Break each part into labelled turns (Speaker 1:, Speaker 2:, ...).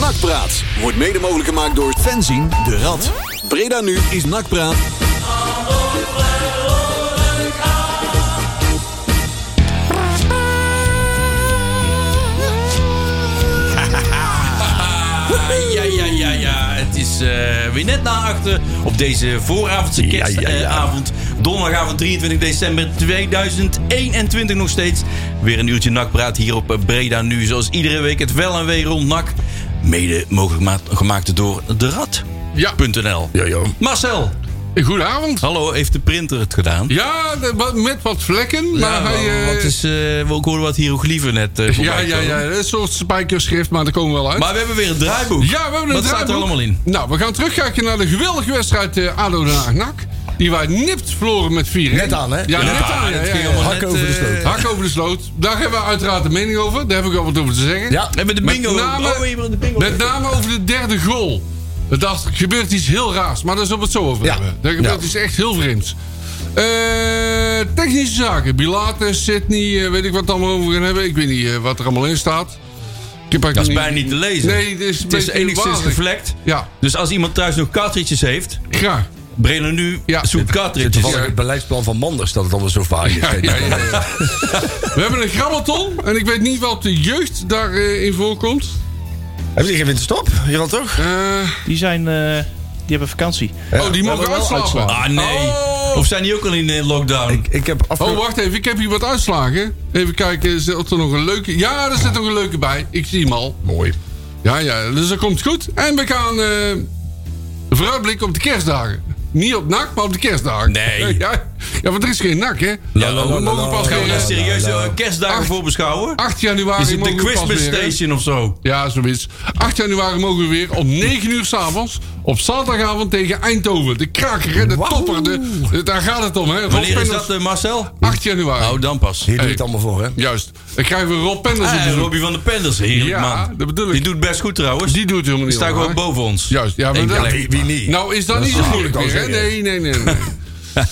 Speaker 1: Nakpraat wordt mede mogelijk gemaakt door Fenzin de Rad. Breda nu is Nakpraat.
Speaker 2: Ah, ja, ja, ja, ja. Het is eh, weer net na achter op deze vooravondse
Speaker 3: Ja,
Speaker 2: kerstavond.
Speaker 3: ja, ja.
Speaker 2: Donderdagavond 23 december 2021 nog steeds. Weer een uurtje nakpraat hier op eh, Breda nu. Zoals iedere week het wel en weer rond nak. Mede mogelijk ma- gemaakt door de Rad.nl.
Speaker 3: Ja. Ja, joh.
Speaker 2: Marcel,
Speaker 3: Goedenavond.
Speaker 2: hallo, heeft de printer het gedaan?
Speaker 3: Ja, de- wat- met wat vlekken, maar hij... eh,
Speaker 2: wat is, eh, we ook hoorden wat hieroglyphen net eh, voorbij
Speaker 3: ja, ja,
Speaker 2: komen.
Speaker 3: ja, een soort spijkerschrift, maar daar komen we wel uit.
Speaker 2: Maar we hebben weer een draaiboek.
Speaker 3: ja, we hebben een
Speaker 2: Wat staat er
Speaker 3: draaiboek.
Speaker 2: allemaal in?
Speaker 3: Nou, we gaan terugkijken naar de geweldige wedstrijd eh, ADO Den Haag-NAC. Die wij nipt verloren met 4
Speaker 4: Net aan, hè?
Speaker 3: Ja, net aan. Ja,
Speaker 2: het
Speaker 3: ja,
Speaker 2: ging
Speaker 3: ja.
Speaker 2: allemaal
Speaker 4: Hak
Speaker 2: net,
Speaker 4: over de
Speaker 2: eh,
Speaker 4: sloot.
Speaker 3: Hak over de sloot. Daar hebben we uiteraard een mening over. Daar heb ik al wat over te zeggen.
Speaker 4: Ja.
Speaker 2: We hebben de
Speaker 3: Met
Speaker 2: bingo.
Speaker 3: name-
Speaker 2: Oh, we hebben de bingo.
Speaker 3: Met name over de derde goal. Er dacht, er gebeurt iets heel raars, maar daar zullen we het zo over
Speaker 4: Ja.
Speaker 3: hebben. Er gebeurt
Speaker 4: Ja.
Speaker 3: iets echt heel vreemds. Eh, technische zaken. Bilates, Sydney, eh, weet ik wat allemaal over gaan hebben. Ik weet niet eh, wat er allemaal in staat. Ik heb eigenlijk
Speaker 2: Dat is bijna niet te lezen.
Speaker 3: Nee, het is, een
Speaker 2: het is
Speaker 3: beetje
Speaker 2: enigszins
Speaker 3: warig.
Speaker 2: gevlekt.
Speaker 3: Ja,
Speaker 2: Dus als iemand thuis nog cartridges heeft,
Speaker 3: graag.
Speaker 2: Brenner nu
Speaker 3: Ja.
Speaker 2: zoekt cartridges.
Speaker 4: Toevallig het beleidsplan van Manders dat het allemaal zo vaag is. nou,
Speaker 3: Ja, ja, ja, ja. We hebben een grammaton. En ik weet niet wat de jeugd daarin in voorkomt.
Speaker 4: Hebben die geen winterstop? Jawel toch?
Speaker 3: Eh,
Speaker 5: Die zijn... eh, die hebben vakantie.
Speaker 3: oh, die mogen
Speaker 4: we hebben wel
Speaker 3: uitslapen.
Speaker 4: uitslapen.
Speaker 2: Ah nee.
Speaker 3: Oh.
Speaker 2: Of zijn die ook al in eh, lockdown?
Speaker 4: Ik, ik heb
Speaker 3: Oh,
Speaker 4: afgelopen...
Speaker 3: wacht even. Ik heb hier wat uitslagen. Even kijken is- of er nog een leuke... Ja, er zit nog een leuke bij. Ik zie hem al.
Speaker 4: Mooi.
Speaker 3: Ja, ja. Dus dat komt goed. En we gaan eh vooruitblikken op de kerstdagen. Niet op NAC, maar op de kerstdagen.
Speaker 2: Nee.
Speaker 3: Ja, ja want er is geen NAC, hè?
Speaker 2: La, la, la,
Speaker 3: we
Speaker 4: la,
Speaker 3: mogen
Speaker 4: la,
Speaker 3: pas
Speaker 4: la,
Speaker 2: Gaan oh, we
Speaker 3: weer...
Speaker 2: daar
Speaker 3: eh,
Speaker 4: la, la.
Speaker 2: serieus eh, kerstdagen
Speaker 3: Acht-
Speaker 2: voor beschouwen?
Speaker 3: 8 januari
Speaker 2: Is het de
Speaker 3: mogen we pas
Speaker 2: Christmas
Speaker 3: weer, hè?
Speaker 2: Station of zo?
Speaker 3: Ja, zoiets. 8 januari mogen we weer om 9 uur s'avonds... op zaterdagavond tegen Eindhoven. De kraker, hè? De
Speaker 4: Wauw.
Speaker 3: topper. De, de- daar gaat het om, hè? Rob
Speaker 2: Wanneer is
Speaker 3: Penders,
Speaker 2: dat, eh, Marcel?
Speaker 3: 8 januari.
Speaker 2: Oh, dan pas.
Speaker 4: Hier doe je
Speaker 3: Hey.
Speaker 4: het allemaal voor, hè?
Speaker 3: Juist. Dan krijgen we Rob Penders op
Speaker 2: Ah,
Speaker 3: bezoek.
Speaker 2: Robbie van de Penders, heerlijk
Speaker 3: Ja,
Speaker 2: man.
Speaker 3: dat bedoel ik.
Speaker 2: Die doet best goed trouwens.
Speaker 3: Die doet het helemaal
Speaker 2: Die
Speaker 3: niet.
Speaker 2: staat
Speaker 3: hoor.
Speaker 2: gewoon boven ons.
Speaker 3: Juist, ja, maar
Speaker 2: Eén
Speaker 3: dat-
Speaker 2: plek.
Speaker 4: Wie, wie niet?
Speaker 3: Nou, is dat,
Speaker 4: Dat
Speaker 3: niet
Speaker 4: is
Speaker 3: zo
Speaker 4: waar,
Speaker 3: moeilijk
Speaker 4: dat
Speaker 3: meer, hè?
Speaker 4: kan
Speaker 3: Nee, nee, nee. nee.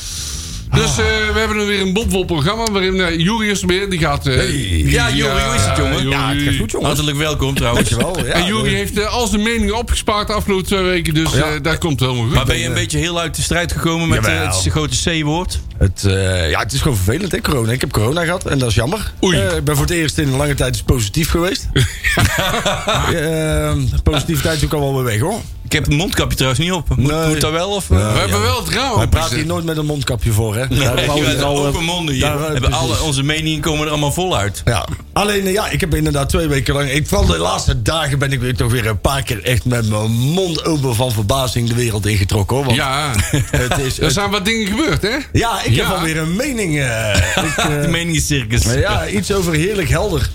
Speaker 3: Dus eh, we hebben weer een bomvol programma waarin eh, Juri is er weer. Die gaat... eh,
Speaker 2: Ja, Juri, hoe is het, jongen?
Speaker 3: Juri.
Speaker 4: Ja, het gaat goed, jongens.
Speaker 2: Hartelijk welkom trouwens.
Speaker 4: Dankjewel. Ja,
Speaker 3: en Juri heeft eh, al zijn meningen opgespaard de afgelopen twee weken. Dus
Speaker 4: Ja.
Speaker 3: eh, daar komt helemaal goed. Eh,
Speaker 2: Maar ben je een beetje heel uit de strijd gekomen met eh,
Speaker 4: eh, Jawel.
Speaker 2: het grote C-woord?
Speaker 4: Het, eh, ja, het is gewoon vervelend, hè, corona. Ik heb corona gehad en dat is jammer.
Speaker 3: Oei.
Speaker 4: Eh, ik ben voor het eerst in een lange tijd eens positief geweest. Eh, positiviteit is ook allemaal weer weg, hoor.
Speaker 2: Ik heb het mondkapje trouwens niet op. Moet,
Speaker 4: Nee.
Speaker 2: moet dat wel? Of, eh?
Speaker 3: we hebben wel het raam
Speaker 4: Wij
Speaker 3: op
Speaker 4: praten
Speaker 3: gezet.
Speaker 4: hier nooit met een mondkapje voor, hè?
Speaker 2: Nee,
Speaker 4: Daar hebben we
Speaker 2: we
Speaker 4: altijd
Speaker 2: hebben
Speaker 4: al, eh,
Speaker 2: open monden hier.
Speaker 4: daar, eh,
Speaker 2: hebben
Speaker 4: precies.
Speaker 2: alle, onze meningen komen er allemaal vol uit.
Speaker 4: Ja. Alleen, eh, ja, ik heb inderdaad twee weken lang... Ik, vooral de laatste dagen ben ik weer toch weer een paar keer echt met mijn mond open van verbazing de wereld ingetrokken, hoor. Want
Speaker 3: Ja,
Speaker 4: het is...
Speaker 3: er
Speaker 4: het-
Speaker 3: zijn wat dingen gebeurd, hè?
Speaker 4: ja, ik
Speaker 3: Ja.
Speaker 4: heb alweer een mening. eh, ik, eh,
Speaker 2: De meningencircus.
Speaker 4: maar ja, iets over heerlijk helder.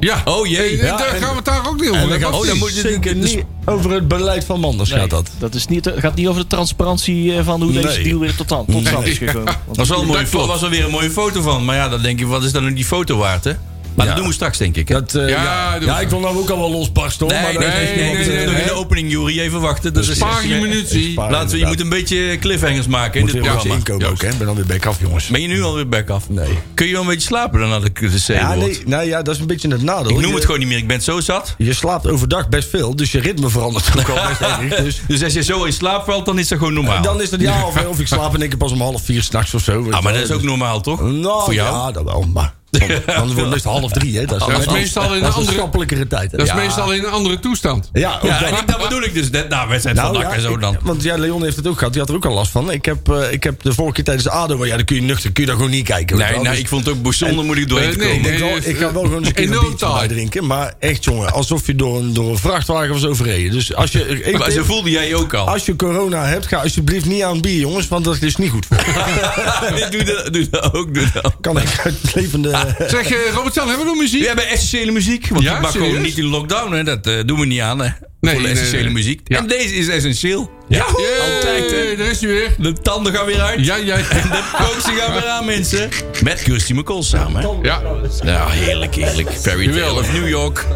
Speaker 3: Ja.
Speaker 2: Oh jee.
Speaker 3: Eh,
Speaker 2: Ja,
Speaker 3: daar
Speaker 4: en-
Speaker 3: gaan we het daar ook niet over
Speaker 4: En dan
Speaker 3: hebben.
Speaker 4: gaat
Speaker 2: oh,
Speaker 4: het
Speaker 2: dan
Speaker 3: precies.
Speaker 2: moet je-
Speaker 4: zeker
Speaker 2: dus-
Speaker 4: niet over het beleid van Manders gaat dat.
Speaker 5: dat is niet, het gaat niet over de transparantie eh, van hoe deze
Speaker 4: Nee.
Speaker 5: deal weer tot, stand- tot stand is gekomen. Want-
Speaker 2: was wel een mooie
Speaker 3: Dat
Speaker 2: fo-
Speaker 3: klopt.
Speaker 2: was er weer een mooie foto van. Maar ja, dan denk je, wat is dan nu die foto waard, hè? Maar dat doen we straks, denk ik. hè?
Speaker 4: Dat, eh,
Speaker 3: Ja,
Speaker 4: ja,
Speaker 3: doe
Speaker 4: ja,
Speaker 3: maar.
Speaker 4: ik wil nou ook al wel losbarsten. hoor,
Speaker 2: nee,
Speaker 4: maar
Speaker 2: nee,
Speaker 4: dat
Speaker 2: nee,
Speaker 4: is
Speaker 2: nee,
Speaker 3: nee,
Speaker 2: nee,
Speaker 4: niemand,
Speaker 3: nee,
Speaker 2: dat is
Speaker 4: eh,
Speaker 2: nog in de opening, Jury. Even wachten. Dat is
Speaker 3: Spaar je
Speaker 2: echt-
Speaker 3: minuutje.
Speaker 4: spaar-
Speaker 2: Laten we, je moet een beetje cliffhangers maken in
Speaker 4: Moet
Speaker 2: dit
Speaker 4: er een beetje
Speaker 2: programma.
Speaker 4: inkomen ook, hè? Ik ben alweer back af, jongens.
Speaker 2: Ben je nu alweer back af?
Speaker 4: Nee.
Speaker 2: Kun je wel een beetje slapen dan had ik de C-woord?
Speaker 4: Ja, nee, nou ja, dat is een beetje het nadeel.
Speaker 2: Ik noem het
Speaker 4: Je-
Speaker 2: gewoon niet meer. Ik ben het zo zat.
Speaker 4: Je slaapt overdag best veel, dus je ritme verandert ook al best erg. Dus
Speaker 2: Dus als je zo in slaap valt, dan is dat gewoon normaal.
Speaker 4: dan is het ja, of, of ik slaap in één keer pas om half vier s'nachts of zo.
Speaker 2: ah, maar dat is ook normaal, toch?
Speaker 4: nou,
Speaker 2: Voor jou?
Speaker 4: Ja, dat wel, maar dan, dan wordt het meestal half drie, hè? Dat is,
Speaker 3: Dat is meestal in een
Speaker 4: dat is
Speaker 3: andere-
Speaker 4: schappelijkere tijd. hè.
Speaker 3: Dat is
Speaker 4: ja.
Speaker 3: meestal in een andere toestand.
Speaker 4: Ja, ook
Speaker 2: Ja,
Speaker 4: dat.
Speaker 2: en ik, dat bedoel ik dus. Dat, nou, wedstrijd
Speaker 4: Nou,
Speaker 2: van NAC
Speaker 4: ja,
Speaker 2: en zo
Speaker 4: ik-
Speaker 2: dan.
Speaker 4: want ja, Leon heeft het ook gehad. Die had er ook al last van. Ik heb, eh, ik heb de vorige keer tijdens de ADO... maar Ja, dan kun je nuchter, kun je daar gewoon niet kijken. weet je
Speaker 2: nee,
Speaker 4: wel.
Speaker 2: nee,
Speaker 4: Dus
Speaker 2: ik vond het ook bijzonder moet ik doorheen
Speaker 3: Eh,
Speaker 2: te
Speaker 3: nee,
Speaker 2: komen.
Speaker 3: nee.
Speaker 4: ik, zal- ik ga wel gewoon eens een keer een
Speaker 3: Enorm
Speaker 4: biertje bij
Speaker 3: taai.
Speaker 4: drinken. Maar echt, jongen, alsof je door een, door een vrachtwagen was overreden. Dus als je... ik
Speaker 2: Maar
Speaker 4: denk-
Speaker 2: zo voelde jij je ook al.
Speaker 4: als je corona hebt, ga alsjeblieft niet aan bier, jongens. Want dat is niet goed voor je.
Speaker 2: Nee, doe, dat, doe dat ook, doe dat ook.
Speaker 4: Kan ik uit levende...
Speaker 3: Zeg, eh, Robert-Jan, hebben we nog muziek?
Speaker 2: We hebben essentiële muziek, want
Speaker 3: Ja,
Speaker 2: die mag gewoon
Speaker 3: serieus?
Speaker 2: niet in lockdown. Hè. Dat eh, doen we niet aan, hè.
Speaker 3: Nee,
Speaker 2: Voor de
Speaker 3: nee,
Speaker 2: essentiële
Speaker 3: nee.
Speaker 2: muziek.
Speaker 3: Ja.
Speaker 2: En deze is essentieel. Ja, hoor.
Speaker 3: Yay,
Speaker 2: altijd. hè.
Speaker 3: Daar is hij weer.
Speaker 2: De tanden gaan weer uit.
Speaker 3: Ja, ja.
Speaker 2: En de pootsen gaan weer aan, mensen. Met Kirsty McCall samen. hè.
Speaker 3: Ja.
Speaker 2: Ja, heerlijk, heerlijk. Fairy Tale of New York.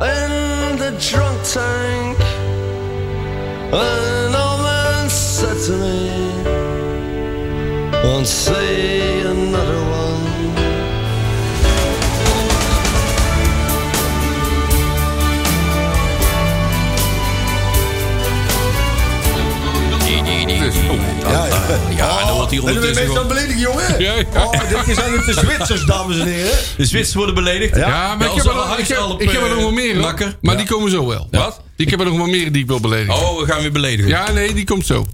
Speaker 6: in the drunk tank. An old man said to me, Won't see another one.
Speaker 2: Oh. staat hier
Speaker 4: En dan ben
Speaker 2: ondertussen
Speaker 4: je
Speaker 2: gewoon.
Speaker 4: zo'n belediging, jongen.
Speaker 3: Ja, ja.
Speaker 4: Oh, dit zijn het de Zwitsers, dames en heren.
Speaker 2: De Zwitsers worden beledigd.
Speaker 3: Ja, maar ik heb, er, nog- ik, heb, ik heb er nog wel meer. hoor.
Speaker 2: Makker.
Speaker 3: Maar die komen zo wel.
Speaker 2: Wat?
Speaker 3: Ik heb er nog wel meer die ik wil beledigen.
Speaker 2: Oh, we gaan weer beledigen.
Speaker 3: Ja, nee, die komt zo.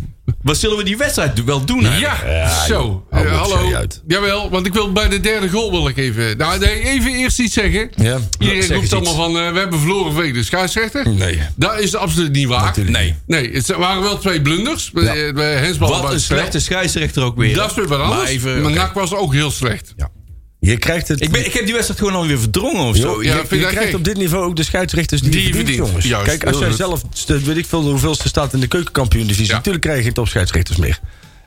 Speaker 2: Wat zullen we die wedstrijd wel doen eigenlijk?
Speaker 3: Ja, zo.
Speaker 4: hou
Speaker 3: Eh,
Speaker 4: op,
Speaker 3: hallo.
Speaker 4: sorry, uit.
Speaker 3: Jawel, want ik wil bij de derde goal wil ik even... Nou, nee, even eerst iets zeggen.
Speaker 4: Ja.
Speaker 3: Iedereen
Speaker 2: Zeg
Speaker 3: roept
Speaker 2: eens
Speaker 3: allemaal van, eh, we hebben verloren vanwege de scheidsrechter.
Speaker 4: Nee.
Speaker 3: Dat is absoluut niet waar.
Speaker 4: Natuurlijk
Speaker 2: Nee.
Speaker 3: Nee, het waren wel twee blunders. Bij bij hensballen
Speaker 2: Wat
Speaker 3: buiten
Speaker 2: een
Speaker 3: spel.
Speaker 2: slechte scheidsrechter ook weer.
Speaker 3: Dat is weer wat anders.
Speaker 2: Maar
Speaker 3: Maar,
Speaker 2: even, oké.
Speaker 3: NAC was ook heel slecht.
Speaker 4: Je krijgt het...
Speaker 2: Ik, ben, ik heb die wedstrijd gewoon alweer verdrongen of zo.
Speaker 4: je,
Speaker 3: ja, vind
Speaker 4: je
Speaker 3: ik
Speaker 4: krijgt
Speaker 3: gek.
Speaker 4: op dit niveau ook de scheidsrechters die,
Speaker 3: Die
Speaker 4: je verdient,
Speaker 3: verdient,
Speaker 4: jongens.
Speaker 3: juist.
Speaker 4: Kijk, als
Speaker 3: Heel
Speaker 4: jij
Speaker 3: goed.
Speaker 4: zelf, st- weet ik veel hoeveelste staat in de keukenkampioen-divisie...
Speaker 3: Ja.
Speaker 4: natuurlijk krijg je geen topscheidsrechters meer.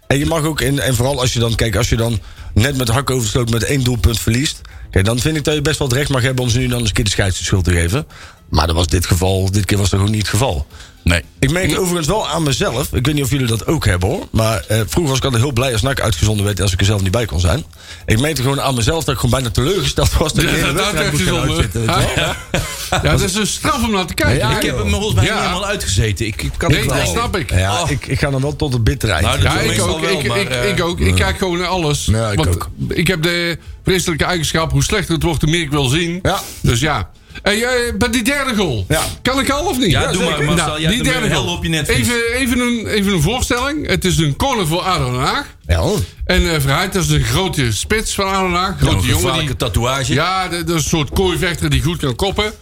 Speaker 4: En je mag ook, en, en vooral als je dan, kijk, als je dan net met hak overstoot met één doelpunt verliest... Kijk, dan vind ik dat je best wel het recht mag hebben om ze nu dan eens een keer de scheids de schuld te geven. Maar dat was dit geval, dit keer was dat ook niet het geval.
Speaker 2: Nee.
Speaker 4: Ik merk het overigens wel aan mezelf. Ik weet niet of jullie dat ook hebben hoor. Maar eh, vroeger was ik altijd heel blij als NAC uitgezonden werd. Als ik er zelf niet bij kon zijn. Ik merkte gewoon aan mezelf dat ik gewoon bijna teleurgesteld was. Dat ik de hele
Speaker 3: dat
Speaker 4: wedstrijd moest gaan uitzitten. weet je wel.
Speaker 3: Ja, dat is een straf om naar te kijken.
Speaker 4: Ja,
Speaker 2: Ik heb
Speaker 4: joh.
Speaker 2: hem er volgens mij
Speaker 3: Ja.
Speaker 2: niet helemaal uitgezeten. Ik, ik kan
Speaker 3: Nee,
Speaker 2: het
Speaker 3: dat
Speaker 2: wel.
Speaker 3: snap ik.
Speaker 4: Ja,
Speaker 2: Oh.
Speaker 4: ik, ik ga dan wel tot het bittere eind.
Speaker 2: Nou, dat-
Speaker 3: Ja, ik
Speaker 2: Meestal
Speaker 3: ook.
Speaker 2: wel,
Speaker 3: ik,
Speaker 2: maar,
Speaker 3: ik,
Speaker 2: eh,
Speaker 3: ik ook. Ik kijk gewoon naar alles.
Speaker 4: Ja, ik
Speaker 3: Want
Speaker 4: ook.
Speaker 3: ik heb de christelijke eigenschap. Hoe slechter het wordt, hoe meer ik wil zien.
Speaker 4: Ja.
Speaker 3: Dus ja. En jij, bij die derde goal.
Speaker 4: Ja.
Speaker 3: Kan ik al of niet?
Speaker 2: Ja, doe
Speaker 3: zeker. Nou,
Speaker 2: maar, Marcel. Jij
Speaker 3: die
Speaker 2: doet me
Speaker 3: derde
Speaker 2: een
Speaker 3: goal.
Speaker 2: hel op je netvlies.
Speaker 3: even, even, een, even een voorstelling. Het is een corner voor Ado Den Haag.
Speaker 4: Ja, hoor.
Speaker 3: En eh Verheid, dat is een grote spits van Ado Den Haag.
Speaker 2: Zo'n
Speaker 3: Grote jongen.
Speaker 2: gevaarlijke
Speaker 3: Die,
Speaker 2: tatoeage.
Speaker 3: ja, dat dat is een soort kooivechter die goed kan koppen.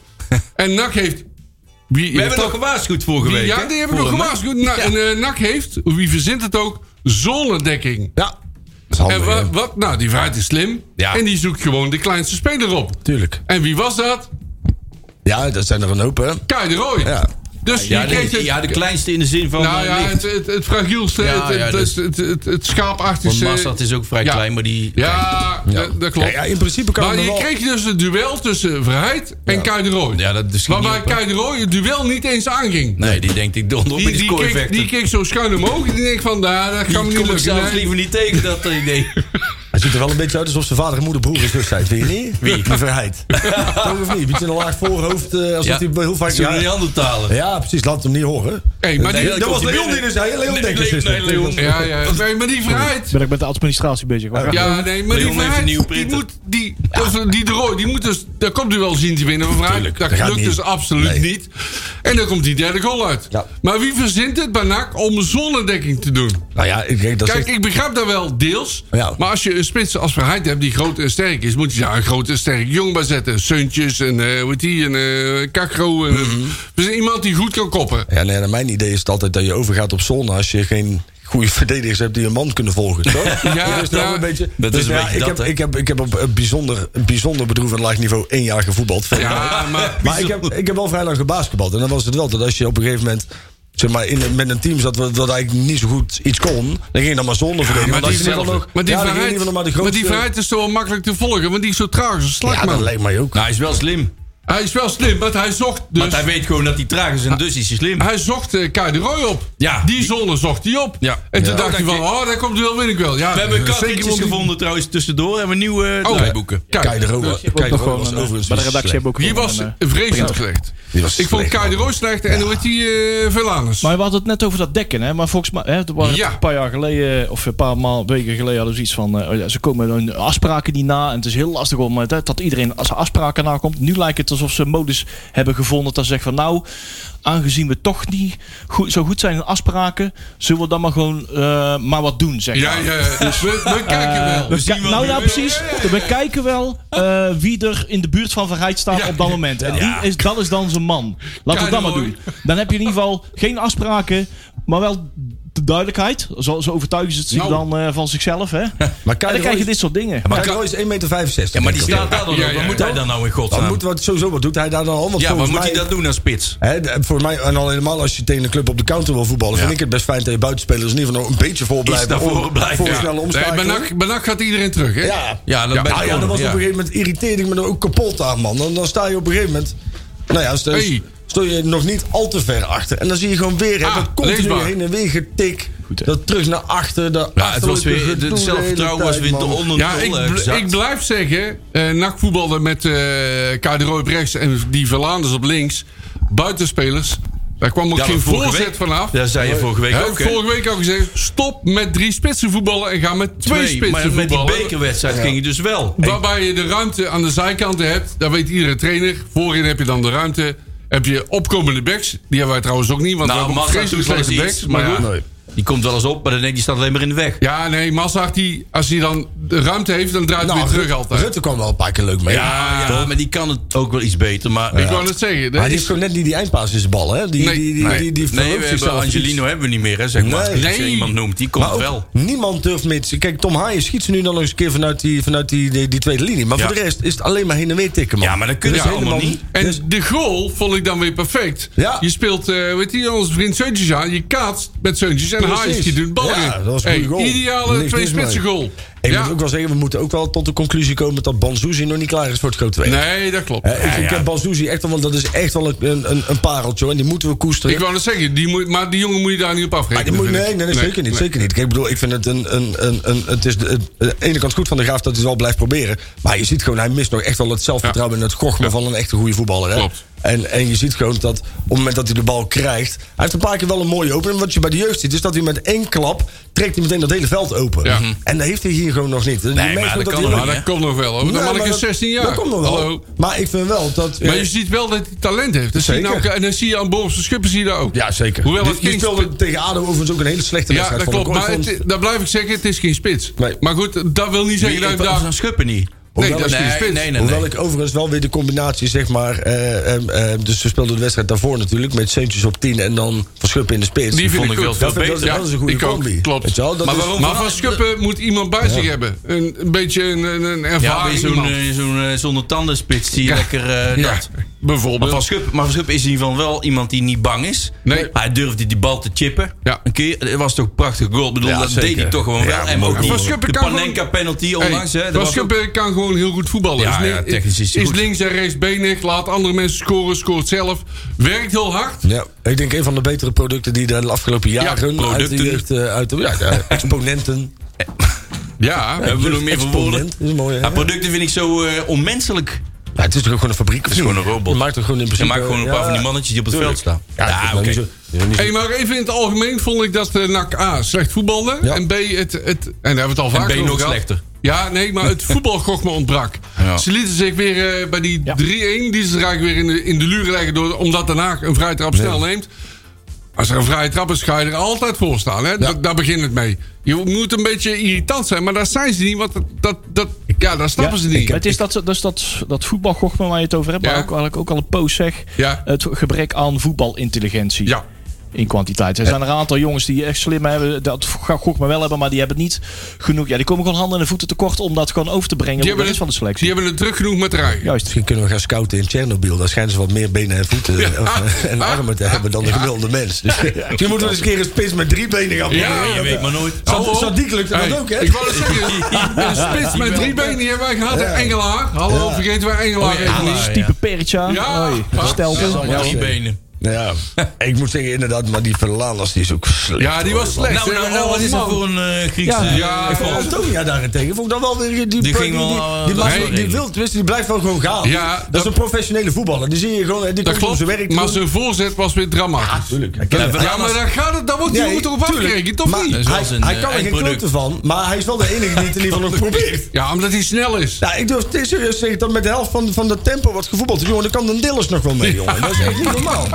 Speaker 3: en Nak heeft... Wie,
Speaker 2: We hebben nog gewaarschuwd vorige week.
Speaker 3: Ja,
Speaker 2: hè?
Speaker 3: die hebben nog
Speaker 2: Vorige
Speaker 3: gewaarschuwd. Na- En eh, NAC heeft, wie verzint het ook, zonnedekking.
Speaker 4: ja. Dat is handig,
Speaker 3: En
Speaker 4: hè.
Speaker 3: wa- wat? Nou, die vaart is slim.
Speaker 2: Oh, Ja.
Speaker 3: En die zoekt gewoon de kleinste speler op.
Speaker 4: Tuurlijk.
Speaker 3: En wie was dat?
Speaker 4: Ja, dat zijn er een hoop hè.
Speaker 3: Kai de Roy.
Speaker 4: Ja.
Speaker 3: Dus
Speaker 2: Ja,
Speaker 3: je
Speaker 2: de,
Speaker 3: kreeg het...
Speaker 2: ja, de kleinste in de zin van.
Speaker 3: nou
Speaker 2: eh,
Speaker 3: ja,
Speaker 2: licht.
Speaker 3: het, het, het fragielste,
Speaker 2: Ja,
Speaker 3: het,
Speaker 2: ja,
Speaker 3: het,
Speaker 2: dus-
Speaker 3: het, het, het schaapachtigste.
Speaker 2: Want Massad is ook vrij
Speaker 3: eh, Ja.
Speaker 2: klein, maar die.
Speaker 3: Ja, dat- dat klopt.
Speaker 4: Ja, ja, in principe kan
Speaker 3: maar
Speaker 4: het
Speaker 3: je
Speaker 4: nog wel-
Speaker 3: kreeg dus het duel tussen Verheid en Kai de Roy.
Speaker 2: Ja, dat is
Speaker 3: Waarbij
Speaker 2: niet op, hè?
Speaker 3: Kai de Roy het duel niet eens aanging.
Speaker 2: Nee, die denkt ik donder op
Speaker 3: Die,
Speaker 2: in die
Speaker 3: die, keek, die
Speaker 2: kooivechter.
Speaker 3: keek zo schuin omhoog en die denkt van, daar dat
Speaker 2: Die
Speaker 3: kan me niet
Speaker 2: kom ik
Speaker 3: lukken.
Speaker 2: zelfs
Speaker 3: hè.
Speaker 2: liever niet tegen dat idee.
Speaker 4: Hij ziet er wel een beetje uit alsof zijn vader en moeder broer is wedstrijd. Vind je niet? Wie? Die verheid. Toch of niet? Beetje een laag voorhoofd. eh, alsof
Speaker 2: Ja.
Speaker 4: hij heel vaak...
Speaker 2: Zullen die
Speaker 4: Ja,
Speaker 2: andere talen?
Speaker 4: ja, precies. Laat het hem niet horen.
Speaker 3: Hey, maar die,
Speaker 2: Nee,
Speaker 4: Dat was
Speaker 2: komt hij
Speaker 4: Leon die
Speaker 2: binnen.
Speaker 4: dus zei. Leon
Speaker 2: Nee,
Speaker 4: Dekkers is
Speaker 2: nee,
Speaker 4: dat.
Speaker 2: Leon.
Speaker 3: ja, ja, nee, maar die Verheid,
Speaker 5: Ben ik met de administratie bezig. Maar ga-
Speaker 3: Ja, nee,
Speaker 2: Leon
Speaker 3: maar die
Speaker 2: heeft een
Speaker 3: Verheid,
Speaker 2: nieuwe
Speaker 3: die
Speaker 2: printer.
Speaker 3: moet, die, of, die de Roy, die moet dus, daar komt u wel zien te winnen van Verheid.
Speaker 4: Tuurlijk,
Speaker 3: dat
Speaker 4: dat gaat
Speaker 3: lukt
Speaker 4: niet.
Speaker 3: dus absoluut
Speaker 4: Nee.
Speaker 3: niet. En dan komt die derde goal uit.
Speaker 4: Ja.
Speaker 3: Maar wie verzint het bij NAC om zonnedekking te doen?
Speaker 4: Nou ja, ik denk dat
Speaker 3: Kijk,
Speaker 4: zegt-
Speaker 3: ik begrijp dat wel deels.
Speaker 4: Ja.
Speaker 3: Maar als je een spits als Verheid hebt die groot en sterk is... moet je daar een groot en sterk jong bij zetten. Suntjes en eh wat die, en eh Kakro. En,
Speaker 4: Mhm.
Speaker 3: Dus iemand die goed kan koppen.
Speaker 4: Ja, nee, naar mijn idee is het altijd dat je overgaat op zon als je geen goede verdedigers hebt die een man kunnen volgen. Toch?
Speaker 3: Ja,
Speaker 4: dat is nou
Speaker 3: ja.
Speaker 4: een beetje.
Speaker 2: Dat is een
Speaker 4: ja,
Speaker 2: beetje
Speaker 4: ik,
Speaker 2: dat,
Speaker 4: heb,
Speaker 2: hè?
Speaker 4: ik, heb, ik heb op een bijzonder, een bijzonder bedroevend laag niveau één jaar gevoetbald.
Speaker 3: Ja, maar...
Speaker 4: Maar ik heb, ik heb wel vrij lang gebasketbald. En dan was het wel dat als je op een gegeven moment. Zeg maar, in, een- met een team zat wat, wat eigenlijk niet zo goed iets kon. Dan ging je dan maar zonder
Speaker 3: maar
Speaker 4: verdedigen. want
Speaker 3: die,
Speaker 4: als je in ieder geval nog-
Speaker 3: maar, die
Speaker 4: ja, dan ging je in
Speaker 3: verheid, maar,
Speaker 4: ieder geval nog maar de
Speaker 3: die
Speaker 4: grootste-
Speaker 3: verheid is toch wel makkelijk te volgen, want die is zo traag als een
Speaker 4: Ja,
Speaker 3: slagman.
Speaker 4: dat lijkt mij ook.
Speaker 2: Nou, hij is wel slim.
Speaker 3: Hij is wel slim, want hij zocht dus...
Speaker 2: Want hij weet gewoon dat hij traag is en dus is hij slim.
Speaker 3: Hij zocht eh Kai de Roy op.
Speaker 2: Ja.
Speaker 3: Die zone zocht hij op.
Speaker 2: Ja.
Speaker 3: En toen
Speaker 2: Ja.
Speaker 3: dacht hij van, oh, daar komt wel, win ik wel. Ja,
Speaker 2: We hebben
Speaker 3: eh, zeker,
Speaker 2: kaartjes
Speaker 3: want die-
Speaker 2: gevonden trouwens tussendoor. En we nieuwe
Speaker 3: Oh,
Speaker 2: draaiboeken.
Speaker 3: Kijk,
Speaker 4: Kei de Roa.
Speaker 5: Je wordt
Speaker 4: Kei de
Speaker 5: nog
Speaker 4: Roa was
Speaker 5: gewoon, eh,
Speaker 4: overigens
Speaker 5: bij de
Speaker 4: niet
Speaker 5: redactie
Speaker 4: slecht.
Speaker 5: hebben we ook
Speaker 3: die
Speaker 5: gewoon
Speaker 3: was
Speaker 5: een, eh,
Speaker 3: vreselijk slecht.
Speaker 4: Die was
Speaker 3: Ik vond
Speaker 4: slecht,
Speaker 3: Kai de
Speaker 4: man.
Speaker 3: Roy slecht en hoe heet die eh Velanes.
Speaker 5: Maar we hadden het net over dat dekken, hè? Maar volgens mij, hè, er waren
Speaker 3: Ja.
Speaker 5: een paar jaar geleden, of een paar maal, weken geleden, hadden we iets van. eh, oh ja, ze komen hun afspraken niet na. En het is heel lastig om eh, dat, dat iedereen als afspraken nakomt. Nu lijkt het alsof ze een modus hebben gevonden. Dat ze zeggen van, nou, aangezien we toch niet goed, zo goed zijn in afspraken, zullen we dan maar gewoon eh, maar wat doen, zeg
Speaker 3: Ja,
Speaker 5: maar.
Speaker 3: ja, dus we, we kijken
Speaker 5: Eh,
Speaker 3: wel.
Speaker 5: we
Speaker 2: zien
Speaker 5: ki-
Speaker 2: wel
Speaker 5: nou
Speaker 2: wie
Speaker 5: ja,
Speaker 2: we-
Speaker 5: precies. We kijken wel eh, wie er in de buurt van Verheid staat
Speaker 3: Ja.
Speaker 5: op dat moment. En die is, dat is dan zijn man. Laten we dat maar
Speaker 3: Keidooi.
Speaker 5: doen. Dan heb je in ieder geval geen afspraken, maar wel de duidelijkheid. Zo, zo overtuigen ze het
Speaker 3: Nou.
Speaker 5: zich dan eh, van zichzelf. Hè? En
Speaker 4: Maar Kei de
Speaker 5: dan krijg je
Speaker 4: Roy-
Speaker 5: dit soort dingen.
Speaker 4: Kei de Roy is 1,65 meter.
Speaker 2: Ja, maar die staat daar dan
Speaker 3: Ja,
Speaker 2: op.
Speaker 3: ja,
Speaker 2: Wat moet
Speaker 3: ja.
Speaker 2: hij dan nou in
Speaker 4: Dan
Speaker 2: godsnaam?
Speaker 4: moet wat, sowieso, wat doet hij daar dan al? Want
Speaker 2: Ja, wat
Speaker 4: volgens
Speaker 2: moet hij
Speaker 4: mij-
Speaker 2: dat doen als spits?
Speaker 4: Hè, d- voor mij, en al helemaal als je tegen een club op de counter wil voetballen, vind ik het best fijn dat je buitenspelers in ieder geval nog een beetje voor blijven.
Speaker 2: naar voren
Speaker 4: om-
Speaker 2: blijven,
Speaker 4: Voor
Speaker 2: ja.
Speaker 4: een snelle
Speaker 3: Nee, bij
Speaker 4: omschakeling.
Speaker 3: NAC- bij NAC Eh, gaat iedereen terug, hè?
Speaker 4: ja.
Speaker 2: Ja, dan
Speaker 3: Ja,
Speaker 2: ben
Speaker 4: Ah,
Speaker 2: je
Speaker 4: ja,
Speaker 2: gewoon-
Speaker 4: dat was
Speaker 2: ja.
Speaker 4: op een gegeven moment irriteerde ik me er ook kapot aan, man. Dan, dan sta je op een gegeven moment. Nou ja, stel,
Speaker 3: Hey.
Speaker 4: stel je nog niet al te ver achter. En dan zie je gewoon weer hè,
Speaker 3: Ah,
Speaker 4: dat continu
Speaker 3: leesbaar.
Speaker 4: heen en weer getik.
Speaker 5: hè.
Speaker 4: dat terug naar achter. Dat
Speaker 2: Ja, het was weer,
Speaker 4: achterlijke
Speaker 2: de- het
Speaker 4: gedoe de hele
Speaker 2: zelfvertrouwen was
Speaker 4: tijd,
Speaker 2: weer te
Speaker 4: man.
Speaker 2: onder
Speaker 3: Ja,
Speaker 2: de
Speaker 3: ik,
Speaker 2: tol,
Speaker 3: bl-
Speaker 2: eh, gezakt.
Speaker 3: ik blijf zeggen, eh NAC voetbalde met eh Kai de Roy op rechts en die Verlaanders op links. Buitenspelers. Daar kwam ook
Speaker 2: Ja, maar
Speaker 3: geen
Speaker 2: vorige
Speaker 3: voorzet
Speaker 2: week-
Speaker 3: vanaf.
Speaker 2: Dat zei je vorige week
Speaker 3: Heb
Speaker 2: ook,
Speaker 3: ik
Speaker 2: hè?
Speaker 3: vorige week al gezegd, stop met drie spitsen voetballen en ga met twee,
Speaker 2: Twee,
Speaker 3: spitsen
Speaker 2: maar met die
Speaker 3: voetballen.
Speaker 2: bekerwedstrijd ging je dus wel.
Speaker 3: Waarbij je de ruimte aan de zijkanten hebt, dat weet iedere trainer. Voorin heb je dan de ruimte. Heb je opkomende backs, die hebben wij trouwens ook niet, want
Speaker 2: Nou,
Speaker 3: we hebben
Speaker 2: Massa
Speaker 3: vreselijk
Speaker 2: doet wel
Speaker 3: slechte
Speaker 2: eens
Speaker 3: backs.
Speaker 2: iets,
Speaker 3: Maar
Speaker 2: maar
Speaker 3: goed.
Speaker 2: ja.
Speaker 4: Nee.
Speaker 2: Die komt wel eens op, maar dan denk je, die staat alleen maar in de weg.
Speaker 3: Ja, nee, Massart, die, als hij dan de ruimte heeft, dan draait hij weer terug altijd.
Speaker 4: Nou, Rutte kwam wel een paar keer leuk mee.
Speaker 2: Ja, ja, maar die kan het ook wel iets beter. Maar
Speaker 3: Ik wou net zeggen.
Speaker 4: Maar
Speaker 3: Dat
Speaker 4: die heeft
Speaker 3: is,
Speaker 4: gewoon net niet die eindpaas in zijn bal, hè? Die,
Speaker 3: Nee,
Speaker 4: die, die,
Speaker 3: nee.
Speaker 4: die, die
Speaker 2: nee,
Speaker 4: verhoogt
Speaker 2: we hebben
Speaker 4: zichzelf iets.
Speaker 2: Angelino hebben we niet meer, hè, zeg maar.
Speaker 4: Nee.
Speaker 2: Als je
Speaker 3: Nee.
Speaker 2: iemand noemt, die komt
Speaker 4: Maar ook
Speaker 2: wel.
Speaker 4: niemand durft meer. te- Kijk, Tom Haaien schiet ze nu dan nog eens een keer vanuit die, vanuit die, die, die tweede linie. Maar
Speaker 2: Ja.
Speaker 4: voor de rest is het alleen maar heen en weer tikken, man.
Speaker 2: Ja, maar dat kunnen
Speaker 4: Er
Speaker 2: ze
Speaker 4: is
Speaker 2: allemaal
Speaker 4: helemaal-
Speaker 2: niet.
Speaker 3: en
Speaker 4: dus-
Speaker 3: de goal vond ik dan weer perfect.
Speaker 4: Ja.
Speaker 3: Je speelt, eh weet je, onze vriend Seuntjes aan. Je kaatst met Seuntjes en
Speaker 4: Precies.
Speaker 3: Haaiers, die doet bal
Speaker 4: Ja,
Speaker 3: in.
Speaker 4: dat was een goede goal.
Speaker 3: Ideale
Speaker 4: Niks
Speaker 3: twee
Speaker 4: mis mee.
Speaker 3: spitsen goal.
Speaker 4: Ik
Speaker 3: Ja.
Speaker 4: moet ook wel zeggen, we moeten ook wel tot de conclusie komen dat Banzuzi nog niet klaar is voor het grote werk.
Speaker 3: Nee, dat klopt.
Speaker 4: Hè, Eh, ik, ik heb Banzuzi echt wel, want dat is echt wel een, een, een pareltje. hoor, En die moeten we koesteren.
Speaker 3: Ik wou net zeggen, die moet, maar die jongen moet je daar niet op
Speaker 4: Maar
Speaker 3: afgeven.
Speaker 4: Ah, die moet- nee, nee, nee, zeker niet. Zeker niet. Kijk, ik bedoel, ik vind het een. een, een, een het is de, het- aan de ene kant goed van de graaf dat hij het wel blijft proberen. Maar je ziet gewoon, hij mist nog echt wel het zelfvertrouwen en het gochme van een echte goede voetballer. Hè?
Speaker 3: Klopt.
Speaker 4: En, en je ziet gewoon dat op het moment dat hij de bal krijgt. Hij heeft een paar keer wel een mooie opening. Wat je bij de jeugd ziet, is dat hij met één klap. trekt hij meteen dat hele veld open. Mhm.
Speaker 3: Ja.
Speaker 4: En dat heeft hij hier gewoon nog niet. Dus Nee,
Speaker 2: maar dat kan
Speaker 3: Maar
Speaker 2: niet, hè?
Speaker 3: Ah, dat komt nog wel. Hoor. Dan ben ik in 16 jaar.
Speaker 4: Dat komt nog wel.
Speaker 3: Hallo.
Speaker 4: Maar ik vind wel dat.
Speaker 3: Maar
Speaker 4: eh,
Speaker 3: je ziet wel dat hij talent heeft. Dat zie je
Speaker 4: Zeker.
Speaker 3: nou, en dan zie je aan Boris van Schuppen zie je dat ook.
Speaker 4: ja, zeker.
Speaker 3: Hoewel
Speaker 4: Je-
Speaker 3: het
Speaker 4: je
Speaker 3: geen
Speaker 4: speelde tegen ADO overigens ook een hele slechte
Speaker 3: Ja,
Speaker 4: wedstrijd.
Speaker 3: dat
Speaker 4: vond ik,
Speaker 3: klopt. Maar
Speaker 4: hoor. Ik
Speaker 3: het,
Speaker 4: vond-
Speaker 3: dat blijf ik zeggen, het is geen spits.
Speaker 4: Nee.
Speaker 3: Maar goed, dat wil niet zeggen dat hij daar...
Speaker 2: Dan schuppen niet.
Speaker 3: Nee,
Speaker 4: Hoewel
Speaker 3: dat is geen
Speaker 2: Nee, nee,
Speaker 3: spits.
Speaker 2: nee.
Speaker 4: Hoewel
Speaker 2: nee.
Speaker 4: ik overigens wel weer de combinatie, zeg maar. eh, ehm, ehm, dus we speelden de wedstrijd daarvoor natuurlijk. Met Seuntjes op 10 en dan Van Schuppen in de spits.
Speaker 3: Die vind
Speaker 2: vond
Speaker 3: ik
Speaker 2: ik wel
Speaker 3: goed.
Speaker 2: veel
Speaker 4: dat, vind ik-
Speaker 2: beter.
Speaker 4: dat is een goede
Speaker 3: ik ook.
Speaker 4: combi.
Speaker 3: Klopt.
Speaker 4: Weet je wel, dat
Speaker 2: Maar
Speaker 4: is-
Speaker 2: waarom-
Speaker 3: Maar Van Schuppen moet iemand bij zich hebben. Een, een beetje een, een, een
Speaker 2: Ja, weer
Speaker 3: ervaring
Speaker 2: zo'n
Speaker 3: iemand.
Speaker 2: eh, zo'n eh, zonder tandenspits die
Speaker 3: Ja.
Speaker 2: lekker eh,
Speaker 3: Ja,
Speaker 2: dat. Maar
Speaker 3: bijvoorbeeld.
Speaker 2: Van Schuppen, maar Van Schuppen is in ieder geval wel iemand die niet bang is.
Speaker 3: Nee.
Speaker 2: Hij durfde die bal te chippen.
Speaker 3: Ja.
Speaker 2: Een keer, het was toch een prachtig goal. Ik bedoel,
Speaker 4: Ja,
Speaker 2: dat
Speaker 4: zeker.
Speaker 2: deed hij toch gewoon wel. En ook
Speaker 3: Van
Speaker 2: die,
Speaker 3: Schuppen
Speaker 2: de
Speaker 3: kan gewoon-
Speaker 2: Panenka penalty
Speaker 3: Hey,
Speaker 2: onlangs. hè, dat
Speaker 3: Van
Speaker 2: was ook-
Speaker 3: Schuppen kan gewoon heel goed voetballen.
Speaker 2: Ja,
Speaker 3: is,
Speaker 2: ja, technisch is hij goed.
Speaker 3: links en rechts benig. Laat andere mensen scoren. Scoort zelf. Werkt heel hard.
Speaker 4: Ja, ik denk een van de betere producten die de afgelopen jaren uit de
Speaker 2: producten.
Speaker 4: jeugd, eh, uit de, ja, de exponenten.
Speaker 3: Ja.
Speaker 2: Hebben we nog meer voor woorden?
Speaker 4: Exponent, dat is mooi, hè?
Speaker 2: Ja, producten vind ik zo eh, onmenselijk.
Speaker 4: Ja, het is toch ook gewoon een fabriek? Het
Speaker 2: is gewoon een robot.
Speaker 4: Je maakt er gewoon in
Speaker 2: Je
Speaker 4: principe...
Speaker 2: maakt gewoon een paar
Speaker 4: ja,
Speaker 2: van die mannetjes die op het veld staan.
Speaker 4: Ja, dat is nou niet zo- dat is niet zo-
Speaker 3: Hey, maar even in het algemeen vond ik dat eh, NAC A slecht voetbalde.
Speaker 4: Ja.
Speaker 3: En B, het, het, en daar hebben we het al vaker
Speaker 2: B
Speaker 3: over
Speaker 2: nog
Speaker 3: gehad.
Speaker 2: slechter.
Speaker 3: Ja, nee, maar het voetbalgochme ontbrak.
Speaker 2: Ja.
Speaker 3: Ze lieten zich weer eh, bij die
Speaker 5: Ja.
Speaker 3: 3-1, die ze er eigenlijk weer in de, in de luren leggen... Door, omdat Den Haag een vrije trap snel neemt. Als er een vrije trap is, ga je er altijd voor staan. Hè? Da- daar begint het mee. Je moet een beetje irritant zijn, maar daar zijn ze niet. Want dat, dat, dat, ja, daar snappen ze niet.
Speaker 5: Maar het is dat, dus dat, is dat, dat voetbalgochme waar je het over hebt,
Speaker 3: Ja.
Speaker 5: maar ook, waar ik ook al een poos zeg.
Speaker 3: Ja.
Speaker 5: Het gebrek aan voetbalintelligentie.
Speaker 3: ja.
Speaker 5: In kwantiteit. Er zijn er een aantal jongens die echt slim hebben. Dat ga gochme wel hebben, maar die hebben niet genoeg. Ja, die komen gewoon handen en voeten tekort om dat gewoon over te brengen.
Speaker 3: Die
Speaker 5: op de
Speaker 3: hebben,
Speaker 5: rest
Speaker 3: het,
Speaker 5: van de
Speaker 3: die
Speaker 5: selectie.
Speaker 3: hebben het druk genoeg met rijden.
Speaker 5: Juist.
Speaker 4: Misschien kunnen we gaan scouten in Tsjernobyl. Daar schijnen ze wat meer benen en voeten eh, en- en armen te hebben dan de gemiddelde mens. Dus misschien moeten we eens een keer een spits met drie benen gaan
Speaker 3: Ja,
Speaker 4: proberen.
Speaker 2: Je weet Oh, maar nooit.
Speaker 4: Zad-
Speaker 3: Hallo?
Speaker 4: Sadiq lukte
Speaker 3: Hey,
Speaker 4: dat ook, hè?
Speaker 3: Ik wou het zeggen, een spits met drie benen die hebben wij gehad. hè? Engelaar. Hallo, vergeten wij Engelaar even niet.
Speaker 5: Type Peritja.
Speaker 3: Ja.
Speaker 5: Hoi.
Speaker 3: Ja.
Speaker 5: Stelten.
Speaker 2: Allemaal drie benen.
Speaker 4: Nou Ja, ik moet zeggen inderdaad, maar die Verlalas die is ook slecht.
Speaker 3: Ja, die was slecht.
Speaker 2: Nou,
Speaker 3: hè?
Speaker 2: nou, nou, wat is dat
Speaker 3: Man.
Speaker 2: voor een eh, Griekse...
Speaker 5: Ja.
Speaker 3: Ja,
Speaker 2: Ik vond-
Speaker 4: Maar Antonia daarentegen vond ik dan wel weer... Die,
Speaker 2: Die ging
Speaker 4: die,
Speaker 2: wel,
Speaker 4: die,
Speaker 2: eh,
Speaker 4: die,
Speaker 2: dat
Speaker 4: maakt-
Speaker 2: is wel
Speaker 4: die
Speaker 2: redelijk.
Speaker 4: wil, tenminste, die blijft wel gewoon gaan.
Speaker 3: Ja,
Speaker 4: dat,
Speaker 3: dat-
Speaker 4: is een professionele voetballer. Die zie je gewoon, hè, die
Speaker 3: Dat
Speaker 4: komt om zijn werk
Speaker 3: klopt,
Speaker 4: te
Speaker 3: maar
Speaker 4: doen.
Speaker 3: zijn voorzet was weer dramatisch.
Speaker 2: Ja,
Speaker 4: Ja,
Speaker 3: Ja, maar daar gaat het, daar wordt die
Speaker 4: Nee,
Speaker 3: jongen toch op
Speaker 4: tuurlijk.
Speaker 3: afgerekend, toch
Speaker 4: maar
Speaker 3: niet?
Speaker 2: wel
Speaker 4: hij,
Speaker 2: zijn,
Speaker 4: hij
Speaker 2: eh,
Speaker 4: kan er geen
Speaker 2: eindproduct.
Speaker 4: klote van, maar hij is wel de enige die het in ieder geval nog probeert.
Speaker 3: Ja, omdat hij snel is.
Speaker 4: Nou, ik durf dit serieus te zeggen dat met de helft van, van dat tempo wat gevoetbald is, jongen, dan kan de Dillers nog wel mee, jongen. Dat is echt niet normaal.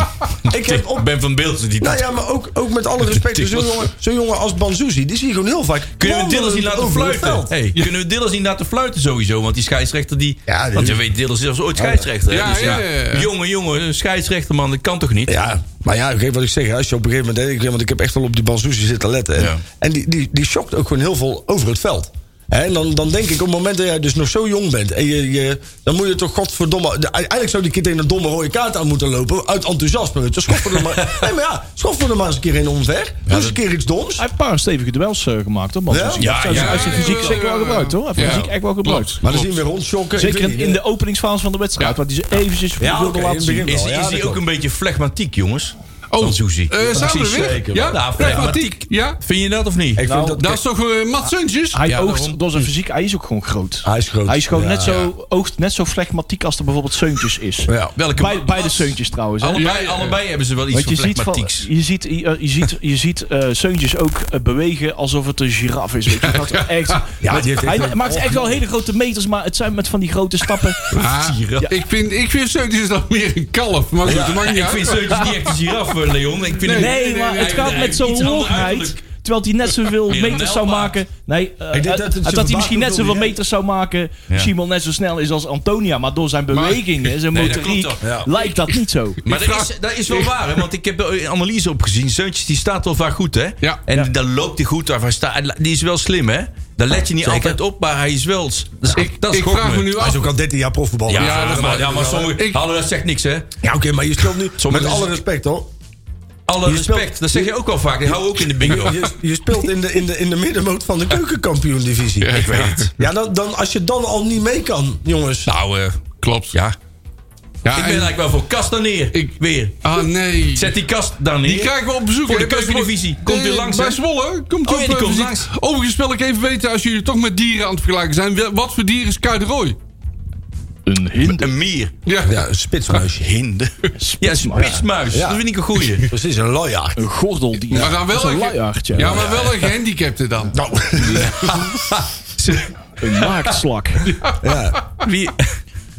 Speaker 4: Ik heb op.
Speaker 2: Ben van Beelden die...
Speaker 4: Nou ja, maar ook, ook met alle respect, zo'n jongen, zo'n jongen als Banzuzi, die zie je gewoon heel vaak.
Speaker 2: Kunnen we Dillers niet
Speaker 4: wandelend
Speaker 2: laten
Speaker 4: over het
Speaker 2: fluiten?
Speaker 4: veld.
Speaker 2: Hey, Kunnen we Dillers niet laten fluiten sowieso? Want die scheidsrechter die...
Speaker 4: Ja, die-
Speaker 2: want je weet, Dillers is ooit scheidsrechter. hè?
Speaker 3: Ja,
Speaker 2: Dus
Speaker 3: ja, ja, ja.
Speaker 2: Jongen, jongen, een scheidsrechter man, dat kan toch niet?
Speaker 4: Ja, maar ja, ik weet wat ik zeg, als je op een gegeven moment. ik- Want ik heb echt wel op die Banzuzi zitten letten. En,
Speaker 2: Ja.
Speaker 4: en die, die, die shockt ook gewoon heel veel over het veld. Hè, En dan, dan denk ik, op het moment dat jij dus nog zo jong bent. En je, je, dan moet je toch godverdomme. de- Eigenlijk zou die kind tegen een domme rode kaart aan moeten lopen. Uit enthousiasme. Weet je. Schoffel er maar, nee, maar ja, schoffel er maar eens een keer in omver. Doe eens een keer iets doms.
Speaker 5: Hij heeft een paar stevige duels eh, gemaakt hoor.
Speaker 4: Ja?
Speaker 5: Ja? Ja,
Speaker 2: Ja,
Speaker 5: ja,
Speaker 2: ja,
Speaker 5: hij heeft zijn
Speaker 3: ja,
Speaker 5: fysiek
Speaker 3: ja,
Speaker 5: zeker wel
Speaker 3: ja.
Speaker 5: gebruikt hoor. Hij heeft
Speaker 3: Ja.
Speaker 5: fysiek echt wel gebruikt.
Speaker 4: Maar dan zien we weer rondschokken.
Speaker 5: Zeker in, in de openingsfase van de wedstrijd,
Speaker 3: Ja.
Speaker 5: waar hij ze eventjes
Speaker 4: Ja,
Speaker 5: wilde
Speaker 4: oké, in
Speaker 5: laten
Speaker 4: het
Speaker 5: zien.
Speaker 4: begin.
Speaker 2: Is,
Speaker 4: wel, ja,
Speaker 2: is
Speaker 4: dat
Speaker 2: hij ook
Speaker 4: klopt.
Speaker 2: een beetje flegmatiek, jongens? dan Suzy.
Speaker 3: Eh, samen
Speaker 2: Precies.
Speaker 3: weer?
Speaker 2: Zeker.
Speaker 3: Ja?
Speaker 2: Nou,
Speaker 3: Pragmatiek. Ja?
Speaker 2: Vind je dat of niet?
Speaker 4: Ik
Speaker 5: Nou,
Speaker 4: vind
Speaker 3: Dat is toch eh Mats Suntjes?
Speaker 5: Hij
Speaker 2: Ja,
Speaker 5: oogt
Speaker 2: daarom.
Speaker 5: door zijn fysiek, hij is ook gewoon groot.
Speaker 4: Hij is groot.
Speaker 5: Hij is gewoon
Speaker 4: Ja.
Speaker 5: net zo, oogt net zo flegmatiek als er bijvoorbeeld Seuntjes is.
Speaker 4: Ja.
Speaker 2: Welke
Speaker 5: Bij, beide
Speaker 2: Mats?
Speaker 5: Seuntjes trouwens. Hè?
Speaker 2: Allebei,
Speaker 3: Ja, ja.
Speaker 2: allebei hebben ze wel iets
Speaker 5: Want je
Speaker 2: van
Speaker 5: ziet, van-
Speaker 2: flegmatieks.
Speaker 5: je ziet, je, je ziet, je ziet eh, Seuntjes ook eh, bewegen alsof het een giraf is. Weet je. Dat is echt,
Speaker 4: Ja, die heeft echt
Speaker 5: hij
Speaker 4: een-
Speaker 5: maakt echt wel hele grote meters, maar het zijn met van die grote stappen.
Speaker 3: Ah,
Speaker 2: giraf.
Speaker 3: ik vind, ik vind Suntjes dan meer een kalf. Maar goed, dat maakt niet
Speaker 2: Ik
Speaker 3: uit.
Speaker 2: vind Seuntjes niet echt een giraf, eh, Leon. Ik vind
Speaker 3: Nee.
Speaker 2: hem-
Speaker 5: Nee, maar het
Speaker 2: hij-
Speaker 5: gaat
Speaker 2: hij
Speaker 5: met
Speaker 2: heeft iets
Speaker 5: zo'n
Speaker 2: ander
Speaker 5: logheid.
Speaker 2: uiterlijk.
Speaker 5: Terwijl hij net zoveel
Speaker 2: Meer een
Speaker 5: meters zou
Speaker 2: nijlpaard.
Speaker 5: maken. Nee, eh,
Speaker 4: denk
Speaker 5: eh,
Speaker 4: dat het je
Speaker 5: dat, hij
Speaker 4: verbaast
Speaker 5: misschien
Speaker 4: hoe
Speaker 5: net zoveel
Speaker 4: veel die-
Speaker 5: meters zou maken. Simon net zo snel is als Antonia. Maar door zijn bewegingen, zijn
Speaker 2: Nee, dat
Speaker 5: motoriek,
Speaker 2: klopt wel. Ja.
Speaker 5: lijkt dat niet zo.
Speaker 2: Maar dat is, dat is wel waar, hè? want ik heb een analyse opgezien. Seuntjes die staat wel vaak goed, hè?
Speaker 3: Ja.
Speaker 2: En dan loopt hij goed. Waar hij staat. Die is wel slim, hè? Daar let je niet altijd op, maar hij is wel... Dat is, dat is
Speaker 3: ik
Speaker 2: gok
Speaker 3: vraag me nu
Speaker 4: Hij
Speaker 3: af.
Speaker 4: is ook al 13 jaar profvoetbal.
Speaker 2: Ja,
Speaker 3: Ja, dat is
Speaker 2: maar,
Speaker 3: waar.
Speaker 2: ja, maar sommige...
Speaker 3: Ik-
Speaker 2: Hallo, dat zegt niks, hè?
Speaker 4: Ja, oké, maar je speelt nu...
Speaker 2: Sommige-
Speaker 4: met alle respect, hoor.
Speaker 2: Alle
Speaker 4: Je speelt-
Speaker 2: respect, dat zeg je ook al vaak. Ik hou ook in de bingo.
Speaker 4: Je, je speelt in de, in, de, in de middenmoot van de keukenkampioen-divisie.
Speaker 3: Ik weet het.
Speaker 4: Ja, dan, dan, als je dan al niet mee kan, jongens.
Speaker 3: Nou, eh, klopt. Ja. ja
Speaker 2: Ik ben
Speaker 3: en-
Speaker 2: eigenlijk wel voor kast dan neer.
Speaker 3: Ik-
Speaker 2: Weer.
Speaker 3: Ah, nee.
Speaker 2: Zet die kast dan neer.
Speaker 3: Die krijgen we op bezoek.
Speaker 2: Voor de
Speaker 3: hè, bij
Speaker 2: keukendivisie.
Speaker 3: Zwolle.
Speaker 2: Komt u
Speaker 3: Eh,
Speaker 2: langs, hè?
Speaker 3: Bij Zwolle. Komt u
Speaker 2: Oh, ja, die
Speaker 3: op, eh,
Speaker 2: komt
Speaker 3: bezoek.
Speaker 2: langs.
Speaker 3: Overigens wil ik even weten, als jullie toch met dieren aan het vergelijken zijn. wel- Wat voor dier is Kuit de Rooi?
Speaker 5: Een hinder.
Speaker 2: Een mier.
Speaker 3: Ja.
Speaker 4: Ja, een spitsmuisje.
Speaker 3: Ah,
Speaker 2: Hinde. Ja, spitsmuis.
Speaker 4: Ja.
Speaker 2: Dat vind ik een goeie.
Speaker 4: Precies, een looiaard.
Speaker 5: Een gordel die.
Speaker 3: Maar dan
Speaker 5: dat is
Speaker 3: wel
Speaker 5: een
Speaker 3: een ge-
Speaker 5: luiaard, ja.
Speaker 3: Ja, maar wel een gehandicapte dan.
Speaker 4: Nou,
Speaker 5: Een naaktslak.
Speaker 4: ja,
Speaker 2: Wie...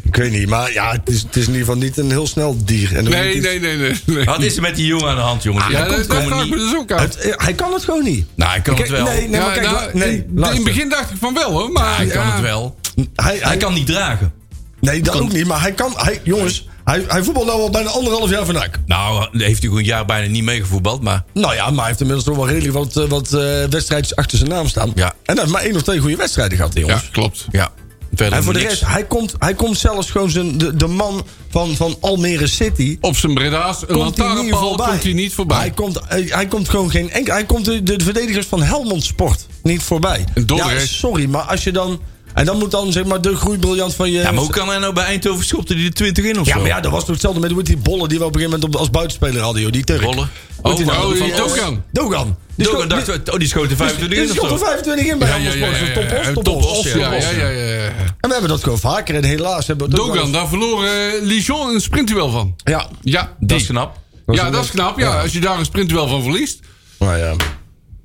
Speaker 4: ik weet niet, maar ja, het is, het is in ieder geval niet een heel snel dier. En dan moet
Speaker 3: Nee,
Speaker 4: iets-
Speaker 3: nee, nee, nee. nee.
Speaker 2: Wat is er met die jongen aan de hand, jongens?
Speaker 3: Ja, dat, dat
Speaker 2: komen
Speaker 3: vraag ik me
Speaker 2: niet.
Speaker 3: dus ook uit.
Speaker 4: Het- eh, hij kan het gewoon niet.
Speaker 2: Nou, ik kan het wel.
Speaker 4: Nee, nee, maar kijk,
Speaker 3: Ja,
Speaker 4: la-
Speaker 3: nou,
Speaker 4: nee,
Speaker 3: in, in
Speaker 4: luister.
Speaker 3: het begin dacht ik van wel hoor, maar
Speaker 2: Hij kan
Speaker 3: ja.
Speaker 2: het wel.
Speaker 4: Hij, hij,
Speaker 2: Hij kan niet dragen.
Speaker 4: nee, dat ook niet, maar hij kan... Hij, jongens, hij, hij voetbalt nou al bijna anderhalf jaar van NAC.
Speaker 2: Nou, heeft hij een jaar bijna niet meegevoetbald, maar...
Speaker 4: Nou ja, maar hij heeft inmiddels toch wel redelijk wat, eh, wat eh, wedstrijdjes achter zijn naam staan.
Speaker 2: Ja.
Speaker 4: En hij heeft maar één of twee goede wedstrijden gehad, die
Speaker 3: Ja,
Speaker 4: jongens.
Speaker 3: klopt.
Speaker 2: Ja. Verder
Speaker 4: En voor de
Speaker 2: niks.
Speaker 4: rest, hij komt, hij komt zelfs gewoon zijn, de, de man van, van Almere City.
Speaker 3: Op zijn Breda's een
Speaker 4: Komt hij niet
Speaker 3: lantaarnpaal
Speaker 4: voorbij.
Speaker 3: komt hij niet
Speaker 4: Hij
Speaker 3: voorbij.
Speaker 4: komt, hij, hij komt gewoon geen enkel. Hij komt de, de verdedigers van Helmond Sport niet voorbij.
Speaker 3: Een dodderik.
Speaker 4: Ja, sorry, maar als je dan. En dan moet dan zeg maar de groeibriljant van je.
Speaker 2: Ja, maar hoe kan hij nou bij Eindhoven schopte die de 20 in of
Speaker 4: Ja,
Speaker 2: zo?
Speaker 4: maar ja, dat was toch hetzelfde met hoe heet die bollen die we op een gegeven moment op- als buitenspeler hadden, joh. Die Turk.
Speaker 2: Rollen.
Speaker 4: Hoe heet die
Speaker 2: Oh,
Speaker 4: nou?
Speaker 3: oh, die
Speaker 4: Van-
Speaker 3: Dogan.
Speaker 4: Dogan. Die
Speaker 2: Dogan
Speaker 4: schoot-
Speaker 2: dacht,
Speaker 4: die-
Speaker 2: oh, die schoten 25
Speaker 4: die
Speaker 2: in of
Speaker 4: schoot er
Speaker 2: zo.
Speaker 4: 25 in bij
Speaker 3: Ja, ja,
Speaker 4: Helmond
Speaker 3: ja,
Speaker 4: Sport.
Speaker 3: ja,
Speaker 4: Dus Top
Speaker 3: ja, ja,
Speaker 4: os, top
Speaker 3: top
Speaker 4: os,
Speaker 3: os,
Speaker 4: top
Speaker 3: ja,
Speaker 4: os.
Speaker 3: ja, ja, ja.
Speaker 4: En we hebben dat gewoon vaker. En helaas hebben we het ook wel
Speaker 3: Dogan,
Speaker 4: eens-
Speaker 3: daar verloor eh Lijon een sprintduel van.
Speaker 4: Ja.
Speaker 3: Ja,
Speaker 2: Dat is knap.
Speaker 3: ja, dat is knap. Ja, als je daar een sprintduel van verliest.
Speaker 4: Nou ja.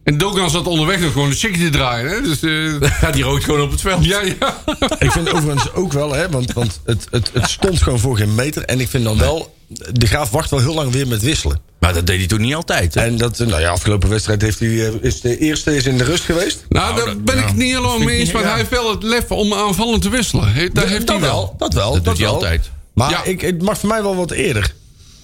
Speaker 3: En Dogan zat onderweg nog gewoon een chickie te draaien. Hè? Dus, eh,
Speaker 2: Ja, die rookt gewoon op het veld.
Speaker 3: ja, Nou, ja.
Speaker 4: Ik vind overigens ook wel, hè, want, want het, het, het stond gewoon voor geen meter. En ik vind dan wel, de graaf wacht wel heel lang weer met wisselen.
Speaker 2: Maar dat deed hij toen niet altijd, hè?
Speaker 4: En dat, nou ja, afgelopen wedstrijd heeft hij, eh, is de eerste is in de rust geweest.
Speaker 3: Nou, daar
Speaker 2: dat-
Speaker 3: ben ik
Speaker 2: ja.
Speaker 3: het niet helemaal mee eens. Maar hij heeft wel het lef om aanvallend te wisselen. He- dat heeft hij wel.
Speaker 4: Dat wel.
Speaker 2: Dat doet hij
Speaker 4: wel.
Speaker 2: altijd.
Speaker 4: Maar
Speaker 3: Ja.
Speaker 4: ik, het mag voor mij wel wat eerder.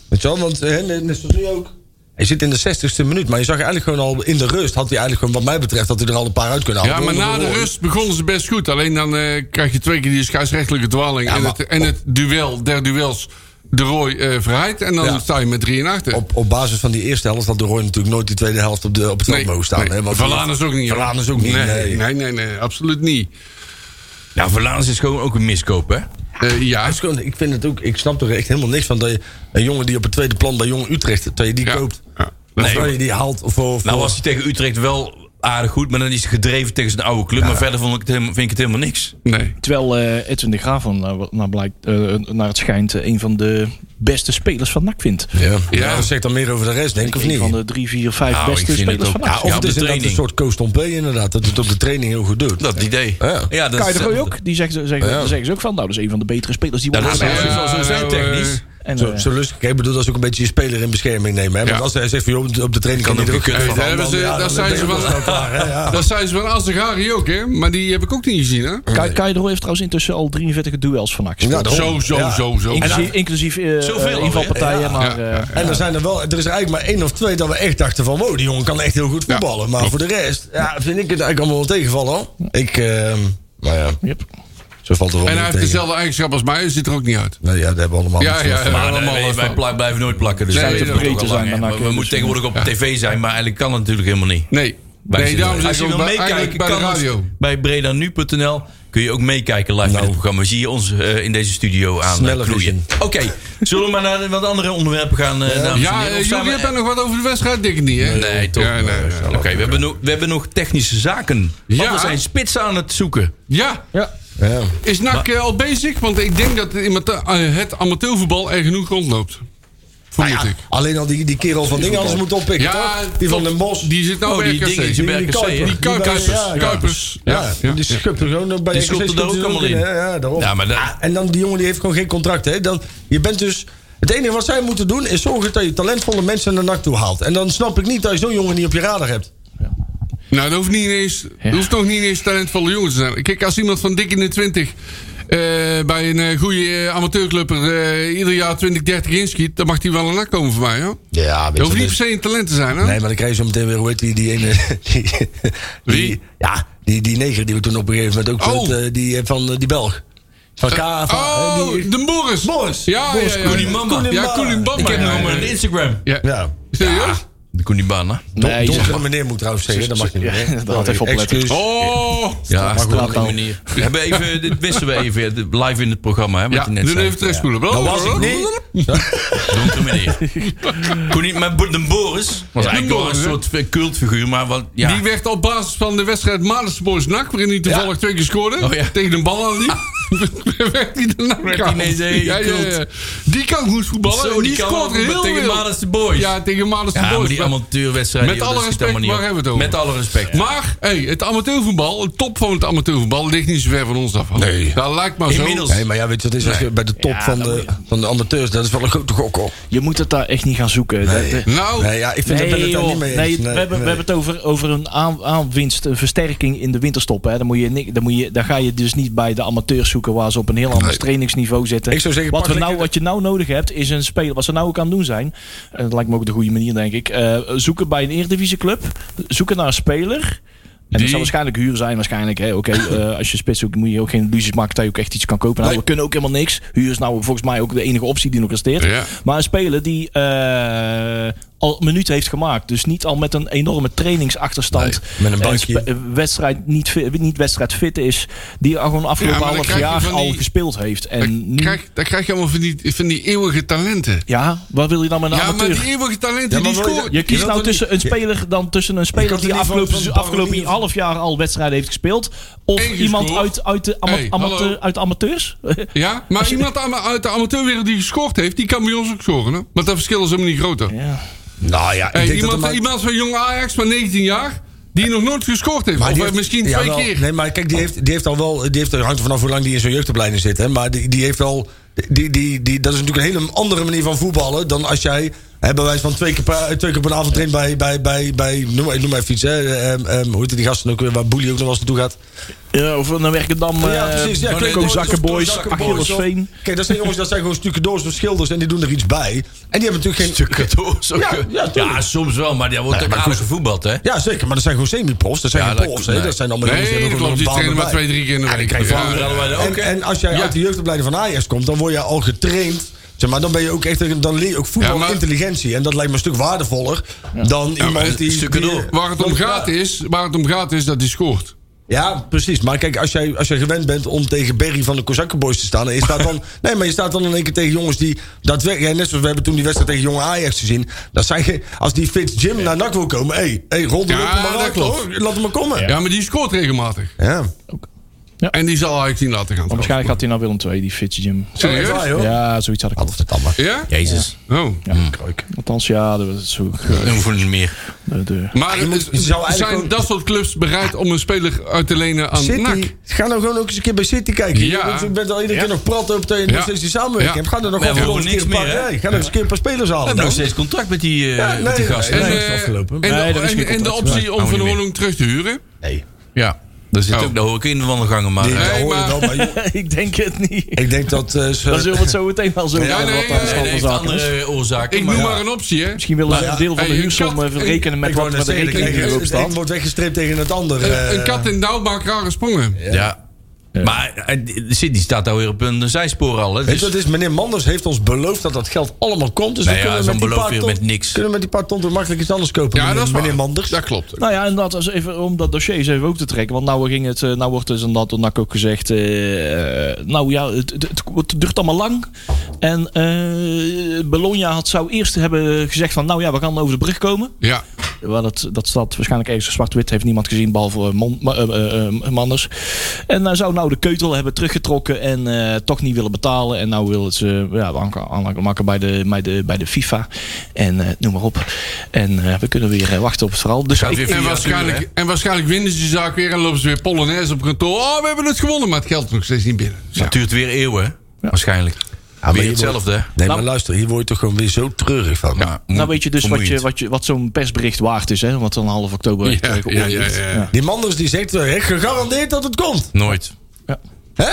Speaker 4: Weet je wel, want eh, hè, net net zoals nu ook. Hij zit in de 60ste minuut, maar je zag eigenlijk gewoon al in de rust. Had hij eigenlijk gewoon, wat mij betreft, had hij er al een paar uit kunnen
Speaker 3: Ja,
Speaker 4: halen.
Speaker 3: maar na de rust begonnen ze best goed. Alleen dan eh, krijg je twee keer die scheidsrechtelijke dwaling.
Speaker 4: Ja,
Speaker 3: en,
Speaker 4: maar-
Speaker 3: het, en het duel der duels de Roy eh verheid. En dan
Speaker 4: Ja.
Speaker 3: sta je met 3 en 8.
Speaker 4: Op, op basis van die eerste helft had de Roy natuurlijk nooit die tweede helft op, de, op het veld mogen staan. hè, want-
Speaker 3: is ook niet. hoor.
Speaker 4: Verlaan is ook niet.
Speaker 3: Nee,
Speaker 4: nee.
Speaker 3: nee, nee, nee, absoluut niet.
Speaker 2: Ja, Nou, Verlaans is gewoon ook een miskoop, hè? Nou,
Speaker 3: Eh, ja,
Speaker 4: Het is gewoon- ik vind het ook, ik snap er echt helemaal niks van dat je een jongen die op het tweede plan bij Jong Utrecht, dat je die
Speaker 3: Ja.
Speaker 4: koopt.
Speaker 3: Ja.
Speaker 4: Dat
Speaker 2: Nee,
Speaker 4: je die haalt voor. voor
Speaker 2: Nou was hij tegen Utrecht wel aardig goed, maar dan is hij gedreven tegen zijn oude club. Maar verder vond ik het helemaal, vind ik het helemaal niks.
Speaker 3: nee.
Speaker 5: Terwijl eh, Edwin de Graaf, van, nou, wat- nou blijkt, eh, naar het schijnt, eh, een van de beste spelers van NAC vindt.
Speaker 4: ja.
Speaker 3: Ja.
Speaker 4: dat zegt dan meer over de rest, denk ik, of
Speaker 5: Een
Speaker 4: niet?
Speaker 5: van de drie, vier, vijf
Speaker 2: Nou, ik
Speaker 5: beste
Speaker 2: vind het
Speaker 5: spelers
Speaker 2: ook-
Speaker 5: van NAC.
Speaker 4: Ja,
Speaker 2: Ja,
Speaker 4: of
Speaker 2: op
Speaker 4: het
Speaker 2: de
Speaker 4: is inderdaad een
Speaker 2: training.
Speaker 4: soort Koos Tompé inderdaad, dat het op de training heel goed doet.
Speaker 2: Dat idee.
Speaker 4: Ja.
Speaker 2: dat
Speaker 5: Kai de
Speaker 2: is-
Speaker 5: Roy ook, die zeggen, zeggen,
Speaker 4: Ja.
Speaker 5: zeggen ze ook van, nou, dat is een van de betere spelers die we
Speaker 2: Ja, dat is
Speaker 5: hebben.
Speaker 2: wel
Speaker 3: Ja,
Speaker 2: zo zijn
Speaker 3: nou,
Speaker 2: technisch.
Speaker 3: eh,
Speaker 5: En,
Speaker 4: zo,
Speaker 5: eh,
Speaker 4: zo lustig. Ik bedoel, dat is ook een beetje je speler in bescherming nemen. Hè? Want
Speaker 3: Ja.
Speaker 4: als hij zegt van joh, op de training kan
Speaker 2: Kan
Speaker 4: hij er ook
Speaker 2: ook een
Speaker 4: kut
Speaker 2: kut
Speaker 4: van.
Speaker 2: van.
Speaker 3: Daar hebben
Speaker 4: dan-
Speaker 3: ze-
Speaker 4: ja,
Speaker 3: daar
Speaker 4: dan
Speaker 3: zijn
Speaker 4: ben
Speaker 3: ze
Speaker 4: je
Speaker 3: wel-
Speaker 4: wel snel klaar, hè, ja.
Speaker 3: Dat zei ze van Azegari ook, hè? Maar die heb ik ook niet gezien, hè?
Speaker 5: Kai, Kai de Roy heeft trouwens intussen al 43 duels van NAC gespeeld.
Speaker 4: Ja, daarom.
Speaker 3: Zo, zo,
Speaker 4: Ja.
Speaker 3: zo, zo.
Speaker 5: Inclusief, inclusief eh,
Speaker 2: Zoveel
Speaker 5: eh,
Speaker 2: alweer.
Speaker 5: invalpartijen, maar...
Speaker 3: Ja.
Speaker 5: eh,
Speaker 4: En er, zijn er, wel, er is er eigenlijk maar één of twee dat we echt dachten van... wow, die jongen kan echt heel goed voetballen. Maar voor de rest ja, vind ik het eigenlijk allemaal wel tegenvallen. hoor. Ik, ehm maar ja,
Speaker 5: yep.
Speaker 4: zo valt er wel
Speaker 3: En
Speaker 4: mee
Speaker 3: hij heeft
Speaker 4: tegen.
Speaker 3: dezelfde eigenschap als mij, hij ziet er ook niet uit.
Speaker 4: Nou ja, dat hebben we allemaal
Speaker 3: Ja,
Speaker 4: niet
Speaker 3: ja,
Speaker 4: van.
Speaker 3: ja.
Speaker 2: Maar Eh, nee,
Speaker 3: allemaal
Speaker 2: wij-
Speaker 3: wat
Speaker 2: wij
Speaker 3: van.
Speaker 2: plij- blijven nooit plakken. Dus
Speaker 3: Nee,
Speaker 2: wij
Speaker 3: dat
Speaker 2: weten het
Speaker 5: breedte
Speaker 2: ook al
Speaker 5: zijn
Speaker 2: lang, hè.
Speaker 5: daarna
Speaker 2: Maar We
Speaker 5: kunnen
Speaker 2: moeten
Speaker 5: we
Speaker 2: tegenwoordig op tv zijn, maar eigenlijk kan het natuurlijk helemaal niet.
Speaker 3: Nee.
Speaker 2: Wij
Speaker 3: Nee,
Speaker 2: zitten
Speaker 3: daarom
Speaker 2: er- Als je
Speaker 3: zeg ik
Speaker 2: wil
Speaker 3: ook bij-
Speaker 2: meekijken,
Speaker 3: eigenlijk bij de
Speaker 2: kan het
Speaker 3: radio. Nou.
Speaker 2: bij bredanu.nl kun je ook meekijken live in het programma. Zie je ons eh, in deze studio aan
Speaker 4: Snelle
Speaker 2: eh, knoeien. Oké, zullen we maar naar de- wat andere onderwerpen gaan, eh, dames en
Speaker 3: Ja,
Speaker 2: heren? Of
Speaker 3: eh,
Speaker 2: staan
Speaker 3: jullie
Speaker 2: we-
Speaker 3: hebben nog wat over de wedstrijd, denk ik niet, hè?
Speaker 2: Nee, toch. Eh,
Speaker 3: Ja, nee,
Speaker 2: Oké, we, hebben nog- we hebben nog technische zaken. Want
Speaker 3: Ja.
Speaker 2: we zijn spitsen aan het zoeken.
Speaker 3: Ja,
Speaker 5: Ja.
Speaker 4: Ja.
Speaker 3: is NAC eh, al bezig? Want ik denk dat in het, eh, het amateurvoetbal er genoeg rondloopt. Vermoed ik.
Speaker 4: Alleen al die, die kerel van dingen anders moet oppikken,
Speaker 3: Ja,
Speaker 4: Nou toch? Die van Den Bos.
Speaker 3: Die zit nou
Speaker 2: Oh,
Speaker 3: bij
Speaker 2: die
Speaker 3: RKC.
Speaker 2: dingetje bij RKC, hè?
Speaker 3: Die Kuipers.
Speaker 4: Ja,
Speaker 3: Kuipers.
Speaker 4: Ja, die
Speaker 2: Dus-
Speaker 4: schupt er gewoon bij
Speaker 2: Die
Speaker 4: RKC
Speaker 2: schopt er
Speaker 4: schupt
Speaker 2: ook
Speaker 4: hij
Speaker 2: allemaal in.
Speaker 4: hè? Ja, daarom.
Speaker 2: Ja, maar dat-
Speaker 4: Ah, en dan die jongen die heeft gewoon geen contract. Hè? Dan, je bent dus, het enige wat zij moeten doen is zorgen dat je talentvolle mensen naar NAC toe haalt. En dan snap ik niet dat je zo'n jongen niet op je radar hebt.
Speaker 3: Nou, dat hoeft, niet eens, dat hoeft toch niet eens talentvolle jongens te zijn. Kijk, als iemand van dik in de 20 eh, bij een eh, goede eh, amateurclub er eh, ieder jaar 20, 30 inschiet, dan mag hij wel een nak komen voor mij, hoor.
Speaker 4: Ja,
Speaker 3: Dat hoeft niet per se een talent te zijn, hè?
Speaker 4: Nee, maar dan krijg je zo meteen weer, hoe heet die, die ene... Die, die-
Speaker 3: Wie?
Speaker 4: ja, die, die neger die we toen op een gegeven moment ook...
Speaker 3: Oh.
Speaker 4: met, eh, die eh, van eh, die Belg. Van K... van,
Speaker 3: oh,
Speaker 4: eh, die-
Speaker 3: de Boris.
Speaker 4: Boris.
Speaker 3: Ja,
Speaker 4: Boris
Speaker 3: ja, ja.
Speaker 4: Koenien Mamba.
Speaker 3: Ja, Koenien Bamba.
Speaker 2: Ik heb
Speaker 3: ja,
Speaker 2: nog maar
Speaker 3: ja,
Speaker 2: een Instagram.
Speaker 3: ja.
Speaker 4: ja.
Speaker 3: Serieus?
Speaker 2: De Koenibana.
Speaker 4: Don,
Speaker 5: Nee,
Speaker 4: donkere
Speaker 5: zeg maar.
Speaker 4: meneer moet trouwens zeggen, dat mag niet
Speaker 5: Ja,
Speaker 4: meer.
Speaker 5: dat had even
Speaker 4: Sorry,
Speaker 5: opletten.
Speaker 4: excuus.
Speaker 3: Oh!
Speaker 2: Ja,
Speaker 5: maar
Speaker 2: staat op
Speaker 5: goed.
Speaker 2: die manier. We hebben even, dit wisten we even eh, live in het programma. Hè, wat
Speaker 3: Ja,
Speaker 2: je net
Speaker 3: dan
Speaker 2: zei.
Speaker 3: even terugspoelen. Oh,
Speaker 4: Dat was ik niet.
Speaker 2: Donkere meneer. Kon niet, maar Bo- de Boris was
Speaker 3: De
Speaker 2: eigenlijk wel
Speaker 3: Boris,
Speaker 2: een
Speaker 3: hè?
Speaker 2: soort eh, cultfiguur, maar wat, ja.
Speaker 3: Die werd op basis van de wedstrijd Malensenboys NAC, waarin hij toevallig twee keer scoorde,
Speaker 2: Oh, ja. Ah.
Speaker 3: tegen de bal aan die. werd hij de NAC
Speaker 2: Werd hij ineens een cult.
Speaker 3: Die kan goed voetballen.
Speaker 2: Zo,
Speaker 3: die,
Speaker 2: die kan
Speaker 3: scoort
Speaker 2: wel voetballen
Speaker 3: heel
Speaker 2: tegen
Speaker 3: veel.
Speaker 2: Malis de Boys.
Speaker 3: Ja, tegen Malis de
Speaker 2: ja, maar
Speaker 3: Boys.
Speaker 2: die
Speaker 3: Maar,
Speaker 2: amateurwedstrijden.
Speaker 3: Met
Speaker 2: joh,
Speaker 3: alle
Speaker 2: dat schiet
Speaker 3: respect,
Speaker 2: allemaal niet
Speaker 3: waar
Speaker 2: op.
Speaker 3: hebben we het over?
Speaker 2: Met alle respect.
Speaker 3: maar, hey, het amateurvoetbal, het top van het amateurvoetbal, ligt niet zo ver van ons af.
Speaker 4: Nee.
Speaker 3: Dat lijkt maar zo.
Speaker 2: Inmiddels.
Speaker 4: Nee, maar ja, weet je wat is? Als je bij de top
Speaker 5: Ja,
Speaker 4: van,
Speaker 5: dan
Speaker 4: de,
Speaker 5: moet je-
Speaker 4: van de amateurs, dat is wel een grote gok, hoor.
Speaker 5: Je moet het daar echt niet gaan zoeken. Dat- dat-
Speaker 3: Nou,
Speaker 4: Nee, ja, ik vind, dat ben ik
Speaker 5: joh.
Speaker 4: daar niet mee eens.
Speaker 5: Nee, we, hebben, we hebben het over, over een aan, aanwinst, een versterking in de winterstop. Hè. Dan, moet je, ni- dan, moet je, dan ga je dus niet bij de amateurs zoeken waar ze op een heel ander trainingsniveau zitten.
Speaker 4: Ik zou zeggen,
Speaker 5: wat,
Speaker 4: pak
Speaker 5: we nou,
Speaker 4: lekker-
Speaker 5: wat je nou nodig hebt is een speler. Wat ze nou ook aan het doen zijn, en dat lijkt me ook de goede manier denk ik. eh, zoeken bij een eerdivisieclub, zoeken naar een speler. En
Speaker 3: Die-
Speaker 5: dat zal waarschijnlijk huur zijn. Waarschijnlijk, hè. Oké, eh, als je spits zoekt, moet je ook geen illusies maken dat je ook echt iets kan kopen. Nou, we kunnen ook helemaal niks. Huur is nou volgens mij ook de enige optie die nog resteert.
Speaker 3: Ja.
Speaker 5: Maar een speler die eh, al minuten heeft gemaakt. Dus niet al met een enorme trainingsachterstand.
Speaker 4: Nee, met een
Speaker 5: en
Speaker 4: bankje.
Speaker 5: spe- eh, wedstrijd niet, fi- niet wedstrijd fit is. Die al gewoon
Speaker 3: Ja,
Speaker 5: afgelopen
Speaker 3: maar dan
Speaker 5: half
Speaker 3: krijg je
Speaker 5: jaar
Speaker 3: van die-
Speaker 5: al gespeeld heeft. En
Speaker 3: dan
Speaker 5: nu,
Speaker 3: krijg, dan krijg je allemaal van die, van die eeuwige talenten.
Speaker 5: ja, wat wil je dan met een
Speaker 3: ja, maar die
Speaker 5: amateur?
Speaker 3: eeuwige talenten,
Speaker 4: Ja,
Speaker 3: die
Speaker 4: maar wil je
Speaker 3: scoren.
Speaker 4: dat-
Speaker 5: Je kiest
Speaker 4: wilt
Speaker 5: nou
Speaker 4: er
Speaker 5: tussen een
Speaker 4: niet-
Speaker 5: speler, dan tussen een speler
Speaker 4: kan
Speaker 5: die
Speaker 4: er niet van-
Speaker 5: afgelopen,
Speaker 4: van
Speaker 5: afgelopen
Speaker 4: Baronier-
Speaker 5: half jaar al wedstrijden heeft gespeeld. Of
Speaker 3: Eén
Speaker 5: iemand
Speaker 3: gescoord.
Speaker 5: uit, uit, de ama-
Speaker 3: Hey,
Speaker 5: amateur-
Speaker 3: hallo.
Speaker 5: uit de amateurs?
Speaker 3: Ja, maar iemand aan- uit de amateurwereld die gescoord heeft, die kan bij ons ook scoren. Hè? Want dat verschil is helemaal niet groter.
Speaker 5: ja.
Speaker 4: Nou ja,
Speaker 3: Hey,
Speaker 4: ik denk dat
Speaker 3: iemand,
Speaker 4: er maar-
Speaker 3: iemand van jong Ajax van 19 jaar, die nog nooit gescoord heeft. of
Speaker 4: die
Speaker 3: eh,
Speaker 4: heeft-
Speaker 3: misschien
Speaker 4: ja,
Speaker 3: twee
Speaker 4: wel.
Speaker 3: keer. Oh.
Speaker 4: Nee, maar kijk, die heeft, die heeft al wel. Die heeft, hangt er vanaf hoe lang die in zo'n jeugdopleiding zit. Hè, maar die, die heeft wel. Die, die, die, dat is natuurlijk een hele andere manier van voetballen. dan als jij. Hè, bij wijze van twee keer, per, twee keer per avond traint bij. bij, bij, bij noem, maar- noem maar even iets. Hè, ehm, ehm, hoe heet die gasten ook weer? Waar Boelie ook nog wel eens naartoe gaat.
Speaker 5: Ja, of een Werkendam,
Speaker 4: Ja, precies. Ja,
Speaker 5: eh,
Speaker 4: Klinkenhoek,
Speaker 5: Kozakkenboys,
Speaker 4: Kozakkenboys,
Speaker 5: Achillesveen.
Speaker 4: of- Kijk, dat zijn jongens, dat zijn gewoon stucadoors of schilders. en die doen er iets bij. En die hebben natuurlijk geen.
Speaker 2: Stucadoors ook.
Speaker 4: Ja, ja, tuurlijk.
Speaker 2: soms wel, maar daar wordt ook aardig gevoetbald, hè?
Speaker 4: Ja, zeker, maar dat zijn gewoon semi-profs. Dat zijn
Speaker 2: Ja,
Speaker 4: geen
Speaker 2: dat-
Speaker 4: profs. hè.
Speaker 2: nee.
Speaker 4: Dat zijn allemaal
Speaker 3: Nee,
Speaker 4: jongens
Speaker 3: dat
Speaker 4: hebben
Speaker 3: klopt. Die
Speaker 4: gewoon een
Speaker 3: trainen maar
Speaker 4: baan
Speaker 3: twee,
Speaker 4: erbij.
Speaker 3: drie keer in de
Speaker 4: Ja, dan
Speaker 3: week.
Speaker 4: krijg je
Speaker 3: Ja.
Speaker 4: wel-
Speaker 2: hadden wij dat ook,
Speaker 4: En,
Speaker 2: hè?
Speaker 4: en als jij
Speaker 3: Ja.
Speaker 4: uit de jeugdopleiding van Ajax komt, dan word je al getraind. Zeg maar, dan ben je ook echt, dan leer je ook voetbal
Speaker 3: Ja, maar-
Speaker 4: intelligentie. En dat lijkt me een stuk waardevoller dan iemand die...
Speaker 2: stukken
Speaker 4: die-
Speaker 2: door.
Speaker 3: Waar het om gaat is, waar het om gaat is dat hij scoort.
Speaker 4: Ja, precies. Maar kijk, als jij, als jij gewend bent om tegen Berry van de Kozakkenboys te staan... En je staat dan, nee, maar je staat dan in één keer tegen jongens die... Dat, net zoals we hebben toen die wedstrijd tegen jonge Ajax gezien. Dat zijn, ge- als die Fitz Jim naar NAC wil komen... Hé, hey, hey, rol de
Speaker 3: Ja,
Speaker 4: ja, maar
Speaker 3: dat
Speaker 4: uit,
Speaker 3: klopt.
Speaker 4: hoor. Laat hem maar komen.
Speaker 3: Ja, maar die scoort regelmatig.
Speaker 4: ja.
Speaker 3: En die zal Ajax niet laten gaan.
Speaker 5: Maar waarschijnlijk gaat hij nou naar Willem II, die Fitzjim.
Speaker 4: Dat is
Speaker 3: Serieus?
Speaker 4: waar, joh.
Speaker 5: Ja, zoiets had ik al.
Speaker 4: Altijd het allemaal.
Speaker 3: Ja?
Speaker 2: Jezus.
Speaker 3: Oh.
Speaker 5: Althans, ja, dat was zo.
Speaker 2: Dan hoeven we niet meer.
Speaker 5: De, de-
Speaker 3: Maar eh,
Speaker 4: Je moet- je zou
Speaker 3: zijn
Speaker 4: eigenlijk gewoon-
Speaker 3: dat soort clubs bereid om een speler uit te lenen aan
Speaker 4: City.
Speaker 3: NAC?
Speaker 4: Ga nou gewoon ook eens een keer bij City kijken.
Speaker 3: Ja.
Speaker 4: Je bent- Je bent al iedere keer nog prat op dat je
Speaker 3: Ja.
Speaker 4: nog steeds die samenwerking
Speaker 3: Ja.
Speaker 4: hebt. Ga er nog
Speaker 2: We hebben
Speaker 4: gewoon
Speaker 2: ook
Speaker 4: eens een keer
Speaker 2: niks
Speaker 4: een
Speaker 2: meer,
Speaker 4: paar-
Speaker 2: hè?
Speaker 4: nee, Ga nog eens een keer een paar spelers
Speaker 2: We
Speaker 4: halen.
Speaker 2: hebben nog
Speaker 4: dan.
Speaker 2: steeds contact met die, eh,
Speaker 4: Ja, nee,
Speaker 2: met die gasten.
Speaker 4: nee,
Speaker 3: En,
Speaker 4: nee.
Speaker 3: eh,
Speaker 4: afgelopen.
Speaker 3: en,
Speaker 5: Nee,
Speaker 3: de,
Speaker 5: dat is
Speaker 3: en-
Speaker 5: geen
Speaker 3: en de
Speaker 5: contract.
Speaker 3: optie om
Speaker 2: Oh,
Speaker 3: Van
Speaker 2: niet meer.
Speaker 3: Hoornong terug te huren?
Speaker 4: Nee.
Speaker 2: Ja. Daar zit
Speaker 3: Oh.
Speaker 2: ook, daar hoor ik in de wandelgangen, maar...
Speaker 4: Die-
Speaker 2: eh,
Speaker 4: daar
Speaker 3: Nee,
Speaker 4: hoor je
Speaker 3: maar-
Speaker 4: wel, maar joh,
Speaker 5: ik denk het niet.
Speaker 4: Ik denk dat... eh, ze-
Speaker 5: Dan zullen we het zo meteen wel zo
Speaker 4: Ja,
Speaker 5: hebben,
Speaker 3: nee,
Speaker 5: wat daar de
Speaker 3: nee,
Speaker 2: dat
Speaker 5: stand van
Speaker 2: heeft
Speaker 5: zaken is.
Speaker 2: andere oorzaken.
Speaker 3: Ik noem
Speaker 2: ja.
Speaker 3: maar een optie, hè?
Speaker 5: Misschien
Speaker 4: Nou
Speaker 5: willen ze een deel van de
Speaker 3: hey, een
Speaker 5: huursom
Speaker 3: kat-
Speaker 5: eh, verrekenen met
Speaker 4: Ik
Speaker 5: wat
Speaker 4: wou net
Speaker 5: met de
Speaker 4: zeggen,
Speaker 5: rekening
Speaker 4: kijk,
Speaker 5: die erop
Speaker 4: het een
Speaker 5: staat.
Speaker 4: wordt weggestreept tegen het ander.
Speaker 3: Een,
Speaker 4: eh.
Speaker 3: een kat in Douwbak raar gesprongen.
Speaker 2: eh, Ja. Maar eh, City staat alweer op een zijspoor al. Hè?
Speaker 4: Weet je,
Speaker 2: Dus-
Speaker 4: dat is, meneer Manders heeft ons beloofd dat dat geld allemaal komt. Dus
Speaker 2: Nou
Speaker 4: we
Speaker 2: ja,
Speaker 4: kunnen
Speaker 2: zo'n
Speaker 4: met die
Speaker 2: beloof
Speaker 4: paar
Speaker 2: weer
Speaker 4: ton-
Speaker 2: met niks.
Speaker 4: Kunnen we met die paar ton toch makkelijk iets anders kopen,
Speaker 3: Ja,
Speaker 4: meneer,
Speaker 3: dat is waar.
Speaker 4: meneer Manders?
Speaker 3: Dat klopt.
Speaker 5: Nou ja, inderdaad, als even om dat dossier eens even ook te trekken. Want nou, ging het, eh, nou wordt dus inderdaad door NAC ook gezegd... eh, eh, nou ja, het, het, het- het duurt allemaal lang. En eh, Bologna had, zou eerst hebben gezegd van... Nou ja, we gaan over de brug komen.
Speaker 3: Ja.
Speaker 5: Wel, dat, dat staat waarschijnlijk ergens zwart-wit. Heeft niemand gezien, behalve eh, Mon- ma- eh, eh, eh, Manders. En nou zou nou de keutel hebben teruggetrokken en eh, toch niet willen betalen. En nou wil het ze ja, aank- aanmaken bij de, bij, de, bij de FIFA. En eh, noem maar op. En eh, we kunnen weer eh, wachten op het verhaal. Dus
Speaker 2: Gaat
Speaker 5: ik-
Speaker 2: weer
Speaker 3: En
Speaker 2: via
Speaker 3: waarschijnlijk,
Speaker 2: Tuur,
Speaker 3: en waarschijnlijk winnen ze de zaak weer en lopen ze weer Polonaise op kantoor. Oh, we hebben het gewonnen, maar het geld is nog steeds niet binnen. Dus
Speaker 2: hè?
Speaker 3: ja.
Speaker 2: Het duurt weer eeuwen, hè? waarschijnlijk.
Speaker 4: Ah, maar
Speaker 2: weer
Speaker 4: je moet-
Speaker 2: hetzelfde, hè?
Speaker 4: Nee, maar
Speaker 5: Nou-
Speaker 4: luister, hier word je toch gewoon weer zo treurig van.
Speaker 2: Ja,
Speaker 5: nou weet je dus wat, je,
Speaker 2: vermoeiend.
Speaker 5: wat, je, wat zo'n persbericht waard is. Hè? Wat dan half oktober echt, eh,
Speaker 3: Ja, ja, ja,
Speaker 5: geoordeeld.
Speaker 3: ja.
Speaker 5: Ja.
Speaker 4: Die Manders die zegt, eh, gegarandeerd dat het komt.
Speaker 2: Nooit.
Speaker 4: Hè?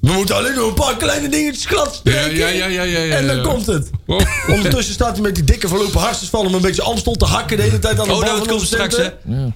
Speaker 4: We moeten alleen nog een paar kleine dingetjes glad spreken.
Speaker 3: Ja, ja, ja, ja, ja, ja,
Speaker 4: En dan
Speaker 3: ja.
Speaker 4: komt het.
Speaker 3: Oh.
Speaker 4: Ondertussen staat hij met die dikke verlopen hartjesval om een beetje Amstel te hakken de hele tijd aan de
Speaker 2: Oh,
Speaker 4: bal
Speaker 2: nou,
Speaker 4: van
Speaker 2: het komt
Speaker 4: onze
Speaker 2: straks, hè?
Speaker 4: centen.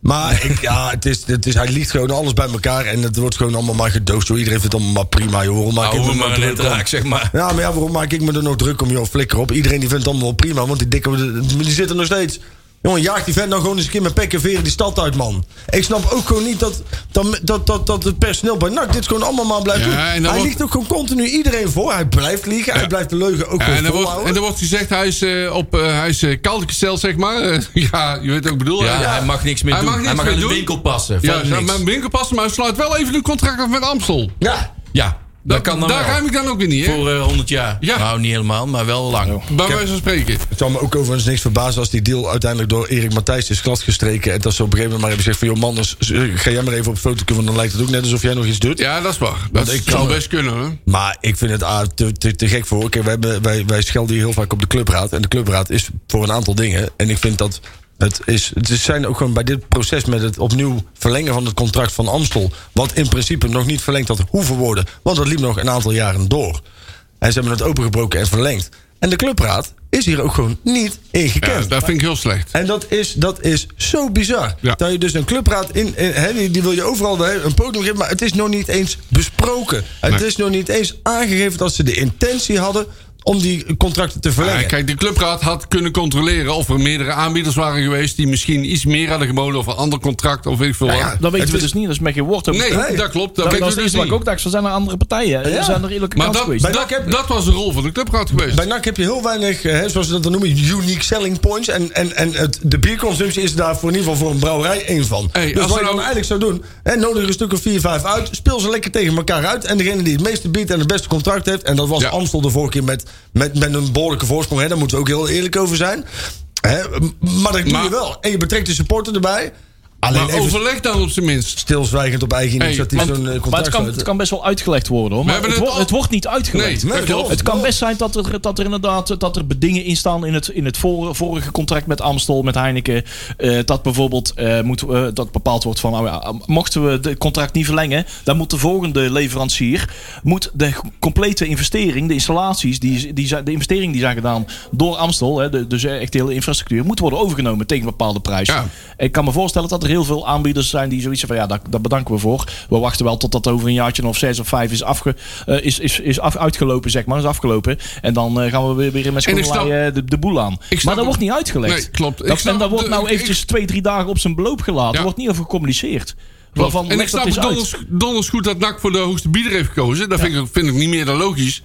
Speaker 4: Maar ik, ja, het is, het is, hij liegt gewoon alles bij elkaar en het wordt gewoon allemaal maar gedoogd. Joh. Iedereen vindt het allemaal maar prima, joh. Waarom maak ik me
Speaker 2: Hou
Speaker 4: nou
Speaker 2: maar net
Speaker 4: druk om?
Speaker 2: raak, zeg maar.
Speaker 4: Ja, maar ja, waarom maak ik me er nog druk om, joh? Flikker op. Iedereen die vindt het allemaal wel prima, want die dikke, die zit er nog steeds. Jongen, jaag die vent nou gewoon eens een keer met pek en veren die stad uit, man. Ik snap ook gewoon niet dat, dat, dat, dat, dat het personeel bij NAC dit gewoon allemaal maar blijft
Speaker 3: Ja,
Speaker 4: doen.
Speaker 3: en dan
Speaker 4: Hij
Speaker 3: wordt-
Speaker 4: ligt ook gewoon continu iedereen voor. Hij blijft liegen, hij blijft de leugen ook
Speaker 3: En
Speaker 4: gewoon
Speaker 3: er, wordt, en
Speaker 4: volhouden.
Speaker 3: er wordt gezegd, hij is, eh, op, eh, hij is eh, koud gesteld, zeg maar. Eh, ja, je weet wat ik bedoel.
Speaker 2: Ja,
Speaker 3: hè?
Speaker 2: hij mag niks meer
Speaker 3: Hij
Speaker 2: doen.
Speaker 3: mag niks
Speaker 2: hij mag
Speaker 3: meer
Speaker 2: aan de
Speaker 3: doen.
Speaker 2: winkel passen.
Speaker 3: Ja,
Speaker 2: Verder niks.
Speaker 3: mijn winkel past, maar hij sluit wel even een contract af met Amstel.
Speaker 4: Ja,
Speaker 2: Ja, dat kan dan
Speaker 3: Daar
Speaker 2: wel.
Speaker 3: ruim ik dan ook weer niet, hè?
Speaker 2: Voor eh, 100 jaar.
Speaker 3: Ja.
Speaker 2: Nou, niet helemaal, maar wel lang.
Speaker 3: Bij wijze van spreken.
Speaker 4: het zou me ook overigens niks verbazen als die deal uiteindelijk door Erik Matthijs is gladgestreken. En dat ze op een gegeven moment maar hebben gezegd van, joh man, als- eh, ga jij maar even op foto kunnen, want dan lijkt het ook net alsof jij nog iets doet.
Speaker 3: Ja, dat is waar. Dat
Speaker 4: ik
Speaker 3: zou
Speaker 4: kan, eh,
Speaker 3: best kunnen, hè?
Speaker 4: Maar ik vind het ah, te, te, te gek voor. Oké, wij, hebben- wij, wij schelden hier heel vaak op de clubraad. En de clubraad is voor een aantal dingen. En ik vind dat. Het, is, het is- zijn ook gewoon bij dit proces met het opnieuw verlengen van het contract van Amstel. Wat in principe nog niet verlengd had hoeven worden. Want dat liep nog een aantal jaren door. En ze hebben het opengebroken en verlengd. En de clubraad is hier ook gewoon niet in
Speaker 3: Ja,
Speaker 4: gekend.
Speaker 3: dat vind ik heel slecht.
Speaker 4: En dat is, dat is zo bizar.
Speaker 3: Ja.
Speaker 4: Dat je dus een clubraad in. in hè, die, die wil je overal hè, een podium geven. Maar het is nog niet eens besproken. Het
Speaker 3: Nee.
Speaker 4: is nog niet eens aangegeven dat ze de intentie hadden om die contracten te verlengen.
Speaker 3: Ja, Ah, Eh, kijk, de clubraad had kunnen controleren of er meerdere aanbieders waren geweest... die misschien iets meer hadden geboden of een ander contract of weet ik veel
Speaker 4: Nou
Speaker 3: wat.
Speaker 4: ja,
Speaker 5: Dat weten
Speaker 4: Het
Speaker 5: we
Speaker 4: is-
Speaker 5: dus niet, dat is met geen woord over
Speaker 3: Nee,
Speaker 5: te-
Speaker 4: Nee.
Speaker 3: dat klopt. Dat weten
Speaker 5: Dat was
Speaker 3: we
Speaker 5: het
Speaker 3: dus
Speaker 5: eerste wat
Speaker 3: niet.
Speaker 5: ik ook dacht, er zijn er andere partijen. Er
Speaker 4: Ja.
Speaker 5: zijn er eerlijke
Speaker 3: Maar
Speaker 5: kansen
Speaker 3: dat,
Speaker 5: geweest.
Speaker 3: dat, dat was de rol van de clubraad geweest.
Speaker 4: Bij NAC heb je heel weinig, eh, hè, zoals ze dat dan noemen, unique selling points. En, en, en het, de bierconsumptie is daar voor in ieder geval voor een brouwerij één van.
Speaker 3: Hey, als
Speaker 4: dus wat
Speaker 3: er
Speaker 4: je dan
Speaker 3: nou-
Speaker 4: eigenlijk zou doen, hè, nodig er een stuk of 4, 5 uit. Speel ze lekker tegen elkaar uit. En degene die het meeste biedt en het beste contract heeft. En dat was
Speaker 3: Ja.
Speaker 4: Amstel de vorige keer met, met, met een behoorlijke voorsprong. Hè, daar moeten we ook heel eerlijk over zijn. Hè, m- maar dat doe je
Speaker 3: Maar-
Speaker 4: wel. En je betrekt de supporter erbij. Alleen
Speaker 3: Maar
Speaker 4: even
Speaker 3: overleg dan op zijn minst.
Speaker 4: stilzwijgend op eigen
Speaker 3: Hey,
Speaker 4: initiatief
Speaker 3: want-
Speaker 4: zo'n eh,
Speaker 5: Maar
Speaker 4: contract
Speaker 5: het kan,
Speaker 4: sluiten.
Speaker 5: het kan best wel uitgelegd worden hoor. Maar
Speaker 3: hebben
Speaker 5: het,
Speaker 3: het
Speaker 5: wordt-
Speaker 3: al-
Speaker 5: het wordt niet uitgelegd.
Speaker 3: Nee, dat klopt.
Speaker 5: het kan best zijn dat er, dat er inderdaad dat er bedingen in staan in het, in het vor- vorige contract met Amstel, met Heineken. eh, dat bijvoorbeeld eh, moet, eh, dat bepaald wordt van nou ja, mochten we het contract niet verlengen, dan moet de volgende leverancier moet de complete investering, de installaties, die, die, zijn- de investering die zijn gedaan door Amstel, hè, de, dus echt de hele infrastructuur, moet worden overgenomen tegen een bepaalde prijs.
Speaker 3: Ja.
Speaker 5: Ik kan me voorstellen dat er heel veel aanbieders zijn die zoiets hebben van ja, daar, daar bedanken we voor. We wachten wel tot dat over een jaartje of zes of vijf is, afge, eh, is, is, is af, uitgelopen, zeg maar. Is afgelopen. En dan eh, gaan we weer, weer met
Speaker 3: En ik
Speaker 5: schoenlaai eh, de, de boel aan.
Speaker 3: snap
Speaker 5: Maar dat
Speaker 3: het.
Speaker 5: wordt niet uitgelegd.
Speaker 3: Nee, klopt. Ik
Speaker 5: Dat,
Speaker 3: snap
Speaker 5: en dat wordt
Speaker 3: de-
Speaker 5: nou
Speaker 3: ik-
Speaker 5: eventjes twee, drie dagen op zijn beloop gelaten.
Speaker 3: Ja.
Speaker 5: Er wordt niet over gecommuniceerd.
Speaker 3: Klopt.
Speaker 5: Waarvan
Speaker 3: en ik
Speaker 5: legt dat
Speaker 3: snap
Speaker 5: eens uit?
Speaker 3: donders, donders goed dat NAC voor de hoogste bieder heeft gekozen. Dat vind, ik, vind ik niet meer dan logisch.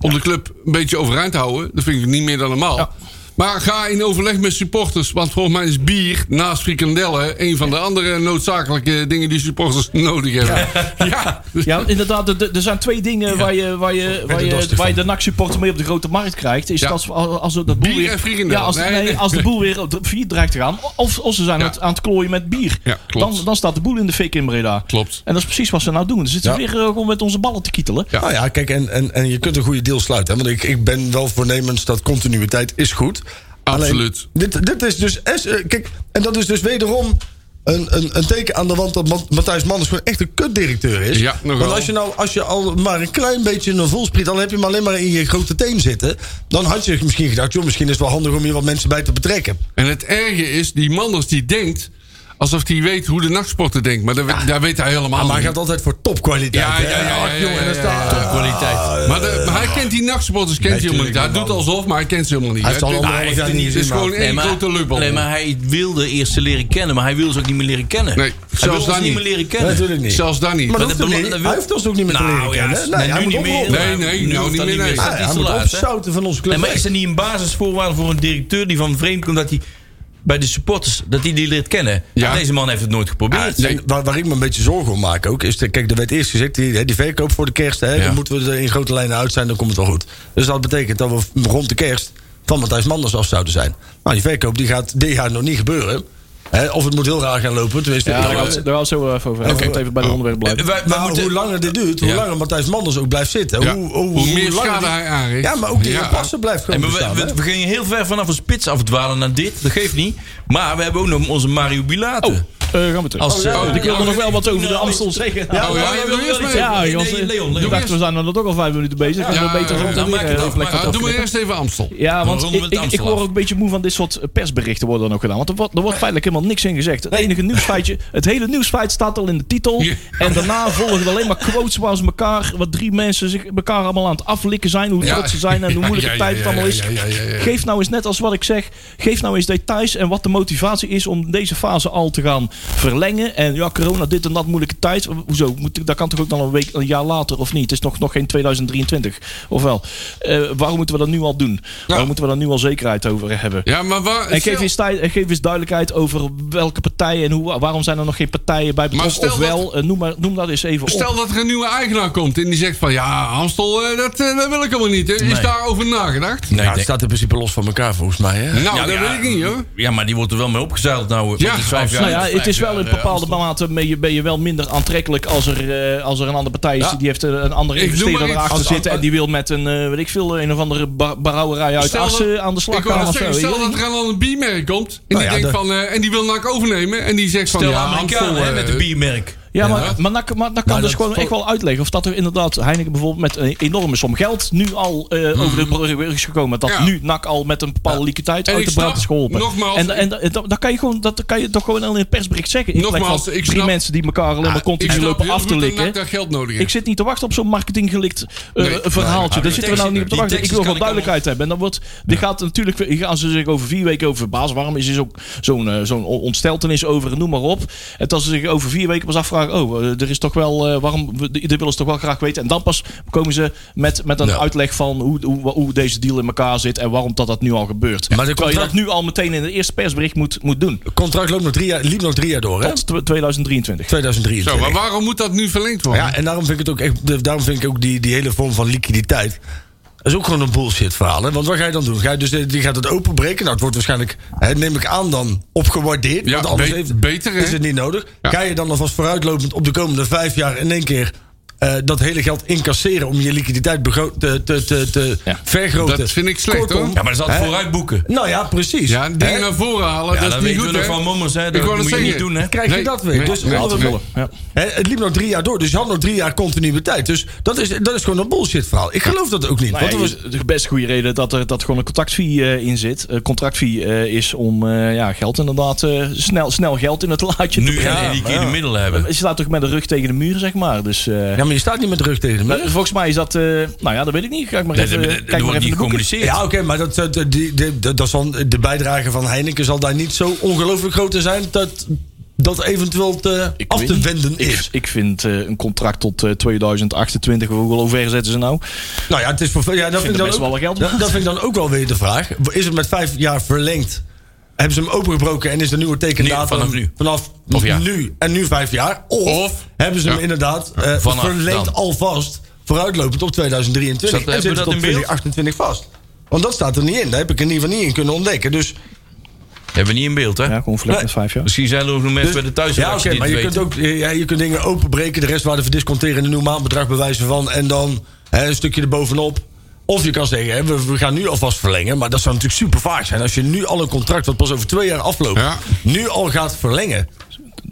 Speaker 3: Om de club een beetje overeind te houden. Dat vind ik niet meer dan normaal.
Speaker 5: Ja.
Speaker 3: Maar ga in overleg met supporters. Want volgens mij is bier, naast frikandellen... een van de andere noodzakelijke dingen die supporters nodig hebben. Ja,
Speaker 5: Ja, inderdaad. er- Er er zijn twee dingen waar je, waar je, waar je,
Speaker 4: dorstig
Speaker 5: waar je
Speaker 4: van.
Speaker 5: de NAC-supporter mee op de grote markt krijgt. Is
Speaker 3: Ja.
Speaker 5: dat als, als dat boel
Speaker 3: Bier en
Speaker 5: weer,
Speaker 3: frikandel.
Speaker 5: ja, als,
Speaker 3: Nee,
Speaker 5: nee,
Speaker 3: nee.
Speaker 5: als de boel weer op de vier dreigt te gaan. Of, of ze zijn
Speaker 3: Ja.
Speaker 5: aan het- aan het klooien met bier.
Speaker 3: Ja, klopt.
Speaker 5: dan, dan staat de boel in de fik in Breda.
Speaker 3: Klopt.
Speaker 5: En dat is precies wat ze nou doen. Dan zitten ze
Speaker 4: Ja.
Speaker 5: weer eh, gewoon met onze ballen te kietelen.
Speaker 3: Ja.
Speaker 4: Nou ja, kijk, en, en, en je kunt een goede deal sluiten. hè, Want ik, ik ben wel voornemens dat continuïteit is goed.
Speaker 3: Absoluut.
Speaker 4: Alleen, dit, dit is dus... es- eh, Kijk, en dat is dus wederom een, een, een teken aan de wand... dat Ma- Matthijs Manders gewoon echt een kutdirecteur is.
Speaker 3: Ja, nogal.
Speaker 4: Want als je nou als je al maar een klein beetje een volspriet... dan heb je hem alleen maar in je grote teen zitten... dan had je misschien Ah, gedacht... joh, misschien is het wel handig om hier wat mensen bij te betrekken.
Speaker 3: En het erge is, die Manders die denkt... alsof hij weet hoe de nachtsporter denkt. Maar dat, we- daar weet hij helemaal
Speaker 4: Ah, maar hij
Speaker 3: niet.
Speaker 4: gaat altijd voor topkwaliteit.
Speaker 3: Ja,
Speaker 4: hè?
Speaker 3: ja, ja, ja,
Speaker 4: Ach,
Speaker 3: ja,
Speaker 4: jongen,
Speaker 3: ja,
Speaker 4: dan
Speaker 3: ja,
Speaker 4: staat-
Speaker 2: Kwaliteit.
Speaker 3: Maar, de- maar hij kent die nachtsporters kent hij helemaal niet. Hij
Speaker 4: tuurlijk
Speaker 3: doet
Speaker 4: niet, man.
Speaker 3: alsof, maar hij kent ze helemaal niet.
Speaker 4: Hij heeft al
Speaker 3: het-
Speaker 4: anderhalf
Speaker 3: het-
Speaker 4: jaar
Speaker 3: het
Speaker 4: niet
Speaker 3: is
Speaker 4: gezien,
Speaker 3: gewoon
Speaker 4: man.
Speaker 3: één grote lubbel.
Speaker 2: nee, maar hij wilde eerst ze leren kennen, maar hij wil ze ook niet meer leren kennen.
Speaker 3: Nee,
Speaker 2: hij
Speaker 3: zelfs
Speaker 2: wil ze
Speaker 3: daar
Speaker 2: niet
Speaker 3: niet.
Speaker 2: meer leren
Speaker 4: Nee,
Speaker 2: kennen.
Speaker 4: natuurlijk niet.
Speaker 3: Zelfs dan niet.
Speaker 4: Maar
Speaker 2: Maar
Speaker 4: dat
Speaker 2: dat
Speaker 4: hoeft
Speaker 2: belang-
Speaker 4: niet.
Speaker 2: dat wil-
Speaker 4: Hij heeft ons ook niet meer te
Speaker 2: Nou,
Speaker 4: leren
Speaker 2: ja,
Speaker 4: kennen.
Speaker 2: dat is-
Speaker 4: Nee,
Speaker 2: nee,
Speaker 4: hij
Speaker 2: nu
Speaker 4: moet
Speaker 2: niet meer.
Speaker 4: oprollen.
Speaker 3: Nee, nee,
Speaker 2: Nu
Speaker 3: nou
Speaker 2: hoeft
Speaker 3: niet
Speaker 2: dat
Speaker 3: meer.
Speaker 2: niet
Speaker 3: nee.
Speaker 2: meer.
Speaker 4: Ah, Hij,
Speaker 2: is
Speaker 4: hij
Speaker 2: te
Speaker 4: moet
Speaker 2: laat, hè?
Speaker 4: opzouten van onze club.
Speaker 2: Nee, maar is er niet een basisvoorwaarde voor een directeur die van vreemd komt dat hij bij de supporters dat hij die leert kennen? Nou,
Speaker 3: Ja. Ah,
Speaker 2: Deze man heeft het nooit geprobeerd.
Speaker 4: En waar, waar ik me een beetje zorgen om maak ook, is... De, kijk, er werd eerst gezegd, die, hè, die verkoop voor de kerst... Hè,
Speaker 2: Ja.
Speaker 4: dan moeten we er in grote lijnen uit zijn, dan komt het wel goed. Dus dat betekent dat we rond de kerst van Matthijs Manders af zouden zijn. Nou, die verkoop die gaat dit jaar nog niet gebeuren. Hè, of het moet heel raar gaan lopen. Tenminste,
Speaker 5: Ja,
Speaker 4: ik-
Speaker 5: daar gaan we het- daar gaan we het zo wel even over hebben. want Even bij de onderwerp
Speaker 2: Eh,
Speaker 5: blijven.
Speaker 2: wij- wij
Speaker 4: Maar
Speaker 2: moeten-
Speaker 4: hoe langer dit duurt, hoe
Speaker 2: Ja.
Speaker 4: langer Matthijs Manders ook blijft zitten.
Speaker 3: Ja.
Speaker 4: Hoe, hoe,
Speaker 3: Hoe meer
Speaker 4: langer
Speaker 3: schade
Speaker 4: die-
Speaker 3: hij aanricht.
Speaker 4: Ja, maar ook die
Speaker 3: Ja.
Speaker 4: passen blijft
Speaker 2: Nee,
Speaker 4: gewoon
Speaker 2: maar
Speaker 4: bestaan.
Speaker 2: we,
Speaker 4: hè.
Speaker 2: we, we gingen heel ver vanaf een spits afdwalen naar dit. Dat geeft niet. Maar we hebben ook nog onze Mario
Speaker 4: Oh.
Speaker 2: Bilater.
Speaker 5: Eh, gaan we terug.
Speaker 2: Als, eh,
Speaker 5: Oh, ik wilde nog wel wat over de
Speaker 2: Nou,
Speaker 5: Amstel
Speaker 2: ik-
Speaker 5: zeggen.
Speaker 2: Ja,
Speaker 3: Oh, ja,
Speaker 2: maar je
Speaker 3: doe
Speaker 2: wil
Speaker 3: eerst
Speaker 2: wel
Speaker 3: maar
Speaker 2: iets-
Speaker 3: even.
Speaker 5: Ja,
Speaker 2: Nee,
Speaker 5: Jans,
Speaker 2: nee, Leon.
Speaker 5: ik
Speaker 2: Leon.
Speaker 5: dacht, we zijn er ook al vijf minuten bezig. Ik
Speaker 3: Ja,
Speaker 5: wil beter
Speaker 3: ja,
Speaker 5: rond eh,
Speaker 3: ja,
Speaker 5: de
Speaker 2: maak het af, maak het
Speaker 3: Ah, Doe maar eerst even Amstel.
Speaker 5: Ja,
Speaker 2: Dan
Speaker 5: want
Speaker 2: ronden we het
Speaker 5: ik, ik, ik
Speaker 2: Amstel
Speaker 5: word
Speaker 2: af.
Speaker 5: ook een beetje moe van dit soort eh, persberichten worden er nog gedaan. Want er wordt, er wordt feitelijk helemaal niks in gezegd. Het enige nieuwsfeitje, het hele nieuwsfeit staat al in de titel.
Speaker 3: Ja.
Speaker 5: En daarna volgen alleen maar quotes waar ze elkaar, wat drie mensen zich elkaar allemaal aan het aflikken zijn. Hoe
Speaker 3: Ja.
Speaker 5: trots ze zijn en hoe
Speaker 3: Ja,
Speaker 5: moeilijke
Speaker 3: ja,
Speaker 5: tijd het
Speaker 3: ja,
Speaker 5: allemaal
Speaker 3: ja,
Speaker 5: is.
Speaker 3: ja, ja, ja, ja.
Speaker 5: Geef nou eens net als wat ik zeg, geef nou eens details en wat de motivatie is om deze fase al te gaan verlengen. En ja, corona, dit en dat, moeilijke tijd. Hoezo? Moet, ik- dat kan toch ook dan een week, een jaar later of niet? Het is nog, nog geen 2023, of wel? Eh, waarom moeten we dat nu al doen? Waarom moeten we daar nu al zekerheid over hebben?
Speaker 3: Ja, maar waar...
Speaker 5: En
Speaker 3: stel-
Speaker 5: geef eens, tijd- en geef eens duidelijkheid over welke partijen en hoe, waarom zijn er nog geen partijen bij betrokken.
Speaker 3: stel
Speaker 5: Of wel, eh, noem, maar, noem dat eens even
Speaker 3: Stel
Speaker 5: op.
Speaker 3: dat er een nieuwe eigenaar komt en die zegt van... Ja, Amstel, eh, dat, eh, dat wil ik helemaal niet. hè. Is
Speaker 2: Nee.
Speaker 3: daarover nagedacht?
Speaker 2: Nee,
Speaker 4: ja,
Speaker 2: nee.
Speaker 4: het staat in principe los van elkaar volgens mij. Hè?
Speaker 3: Nou, dat
Speaker 2: ja,
Speaker 3: weet ik niet hoor.
Speaker 2: Ja, maar die wordt er wel mee opgezuild nou. want
Speaker 3: Ja,
Speaker 2: het is vijf jaar,
Speaker 5: Nou ja, het is
Speaker 2: vijf
Speaker 5: wel in
Speaker 2: jaar, eh,
Speaker 5: bepaalde
Speaker 2: Amstel.
Speaker 5: mate ben je, ben je wel minder aantrekkelijk als er, eh, als er een andere partij is.
Speaker 3: Ja.
Speaker 5: Die heeft eh, een andere
Speaker 3: Ik noem maar
Speaker 5: investeerder
Speaker 3: iets.
Speaker 5: erachter
Speaker 3: Als-
Speaker 5: zitten. En die wil met een, eh, weet ik veel, een of andere ba- brouwerij uit
Speaker 3: Stel dat-
Speaker 5: Assen aan de slag
Speaker 3: Ik wou
Speaker 5: gaan.
Speaker 3: net
Speaker 5: of zo,
Speaker 3: zeggen,
Speaker 5: weet
Speaker 3: stel
Speaker 5: je?
Speaker 3: dat er dan een biermerk komt en, die
Speaker 4: ja,
Speaker 3: denkt
Speaker 4: de-
Speaker 3: van, eh, en die wil NAC overnemen en die zegt
Speaker 2: Stel
Speaker 3: van ja,
Speaker 2: Amerikaan
Speaker 3: Amstel,
Speaker 2: hè,
Speaker 3: eh,
Speaker 2: met een biermerk.
Speaker 5: Ja, maar, maar, dat, maar dat kan
Speaker 4: Maar dat
Speaker 5: dus gewoon
Speaker 4: voor-
Speaker 5: echt wel uitleggen. Of dat er inderdaad Heineken bijvoorbeeld met een enorme som geld nu al eh, over de brug is gekomen. Dat
Speaker 3: Hmm. Ja.
Speaker 5: nu NAC al met een bepaalde liquiditeit
Speaker 3: En
Speaker 5: uit
Speaker 3: ik
Speaker 5: de brand
Speaker 3: snap,
Speaker 5: is geholpen.
Speaker 3: nogmaals,
Speaker 5: en en, en dat, dat kan je gewoon, dat kan je toch gewoon al in het persbericht zeggen. In
Speaker 3: Nogmaals,
Speaker 5: plaats van
Speaker 3: ik
Speaker 5: drie
Speaker 3: snap-
Speaker 5: mensen die elkaar alleen maar
Speaker 3: ah, ik
Speaker 5: continu
Speaker 3: snap
Speaker 5: lopen
Speaker 3: heel
Speaker 5: af
Speaker 3: goed
Speaker 5: te
Speaker 3: dat NAC
Speaker 5: likken.
Speaker 3: daar geld nodig
Speaker 5: Ik
Speaker 3: heeft.
Speaker 5: zit niet te wachten op zo'n marketinggelikt eh,
Speaker 3: Nee,
Speaker 5: verhaaltje.
Speaker 2: nee,
Speaker 5: Daar
Speaker 2: nee.
Speaker 5: zitten we nou niet op te
Speaker 2: Die
Speaker 5: wachten. Ik
Speaker 2: teksten
Speaker 5: wil gewoon
Speaker 2: kan ik
Speaker 5: duidelijkheid hebben. En dan wordt, die gaat natuurlijk, weer- hier gaan ze zich over vier weken over verbazen. Waarom is er zo- zo'n eh, zo'n ontsteltenis over, noem maar op. En dat ze zich over vier weken pas afvragen, oh, eh, er is toch wel, eh, waarom, we- dit willen ze toch wel graag weten. En dan pas komen ze met, met een
Speaker 4: Ja.
Speaker 5: uitleg van hoe, hoe, hoe deze deal in elkaar zit en waarom dat, dat nu al gebeurt.
Speaker 4: Maar
Speaker 5: Maar
Speaker 4: de
Speaker 5: Terwijl je dat
Speaker 4: contract-
Speaker 5: nu al meteen in het eerste persbericht moet, moet doen.
Speaker 4: Het contract loopt nog drie jaar, liep nog drie jaar door, hè?
Speaker 5: Tot tw- 2023.
Speaker 4: 2023.
Speaker 3: Zo, maar waarom moet dat nu verlengd worden?
Speaker 4: Ja, en daarom vind ik het ook echt. Daarom vind ik ook die, die hele vorm van liquiditeit. Dat is ook gewoon een bullshit verhaal. Hè? Want wat ga je dan doen? Ga je, dus, eh, die gaat het openbreken. Nou, het wordt waarschijnlijk, hè, neem ik aan, dan opgewaardeerd.
Speaker 3: Ja,
Speaker 4: want anders
Speaker 3: be-
Speaker 4: heeft-
Speaker 3: beter, hè?
Speaker 4: is het niet nodig.
Speaker 3: Ja.
Speaker 4: Ga je dan alvast vooruitlopend op de komende vijf jaar in één keer eh, dat hele geld incasseren om je liquiditeit begro- te, te, te, te
Speaker 5: Ja.
Speaker 4: vergroten?
Speaker 3: Dat vind ik slecht,
Speaker 4: Kortom,
Speaker 3: hoor.
Speaker 2: Ja, maar ze had vooruit boeken.
Speaker 4: Nou ja, precies.
Speaker 3: Ja,
Speaker 4: Hè?
Speaker 3: dingen naar voren halen,
Speaker 2: Ja,
Speaker 3: dat,
Speaker 2: dat
Speaker 3: is niet
Speaker 2: weten we
Speaker 3: goed
Speaker 2: nog
Speaker 3: hè.
Speaker 2: van mommers, hè. Dat
Speaker 3: wou net
Speaker 2: moet je
Speaker 3: zeggen.
Speaker 2: niet doen, hè.
Speaker 4: krijg je dat weer. Dus
Speaker 3: nee,
Speaker 4: alle-
Speaker 3: nee.
Speaker 5: Ja.
Speaker 4: Hè, het liep nog drie jaar door, dus je had nog drie jaar continuïteit. Dus dat is, dat is gewoon een bullshit verhaal. Ik geloof dat ook niet.
Speaker 5: Nou
Speaker 4: Want
Speaker 5: ja,
Speaker 4: er was,
Speaker 5: is de best goede reden dat er dat gewoon een contractfee eh, in zit. Eh, contractfee eh, is om eh, ja, geld inderdaad eh, snel, snel geld in het laadje te
Speaker 2: Nu
Speaker 5: brengen.
Speaker 2: gaan die keer de middelen hebben.
Speaker 5: Je staat toch met de rug tegen de muur, zeg maar. Dus, eh,
Speaker 4: ja, maar je staat niet met de rug tegen de
Speaker 5: maar
Speaker 4: muur.
Speaker 5: volgens mij is dat... eh, nou ja, dat weet ik niet. Ga ik maar
Speaker 2: Dat-
Speaker 5: even,
Speaker 2: dat-
Speaker 5: kijk
Speaker 2: Dat
Speaker 5: maar
Speaker 2: wordt
Speaker 5: even
Speaker 2: niet
Speaker 5: in de boeken.
Speaker 2: gecommuniceerd.
Speaker 4: Ja, oké, maar dat, dat, die, die- dat, dat zal- de bijdrage van Heineken zal daar niet zo ongelooflijk groot in zijn dat dat eventueel te,
Speaker 5: Ik
Speaker 4: af
Speaker 5: weet
Speaker 4: te
Speaker 5: niet.
Speaker 4: wenden
Speaker 5: Ik,
Speaker 4: is.
Speaker 5: ik vind eh, een contract tot eh, 2028, hoeveel ver zetten ze nou?
Speaker 4: nou ja, het is voor, veel- ja dat, vind ik dan
Speaker 5: best
Speaker 4: ook,
Speaker 5: wel wat geld.
Speaker 4: dat, dat vind ik dan ook wel weer de vraag. Is het met vijf jaar verlengd? Hebben ze hem opengebroken en is de nieuwe tekendatum
Speaker 2: Nee, vanaf nu.
Speaker 4: vanaf
Speaker 2: Of ja.
Speaker 4: nu en nu vijf jaar? Of,
Speaker 3: Of-
Speaker 4: hebben ze hem
Speaker 3: Ja.
Speaker 4: inderdaad eh,
Speaker 2: Vanaf
Speaker 4: verlengd
Speaker 2: dan.
Speaker 4: alvast vooruitlopend op 2023
Speaker 2: Is dat- hebben
Speaker 4: en
Speaker 2: we
Speaker 4: zit
Speaker 2: dat
Speaker 4: het op
Speaker 2: in beeld?
Speaker 4: 2028 vast? Want dat staat er niet in. Daar heb ik in ieder geval niet in kunnen ontdekken. Dus
Speaker 2: Hebben we niet in beeld, hè.
Speaker 5: Ja, gewoon verlengd met vijf jaar.
Speaker 2: Misschien zijn er ook nog
Speaker 3: Dus-
Speaker 2: mensen bij de
Speaker 4: Dus- Ja, oké,
Speaker 2: thuisredactie die
Speaker 4: maar
Speaker 2: het
Speaker 4: je kunt,
Speaker 2: weten.
Speaker 4: ook, ja, je kunt dingen openbreken, de rest waar de verdisconteren een nieuw maandbedrag bewijzen van. En dan hè, een stukje erbovenop. Of je kan zeggen, hè, we, we gaan nu alvast verlengen. Maar dat zou natuurlijk super vaag zijn. Als je nu al een contract, wat pas over twee jaar afloopt,
Speaker 3: Ja.
Speaker 4: nu al gaat verlengen.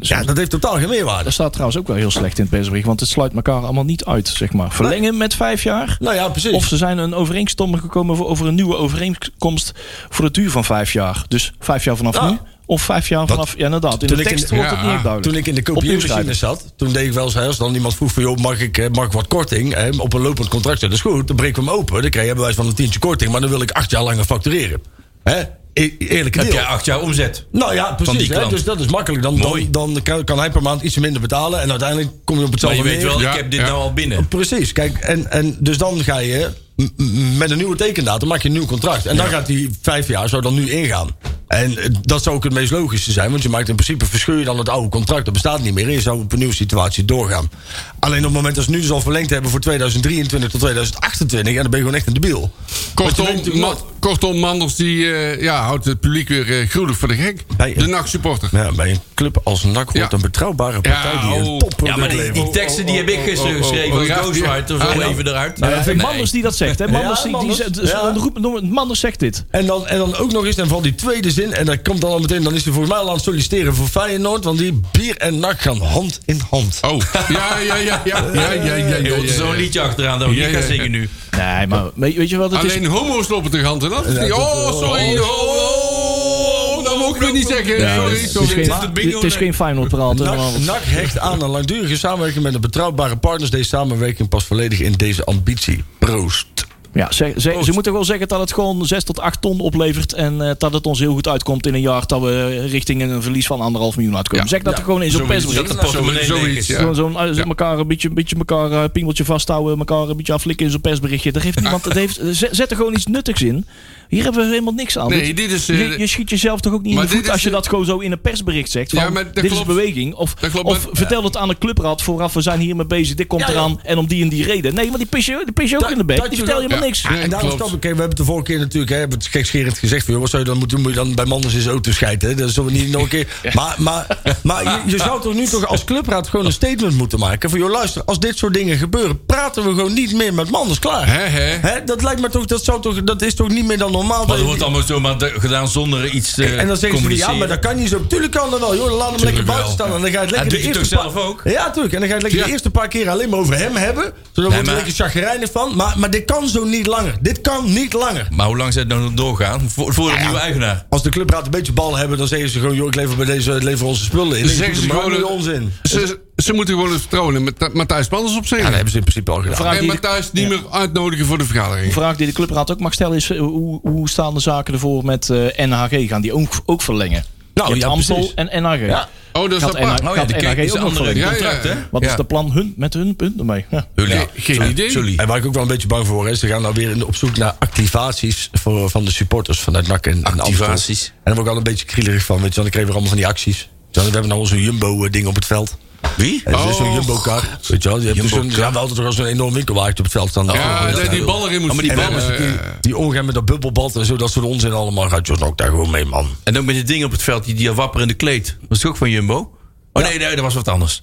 Speaker 4: Ja, dat heeft totaal geen meerwaarde.
Speaker 5: Dat staat trouwens ook wel heel slecht in het persbericht. Want het sluit elkaar allemaal niet uit, zeg maar. Verlengen met vijf jaar.
Speaker 4: Nou ja, precies.
Speaker 5: Of ze zijn een overeenstemming gekomen voor, over een nieuwe overeenkomst voor de duur van vijf jaar. Dus vijf jaar vanaf
Speaker 4: Ja.
Speaker 5: nu. Of vijf jaar vanaf. ja, inderdaad. In
Speaker 4: toen
Speaker 5: de
Speaker 4: ik in
Speaker 5: tekst
Speaker 4: de-
Speaker 5: wordt het
Speaker 3: ja,
Speaker 5: niet echt duidelijk.
Speaker 4: Toen ik in de kopieermachine zat, toen deed ik wel eens... hè, als dan iemand vroeg van, joh, mag ik, eh, mag ik wat korting hè, op een lopend contract? Dat is goed, dan breken we hem open. Dan krijg je bewijs van een tientje korting, maar dan wil ik acht jaar langer factureren. Hè? E- eerlijke
Speaker 2: Heb
Speaker 4: deal.
Speaker 2: jij acht jaar omzet?
Speaker 4: Nou ja, precies.
Speaker 2: die
Speaker 4: Hè?
Speaker 2: klant.
Speaker 4: Dus dat is makkelijk. Dan,
Speaker 2: Mooi.
Speaker 4: dan, dan kan, kan hij per maand iets minder betalen. En uiteindelijk kom je
Speaker 2: Maar
Speaker 4: op hetzelfde
Speaker 2: je weet
Speaker 4: neer.
Speaker 2: wel,
Speaker 3: Ja,
Speaker 2: ik heb dit
Speaker 3: ja.
Speaker 2: nou al binnen.
Speaker 4: Precies. Kijk, en, en dus dan ga je m- m- met een nieuwe tekendatum maak je een nieuw contract. En dan gaat die vijf jaar zou dan nu ingaan. En eh, dat zou ook het meest logische zijn. Want je maakt in principe verscheur je dan het oude contract. Dat bestaat niet meer. En je zou op een nieuwe situatie doorgaan. Alleen op het moment dat ze nu dus al verlengd hebben voor 2023 tot 2028. En dan ben je gewoon echt een debiel. Want je weet
Speaker 3: Kortom,
Speaker 4: natuurlijk
Speaker 3: Ma-
Speaker 4: nooit-
Speaker 3: kortom Manders die, eh, ja, houdt het publiek weer eh, gruwelijk voor de gek.
Speaker 4: Bij-
Speaker 3: de nachtsupporter.
Speaker 4: Ja, bij een club als NAC wordt
Speaker 3: Ja.
Speaker 4: een betrouwbare
Speaker 3: Ja,
Speaker 4: partij die
Speaker 3: oh.
Speaker 4: een topproduct
Speaker 2: Ja, maar die, die
Speaker 4: levert.
Speaker 2: teksten die heb ik gisteren
Speaker 3: Oh, oh, oh,
Speaker 2: geschreven.
Speaker 3: oh,
Speaker 2: als
Speaker 3: ja, ja.
Speaker 2: Ghostwriter,
Speaker 3: Ah,
Speaker 2: zo
Speaker 3: ja.
Speaker 2: even eruit.
Speaker 5: Ja, ik vind Manders die dat zegt. Hè? Manders, die-
Speaker 4: Manders.
Speaker 5: Die, dus
Speaker 4: Ja.
Speaker 5: roep- noem- Manders zegt dit.
Speaker 4: En dan, en dan ook nog eens, en vooral die tweede zin, en dan komt dan al meteen, dan is hij volgens mij al aan het solliciteren voor Feyenoord, want die bier en nak gaan hand in hand.
Speaker 3: Oh, ja, ja, ja, ja, ja, ja, ja, ja,
Speaker 2: Je
Speaker 3: ja,
Speaker 2: hoort er
Speaker 3: ja,
Speaker 2: zo'n
Speaker 3: ja.
Speaker 2: liedje achteraan dat we
Speaker 3: Ja,
Speaker 2: niet gaan
Speaker 3: ja, ja.
Speaker 2: zingen nu.
Speaker 5: Nee, maar weet weet je wat het
Speaker 3: Alleen
Speaker 5: is?
Speaker 3: homo's lopen te ganten af.
Speaker 4: Ja, dat-
Speaker 3: Oh, sorry, oh, oh, oh, dat mogen we niet zeggen. sorry,
Speaker 5: Het is
Speaker 3: sorry.
Speaker 5: geen,
Speaker 2: is het bingo,
Speaker 5: het is
Speaker 2: nee.
Speaker 5: geen Feyenoord verhaal. hè, maar-
Speaker 4: NAC, NAC hecht aan een langdurige samenwerking met een betrouwbare partners. Deze samenwerking past volledig in deze ambitie. Proost.
Speaker 5: Ja, ze, ze, ze moeten wel zeggen dat het gewoon 6 tot 8 ton oplevert. En eh, dat het ons heel goed uitkomt in een jaar. Dat we richting een verlies van anderhalf miljoen uitkomen.
Speaker 3: Ja.
Speaker 5: zeg dat er gewoon in zo'n persbericht.
Speaker 2: Dat de portemonnee
Speaker 3: Zoiets,
Speaker 2: leeg is.
Speaker 3: ja.
Speaker 5: Gewoon zo'n eh, elkaar een beetje, een beetje elkaar eh, pingeltje vasthouden, elkaar een beetje aflikken in zo'n persberichtje. Daar heeft niemand, dat heeft, zet, zet er gewoon iets nuttigs in. Hier hebben we helemaal niks aan.
Speaker 3: Nee,
Speaker 5: Dit-
Speaker 3: dit is, eh,
Speaker 5: je, je schiet jezelf toch ook niet in
Speaker 3: maar
Speaker 5: de voet
Speaker 3: dit is,
Speaker 5: als je
Speaker 3: eh,
Speaker 5: dat gewoon zo in een persbericht zegt.
Speaker 3: Ja,
Speaker 5: van,
Speaker 3: maar dat
Speaker 5: dit is
Speaker 3: klopt.
Speaker 5: beweging. Of,
Speaker 3: Dat klopt,
Speaker 5: of
Speaker 3: maar-
Speaker 5: vertel het aan de clubraad vooraf, we zijn hiermee bezig, dit komt
Speaker 4: Ja, ja.
Speaker 5: eraan. En om die en die reden. Nee, want die pis je, die pis je ook
Speaker 4: Dat-
Speaker 5: in de bek.
Speaker 4: dat
Speaker 5: Die
Speaker 4: je
Speaker 5: vertel
Speaker 4: wel-
Speaker 5: helemaal
Speaker 3: Ja.
Speaker 5: niks.
Speaker 3: Nee,
Speaker 4: en daarom
Speaker 3: klopt.
Speaker 4: snap ik, hè, we hebben het de vorige keer natuurlijk, hè, hebben we het gekscherend gezegd van, joh, wat zou je dan moeten doen? Moet je dan bij Manders in zijn auto scheiden? Hè? Dat zullen we niet nog een keer. Maar, maar, maar je, je zou toch nu toch als clubraad gewoon een statement moeten maken van, joh, luister, als dit soort dingen gebeuren, praten we gewoon niet meer met Manders klaar.
Speaker 3: Hè, hè.
Speaker 4: Hè, dat lijkt me toch, dat, zou toch, dat is toch niet meer dan normaal.
Speaker 2: Maar
Speaker 4: dat
Speaker 2: dat
Speaker 4: je-
Speaker 2: wordt eh, allemaal zomaar de- gedaan zonder iets te
Speaker 4: en dan zeggen ze, ja,
Speaker 2: communiceren.
Speaker 4: maar dat kan niet zo. Tuurlijk kan dat wel, joh. Laat hem lekker
Speaker 2: wel.
Speaker 4: buiten staan. En dan ga je het lekker
Speaker 2: Ja,
Speaker 4: de
Speaker 2: doe je
Speaker 4: eerste
Speaker 2: toch zelf
Speaker 4: paar-
Speaker 2: ook?
Speaker 4: Ja, tuurlijk. En dan ga je het lekker
Speaker 3: Ja.
Speaker 4: de eerste paar keer alleen maar over hem hebben. Zodat wordt
Speaker 2: maar-
Speaker 4: er lekker chagrijnig van. Maar, maar dit kan zo niet langer. Dit kan niet langer.
Speaker 2: Maar hoe lang zou het dan nog doorgaan? Voor, voor de nieuwe eigenaar.
Speaker 4: Als de clubraad een beetje ballen hebben, dan zeggen ze gewoon... joh, ik lever, bij deze, ik lever onze spullen in.
Speaker 3: Ze zeggen ze
Speaker 4: Maar
Speaker 3: gewoon
Speaker 4: dat is
Speaker 3: een-
Speaker 4: onzin.
Speaker 3: Ze, ze moeten gewoon het vertrouwen in Math- Matthijs Manders
Speaker 4: Ja, dat
Speaker 3: opzeggen.
Speaker 4: hebben ze in principe al gedaan.
Speaker 5: Vraag
Speaker 3: En
Speaker 5: die-
Speaker 3: Matthijs niet meer uitnodigen voor de vergadering.
Speaker 5: Een vraag die de clubraad ook mag stellen is: eh, hoe, hoe staan de zaken ervoor met eh, NHG? Gaan die ook, ook verlengen?
Speaker 4: Nou,
Speaker 5: Je hebt
Speaker 4: ja,
Speaker 5: Amstel
Speaker 4: precies.
Speaker 5: en NHG.
Speaker 4: Ja.
Speaker 3: Oh, dat is
Speaker 5: Gaat
Speaker 3: apart.
Speaker 5: NH
Speaker 2: Oh ja,
Speaker 5: Gaat
Speaker 2: de
Speaker 5: NHG
Speaker 2: kijk is
Speaker 5: ook
Speaker 2: een
Speaker 5: nog
Speaker 2: andere
Speaker 5: verlengen?
Speaker 2: contract,
Speaker 3: Ja, ja.
Speaker 2: hè?
Speaker 5: Wat is
Speaker 2: Ja.
Speaker 5: de plan hun, met hun punten mee? Ja.
Speaker 2: Ja.
Speaker 3: Ge- geen idee.
Speaker 2: Sorry.
Speaker 4: En waar ik ook wel een beetje bang voor hoor, is, ze gaan nou weer in- op zoek naar activaties voor, van de supporters vanuit NAC en en Amstel.
Speaker 2: Activaties.
Speaker 4: En daar word ik al een beetje krielerig van, weet je wel. Dan kregen we allemaal van die acties. We hebben nou al zo'n Jumbo-ding op het veld.
Speaker 2: Wie?
Speaker 4: En dus
Speaker 3: Oh,
Speaker 4: zo'n Jumbo-kar, weet je wel. Je hebt dus zo'n-
Speaker 2: Jumbo-kar.
Speaker 4: ja, we hadden toch al zo'n enorm winkelwagen op het veld staan.
Speaker 3: Ja, dat die bal erin moet
Speaker 2: Oh, maar die
Speaker 3: zitten.
Speaker 2: bal is-
Speaker 3: Eh,
Speaker 4: Die, die omgaan met dat bubbelbad en zo, dat soort onzin allemaal. Gaat Jos ook daar gewoon mee, man.
Speaker 2: En ook met die dingen op het veld, die, die wapperende kleed. Dat is ook van Jumbo. Oh nee, nee, dat was wat anders.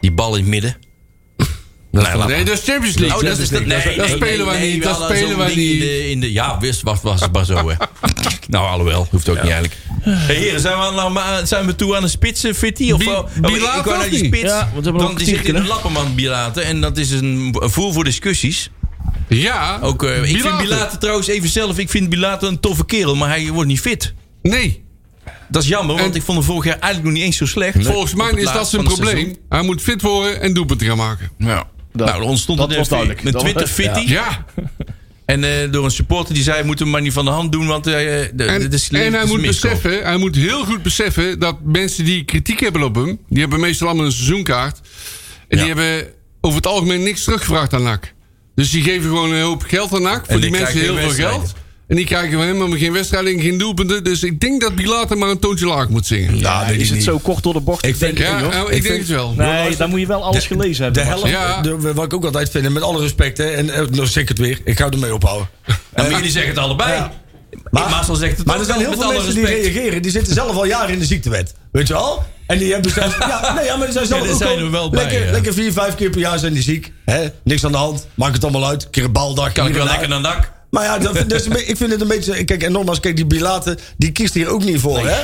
Speaker 2: Die bal in het midden.
Speaker 4: Dat is
Speaker 2: Nou, laat
Speaker 4: toch-
Speaker 3: Nee, dat is Champions League.
Speaker 2: Oh, dat is dat. Nee,
Speaker 3: dat spelen we niet. Dat spelen we
Speaker 2: In
Speaker 3: niet.
Speaker 2: de, in de, ja, wist was, was het maar zo, hè. nou, alhoewel. Hoeft ook niet eigenlijk. Hey, heren, zijn we, nou, maar- zijn we toe aan een spitsen, Fitty? Of
Speaker 3: Bi-
Speaker 2: wel? Oh,
Speaker 3: Bilaat
Speaker 2: ik- ik wou
Speaker 3: of
Speaker 2: naar die
Speaker 3: niet?
Speaker 2: spits.
Speaker 5: Ja, want we hebben nog
Speaker 2: want
Speaker 5: een
Speaker 2: die zit in
Speaker 5: kwartiertje,
Speaker 2: een lappenmand Bilaten. En dat is een een voer voor discussies.
Speaker 3: Ja.
Speaker 2: Ook, eh, ik vind
Speaker 3: Bilate.
Speaker 2: Bilaten trouwens even zelf. Ik vind Bilaten een toffe kerel, maar hij wordt niet fit.
Speaker 3: Nee.
Speaker 2: Dat is jammer, want
Speaker 3: En-
Speaker 2: ik vond hem vorig jaar eigenlijk nog niet eens zo slecht.
Speaker 3: Volgens mij
Speaker 2: Op het
Speaker 3: is dat
Speaker 2: laatst
Speaker 3: zijn
Speaker 2: van het seizoen.
Speaker 3: probleem. Hij moet fit worden en doelpunten gaan maken.
Speaker 2: Ja. nou, er ontstond
Speaker 5: dat
Speaker 2: een-
Speaker 5: was duidelijk.
Speaker 2: een
Speaker 5: Dat-
Speaker 2: Twitter-fitty.
Speaker 3: Ja.
Speaker 2: En eh, door een supporter die zei, moeten we maar niet van de hand doen, want eh, de-
Speaker 3: En,
Speaker 2: dit is
Speaker 3: en
Speaker 2: dit
Speaker 3: hij
Speaker 2: is
Speaker 3: moet
Speaker 2: miskoop.
Speaker 3: beseffen, hij moet heel goed beseffen dat mensen die kritiek hebben op hem, die hebben meestal allemaal een seizoenkaart. En die hebben over het algemeen niks teruggevraagd aan NAC. Dus die geven gewoon een hoop geld aan NAC. Voor
Speaker 2: En
Speaker 3: die,
Speaker 2: die
Speaker 3: mensen heel
Speaker 2: krijgen
Speaker 3: veel
Speaker 2: geen
Speaker 3: geld.
Speaker 2: wedstrijden.
Speaker 3: En die krijgen van hem helemaal geen wedstrijden en geen doelpunten. Dus ik denk dat Bilater maar een toontje laag moet zingen. Ja,
Speaker 4: Ja,
Speaker 5: is het zo kort door de bocht?
Speaker 4: Ik denk-
Speaker 3: ja,
Speaker 4: joh.
Speaker 3: nou, ik,
Speaker 4: Ik
Speaker 3: denk
Speaker 4: vind-
Speaker 3: het wel.
Speaker 5: nee, dan moet je wel alles gelezen hebben.
Speaker 4: De
Speaker 5: Marcel.
Speaker 4: helft,
Speaker 3: Ja.
Speaker 4: de- wat ik ook altijd vind, en met alle respect, hè, en eh, nou zeg ik het weer, ik ga ermee ophouden. Eh,
Speaker 2: Ja, maar jullie zeggen het allebei.
Speaker 4: Ja.
Speaker 2: Maar, Marcel zegt het
Speaker 4: Maar
Speaker 2: ook
Speaker 4: er zijn
Speaker 2: wel,
Speaker 4: heel
Speaker 2: met
Speaker 4: veel
Speaker 2: alle
Speaker 4: mensen die
Speaker 2: respect.
Speaker 4: reageren. Die zitten zelf al jaren in de ziektewet. Weet je wel? En die hebben zelfs... Ja, nee, ja maar die zijn zelf
Speaker 2: Ja, daar
Speaker 4: ook
Speaker 2: zijn
Speaker 4: al-
Speaker 2: we wel bij,
Speaker 4: lekker,
Speaker 2: ja.
Speaker 4: lekker vier, vijf keer per jaar zijn die ziek. Hè? Niks aan de hand. Maakt het allemaal uit. Een keer een baldag.
Speaker 2: Kan ik
Speaker 4: hier
Speaker 2: wel
Speaker 4: en
Speaker 2: lekker
Speaker 4: daar.
Speaker 2: naar dak.
Speaker 4: Maar ja, dat, dat is een be- ik vind het een beetje... Kijk, en nogmaals, kijk, die Bilaten, die kiest hier ook niet voor, hè?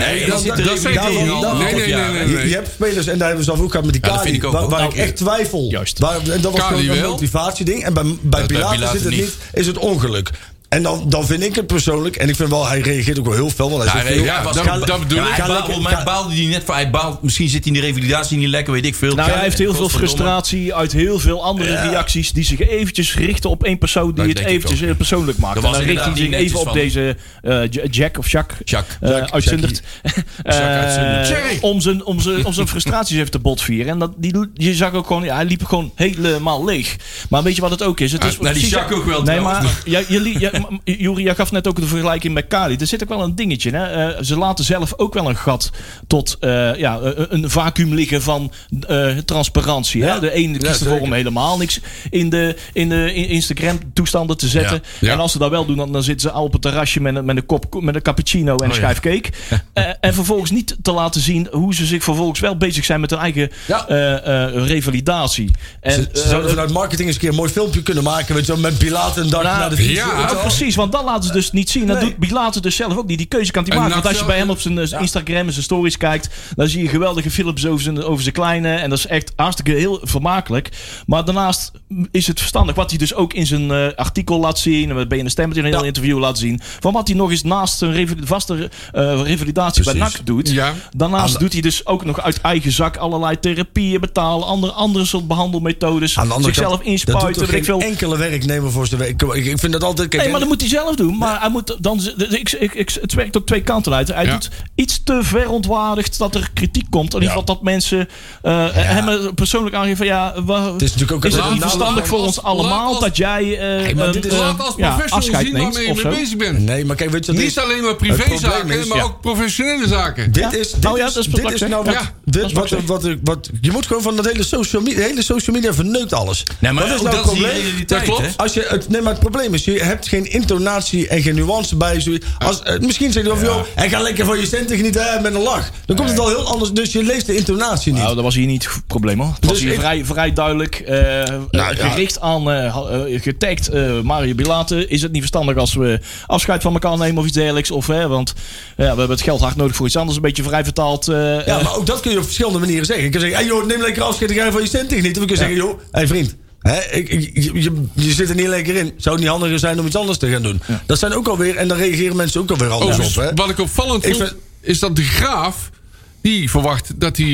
Speaker 2: Nee,
Speaker 3: dat,
Speaker 2: die
Speaker 3: dat,
Speaker 2: zit er
Speaker 3: dat
Speaker 2: even
Speaker 3: zeg ik
Speaker 4: in.
Speaker 3: niet.
Speaker 4: Dat-
Speaker 3: Nee, nee, nee. nee,
Speaker 4: Je,
Speaker 3: nee.
Speaker 4: je hebt spelers, en daar hebben we zelf ook gehad met die
Speaker 2: Ja, dat
Speaker 4: Kali,
Speaker 2: vind ik ook,
Speaker 4: waar,
Speaker 2: hoor.
Speaker 4: waar
Speaker 2: Nou,
Speaker 4: ik echt twijfel.
Speaker 5: juist.
Speaker 4: Waar, en dat was
Speaker 3: Kali
Speaker 4: gewoon een
Speaker 3: wel.
Speaker 4: motivatieding. En bij, bij
Speaker 2: bij
Speaker 4: Pilatus
Speaker 2: Pilatus
Speaker 4: zit
Speaker 2: niet.
Speaker 4: het niet, is het ongeluk. En dan, dan vind ik het persoonlijk, en ik vind wel, hij reageert ook wel heel fel. Want hij
Speaker 2: Ja,
Speaker 4: zegt,
Speaker 2: nee,
Speaker 4: joh,
Speaker 2: eh, ja, was-
Speaker 3: dat-
Speaker 2: Ga-
Speaker 3: dat bedoel
Speaker 2: Ja,
Speaker 3: ik.
Speaker 2: Hij
Speaker 4: Ga
Speaker 2: baalt-
Speaker 4: lekker-
Speaker 2: volgens mij
Speaker 4: ga-
Speaker 2: baalde hij net van. Hij baalt, misschien zit hij in de revalidatie niet lekker, weet ik veel.
Speaker 5: Nou,
Speaker 2: Ga-
Speaker 5: hij heeft heel veel
Speaker 2: Godverdomme.
Speaker 5: frustratie uit heel veel andere reacties die zich eventjes richten op één persoon die
Speaker 2: Dat
Speaker 5: het
Speaker 2: denk Nou, ik
Speaker 5: eventjes
Speaker 2: ook.
Speaker 5: heel persoonlijk maakt.
Speaker 2: Dat
Speaker 5: en
Speaker 2: was
Speaker 5: dan richt hij zich
Speaker 2: inderdaad
Speaker 5: even op
Speaker 2: niet
Speaker 5: deze eh, J- Jack of Jacques,
Speaker 2: Jacques.
Speaker 5: eh,
Speaker 4: Jacques,
Speaker 5: uitzendert. Eh,
Speaker 2: Jacques uitzendert.
Speaker 3: Jerry.
Speaker 5: om, zijn, om, zijn, om zijn frustraties even te botvieren. En dat, die, je zag ook gewoon, ja, hij liep gewoon helemaal leeg. Maar weet je wat het ook is? Het is
Speaker 2: nou, die
Speaker 5: precies-
Speaker 2: Jacques ook wel
Speaker 5: Nee,
Speaker 2: trouwens.
Speaker 5: maar ja, jullie, ja, m- m- Juri, jij gaf net ook de vergelijking met Kali. Er zit ook wel een dingetje. Hè? Eh, ze laten zelf ook wel een gat tot eh, ja, eh, een vacuüm liggen van eh, transparantie. Hè? De ene kiest ervoor om helemaal niks in de, in de in- Instagram-toestanden te zetten.
Speaker 3: Ja, ja.
Speaker 5: En als ze dat wel doen, dan, dan zitten ze al op het terrasje met een, met een, kop, met een cappuccino en een
Speaker 2: ja.
Speaker 5: schijf cake. Eh, en vervolgens niet te laten zien hoe ze zich vervolgens wel bezig zijn met hun eigen
Speaker 3: Ja.
Speaker 5: eh, eh, revalidatie. En,
Speaker 4: Ze, ze
Speaker 5: eh,
Speaker 4: zouden vanuit marketing eens een keer een mooi filmpje kunnen maken. Weet je wel, met Pilaten en dag
Speaker 5: Nou,
Speaker 4: naar de fiets.
Speaker 3: ja.
Speaker 4: weet je
Speaker 5: Ja,
Speaker 4: wel.
Speaker 5: precies, want dat laten ze dus niet zien. Dat
Speaker 4: Nee.
Speaker 5: doet Bilater dus zelf ook niet. Die keuze kan hij
Speaker 3: En
Speaker 5: maken.
Speaker 3: nou
Speaker 5: Want als je
Speaker 3: zelf-
Speaker 5: bij hem op zijn eh, Instagram en zijn stories kijkt, dan zie je geweldige filmpjes over zijn, over zijn kleine. En dat is echt hartstikke heel vermakelijk. Maar daarnaast is het verstandig wat hij dus ook in zijn eh, artikel laat zien. En wat ben je in de stem in een heel interview laat zien. Van wat hij nog eens naast zijn reval- vaste eh, revalidatie bij
Speaker 2: Precies.
Speaker 5: NAC doet.
Speaker 3: Ja.
Speaker 5: Daarnaast doet hij dus ook nog uit eigen zak allerlei therapieën betalen. Andere, andere soort behandelmethodes.
Speaker 4: Aan de andere
Speaker 5: zichzelf
Speaker 4: kant, dat doet
Speaker 5: inspuiten.
Speaker 4: toch
Speaker 5: weet ik
Speaker 4: geen
Speaker 5: veel.
Speaker 4: enkele werknemer voor zijn werk. Ik, ik vind dat altijd... Kijk,
Speaker 5: Nee, maar dat
Speaker 4: en-
Speaker 5: moet hij zelf doen. Maar hij moet dan, ik, ik, ik, het werkt op twee kanten uit. Hij
Speaker 3: Ja.
Speaker 5: doet iets te verontwaardigd dat er kritiek komt. In ieder geval dat mensen eh, hem persoonlijk aangeven van ja, wa-
Speaker 4: Het is natuurlijk ook
Speaker 5: is
Speaker 4: een-
Speaker 5: het niet
Speaker 4: nou,
Speaker 5: verstandig
Speaker 3: laat
Speaker 5: voor
Speaker 3: als-
Speaker 5: ons allemaal
Speaker 3: laat als-
Speaker 5: dat jij eh,
Speaker 4: Hey, maar dit
Speaker 5: een,
Speaker 4: is-
Speaker 5: eh,
Speaker 3: Laat als
Speaker 5: ja,
Speaker 3: professional
Speaker 5: afscheid
Speaker 3: zien
Speaker 5: neemt
Speaker 3: waarmee je
Speaker 5: of
Speaker 3: mee
Speaker 5: zo.
Speaker 3: bezig bent.
Speaker 4: nee, maar kijk, weet je wat
Speaker 3: Niet
Speaker 4: dit-
Speaker 3: alleen maar
Speaker 4: het probleem
Speaker 3: privézaken,
Speaker 4: is,
Speaker 3: maar
Speaker 4: ja.
Speaker 3: ook professionele zaken.
Speaker 4: Dit is, dit
Speaker 5: Oh ja,
Speaker 4: is,
Speaker 5: dat is
Speaker 4: dit
Speaker 5: wat ik
Speaker 4: is
Speaker 5: zeg.
Speaker 4: nou wat,
Speaker 5: Ja, dat
Speaker 4: dit,
Speaker 5: is wat
Speaker 4: wat,
Speaker 5: ik zeg.
Speaker 4: wat, wat, Je moet gewoon van dat hele social media... hele social media verneukt alles.
Speaker 2: Nee, maar
Speaker 4: Wat nou
Speaker 2: ook dat is die realiteit.
Speaker 3: Dat
Speaker 2: hè?
Speaker 3: klopt.
Speaker 4: Als je het, nee, maar het probleem is, je hebt geen intonatie en geen nuance bij. Zo, als, eh, misschien zeg je wel van, joh, en ga lekker van je centen genieten hè, met een lach. Dan komt het al heel anders, dus je leest de intonatie niet.
Speaker 5: Nou, dat was hier niet het probleem hoor. Het was
Speaker 4: Dus
Speaker 5: hier
Speaker 4: ik- Nou,
Speaker 5: vrij, vrij duidelijk eh, eh, gericht aan, eh, ha- eh, getagd eh, Mario Bilate. Is het niet verstandig als we afscheid van elkaar nemen of iets dergelijks? Of, hè, want ja, we hebben het geld hard nodig voor iets anders. Een beetje vrij vertaald. eh,
Speaker 4: ja,
Speaker 5: eh,
Speaker 4: maar ook dat kun je op verschillende manieren zeggen. Je kan zeggen, hey, joh, neem lekker afscheid en ga van je centen genieten. Of je kan zeggen, joh, hé vriend. Hè, ik, ik- je, je, je zit er niet lekker in. Zou het niet handiger zijn om iets anders te gaan doen? Dat zijn ook alweer, en dan reageren mensen ook alweer anders
Speaker 3: Overigens,
Speaker 4: op. Hè?
Speaker 3: Oh, wat ik opvallend
Speaker 4: Ik
Speaker 3: vond,
Speaker 4: vind-
Speaker 3: is dat de graaf... die verwacht dat hij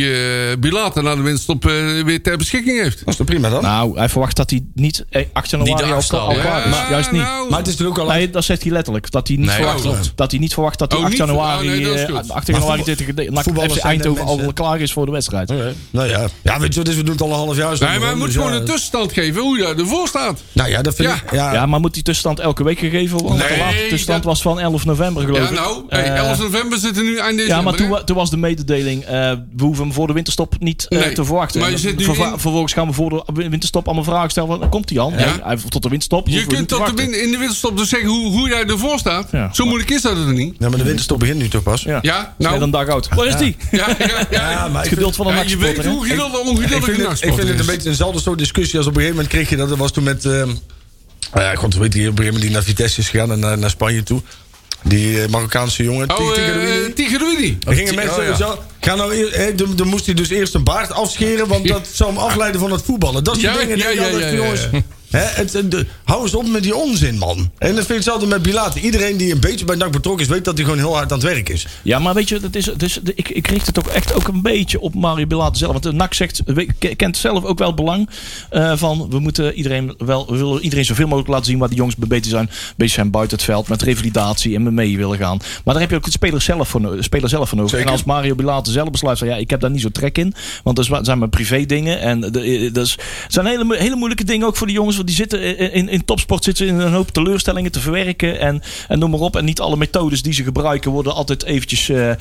Speaker 3: eh Bilater na de winststop eh, weer ter beschikking heeft.
Speaker 4: Dat is toch prima dan?
Speaker 5: Nou, hij verwacht dat hij niet eh, 8
Speaker 2: Niet
Speaker 5: januari al
Speaker 2: aanstaan,
Speaker 5: al
Speaker 2: ja.
Speaker 5: klaar is. Juist niet.
Speaker 3: nou,
Speaker 4: maar het is toch ook al...
Speaker 5: Nee, dat zegt hij letterlijk. Dat hij niet,
Speaker 2: Nee,
Speaker 5: verwacht,
Speaker 3: oh, klopt.
Speaker 5: dat hij niet verwacht dat hij
Speaker 3: Oh,
Speaker 5: 8
Speaker 3: niet ver-
Speaker 5: januari,
Speaker 3: oh, nee, dat is
Speaker 5: eh,
Speaker 3: goed.
Speaker 5: 8
Speaker 4: Maar
Speaker 5: januari
Speaker 4: voetbal-
Speaker 5: tegen de- NAC
Speaker 4: voetballers
Speaker 5: FC
Speaker 4: zijn net
Speaker 5: Eindhoven al
Speaker 4: mensen, hè?
Speaker 5: klaar is voor de wedstrijd.
Speaker 4: Nou ja. ja, weet je wat het is? We doen het al een half jaar. zo.
Speaker 3: Nee, maar hij moet
Speaker 4: Dus
Speaker 3: gewoon
Speaker 4: ja.
Speaker 3: een tussenstand geven hoe hij ervoor staat.
Speaker 4: Nou ja, dat vind
Speaker 3: Ja.
Speaker 4: ik... Ja,
Speaker 5: Ja, maar moet die tussenstand elke week gegeven worden? Want de
Speaker 3: Ah. Nee,
Speaker 5: laatste tussenstand
Speaker 3: dat-
Speaker 5: was van 11 november, geloof
Speaker 3: Ja,
Speaker 5: ik.
Speaker 3: nou, hey,
Speaker 5: Eh,
Speaker 3: 11 november zitten nu eind december.
Speaker 5: Ja, maar toen,
Speaker 3: hè?
Speaker 5: wa- toen was de mededeling, eh, we hoeven hem voor de winterstop niet eh,
Speaker 3: Nee,
Speaker 5: te verwachten.
Speaker 3: maar je
Speaker 5: En
Speaker 3: zit nu
Speaker 5: verva-
Speaker 3: in-
Speaker 5: Vervolgens gaan we voor de winterstop allemaal vragen stellen. Van, komt hij al? Nee, hij, tot de winterstop.
Speaker 3: Je
Speaker 5: hoeven we
Speaker 3: kunt
Speaker 5: niet te
Speaker 3: tot de
Speaker 5: wachten.
Speaker 3: win- in de winterstop dus zeggen hoe, hoe hij ervoor staat.
Speaker 5: Ja.
Speaker 3: Zo moeilijk is dat er niet.
Speaker 4: Ja, maar de winterstop begint nu toch pas? Ja,
Speaker 3: Ja,
Speaker 5: Is net
Speaker 3: nou.
Speaker 5: een dag oud. Waar is die?
Speaker 3: Ja, ja, ja.
Speaker 4: maar
Speaker 5: Het
Speaker 4: ik vind,
Speaker 5: geduld van een
Speaker 3: Ja, je weet
Speaker 5: nachtsporter.
Speaker 3: hoe geduldig
Speaker 4: ik
Speaker 3: ongeduldig
Speaker 4: vind,
Speaker 3: een
Speaker 4: het, ik vind
Speaker 3: nachtsporter
Speaker 4: het een
Speaker 3: is.
Speaker 4: beetje eenzelfde soort discussie als op een gegeven moment kreeg je dat. Dat was toen met... eh, nou ja, god, weet je, op een gegeven moment die naar Vitesse is gegaan en eh, naar, naar Spanje toe. Die eh, Marokkaanse jongen.
Speaker 3: Oh,
Speaker 4: Tig-
Speaker 3: eh,
Speaker 4: Tigerouini.
Speaker 3: Tigerouini.
Speaker 4: Er gingen mensen
Speaker 2: oh, ja.
Speaker 4: sowieso... Ga nou, eer- hè, dan dan moest hij dus eerst een baard afscheren, want dat zou hem afleiden van het voetballen. Dat soort
Speaker 3: Ja,
Speaker 4: dingen.
Speaker 3: ja,
Speaker 4: denk ik
Speaker 3: ja,
Speaker 4: altijd
Speaker 3: ja,
Speaker 4: van,
Speaker 3: ja,
Speaker 4: jongens,
Speaker 3: ja.
Speaker 4: hè, het, het- de- hou eens op met die onzin, man. En dat vind ik hetzelfde met Bilater. Iedereen die een beetje bij NAC betrokken is, weet dat hij gewoon heel hard aan het werk is.
Speaker 5: Ja, maar weet je, dat is, dat is, ik, ik richt het ook echt ook een beetje op Mario Bilater zelf. Want de NAC zegt, we- ke- kent zelf ook wel het belang eh, van... we moeten iedereen wel, we willen iedereen zoveel mogelijk laten zien... waar de jongens mee bezig zijn. Bezig zijn buiten het veld, met revalidatie en mee willen gaan. Maar daar heb je ook het speler zelf voor, no- de speler zelf voor nodig. En als Mario Bilater zelf besluit van... ja, ik heb daar niet zo trek in. Want dat is wa- zijn mijn privé dingen. En de- eh, dat is, het zijn hele, mo- hele moeilijke dingen ook voor de jongens. Want die zitten in, eh, in, in topsport zitten ze in een hoop teleurstellingen te verwerken. En, en noem maar op. En niet alle methodes die ze gebruiken worden altijd eventjes eh, eh,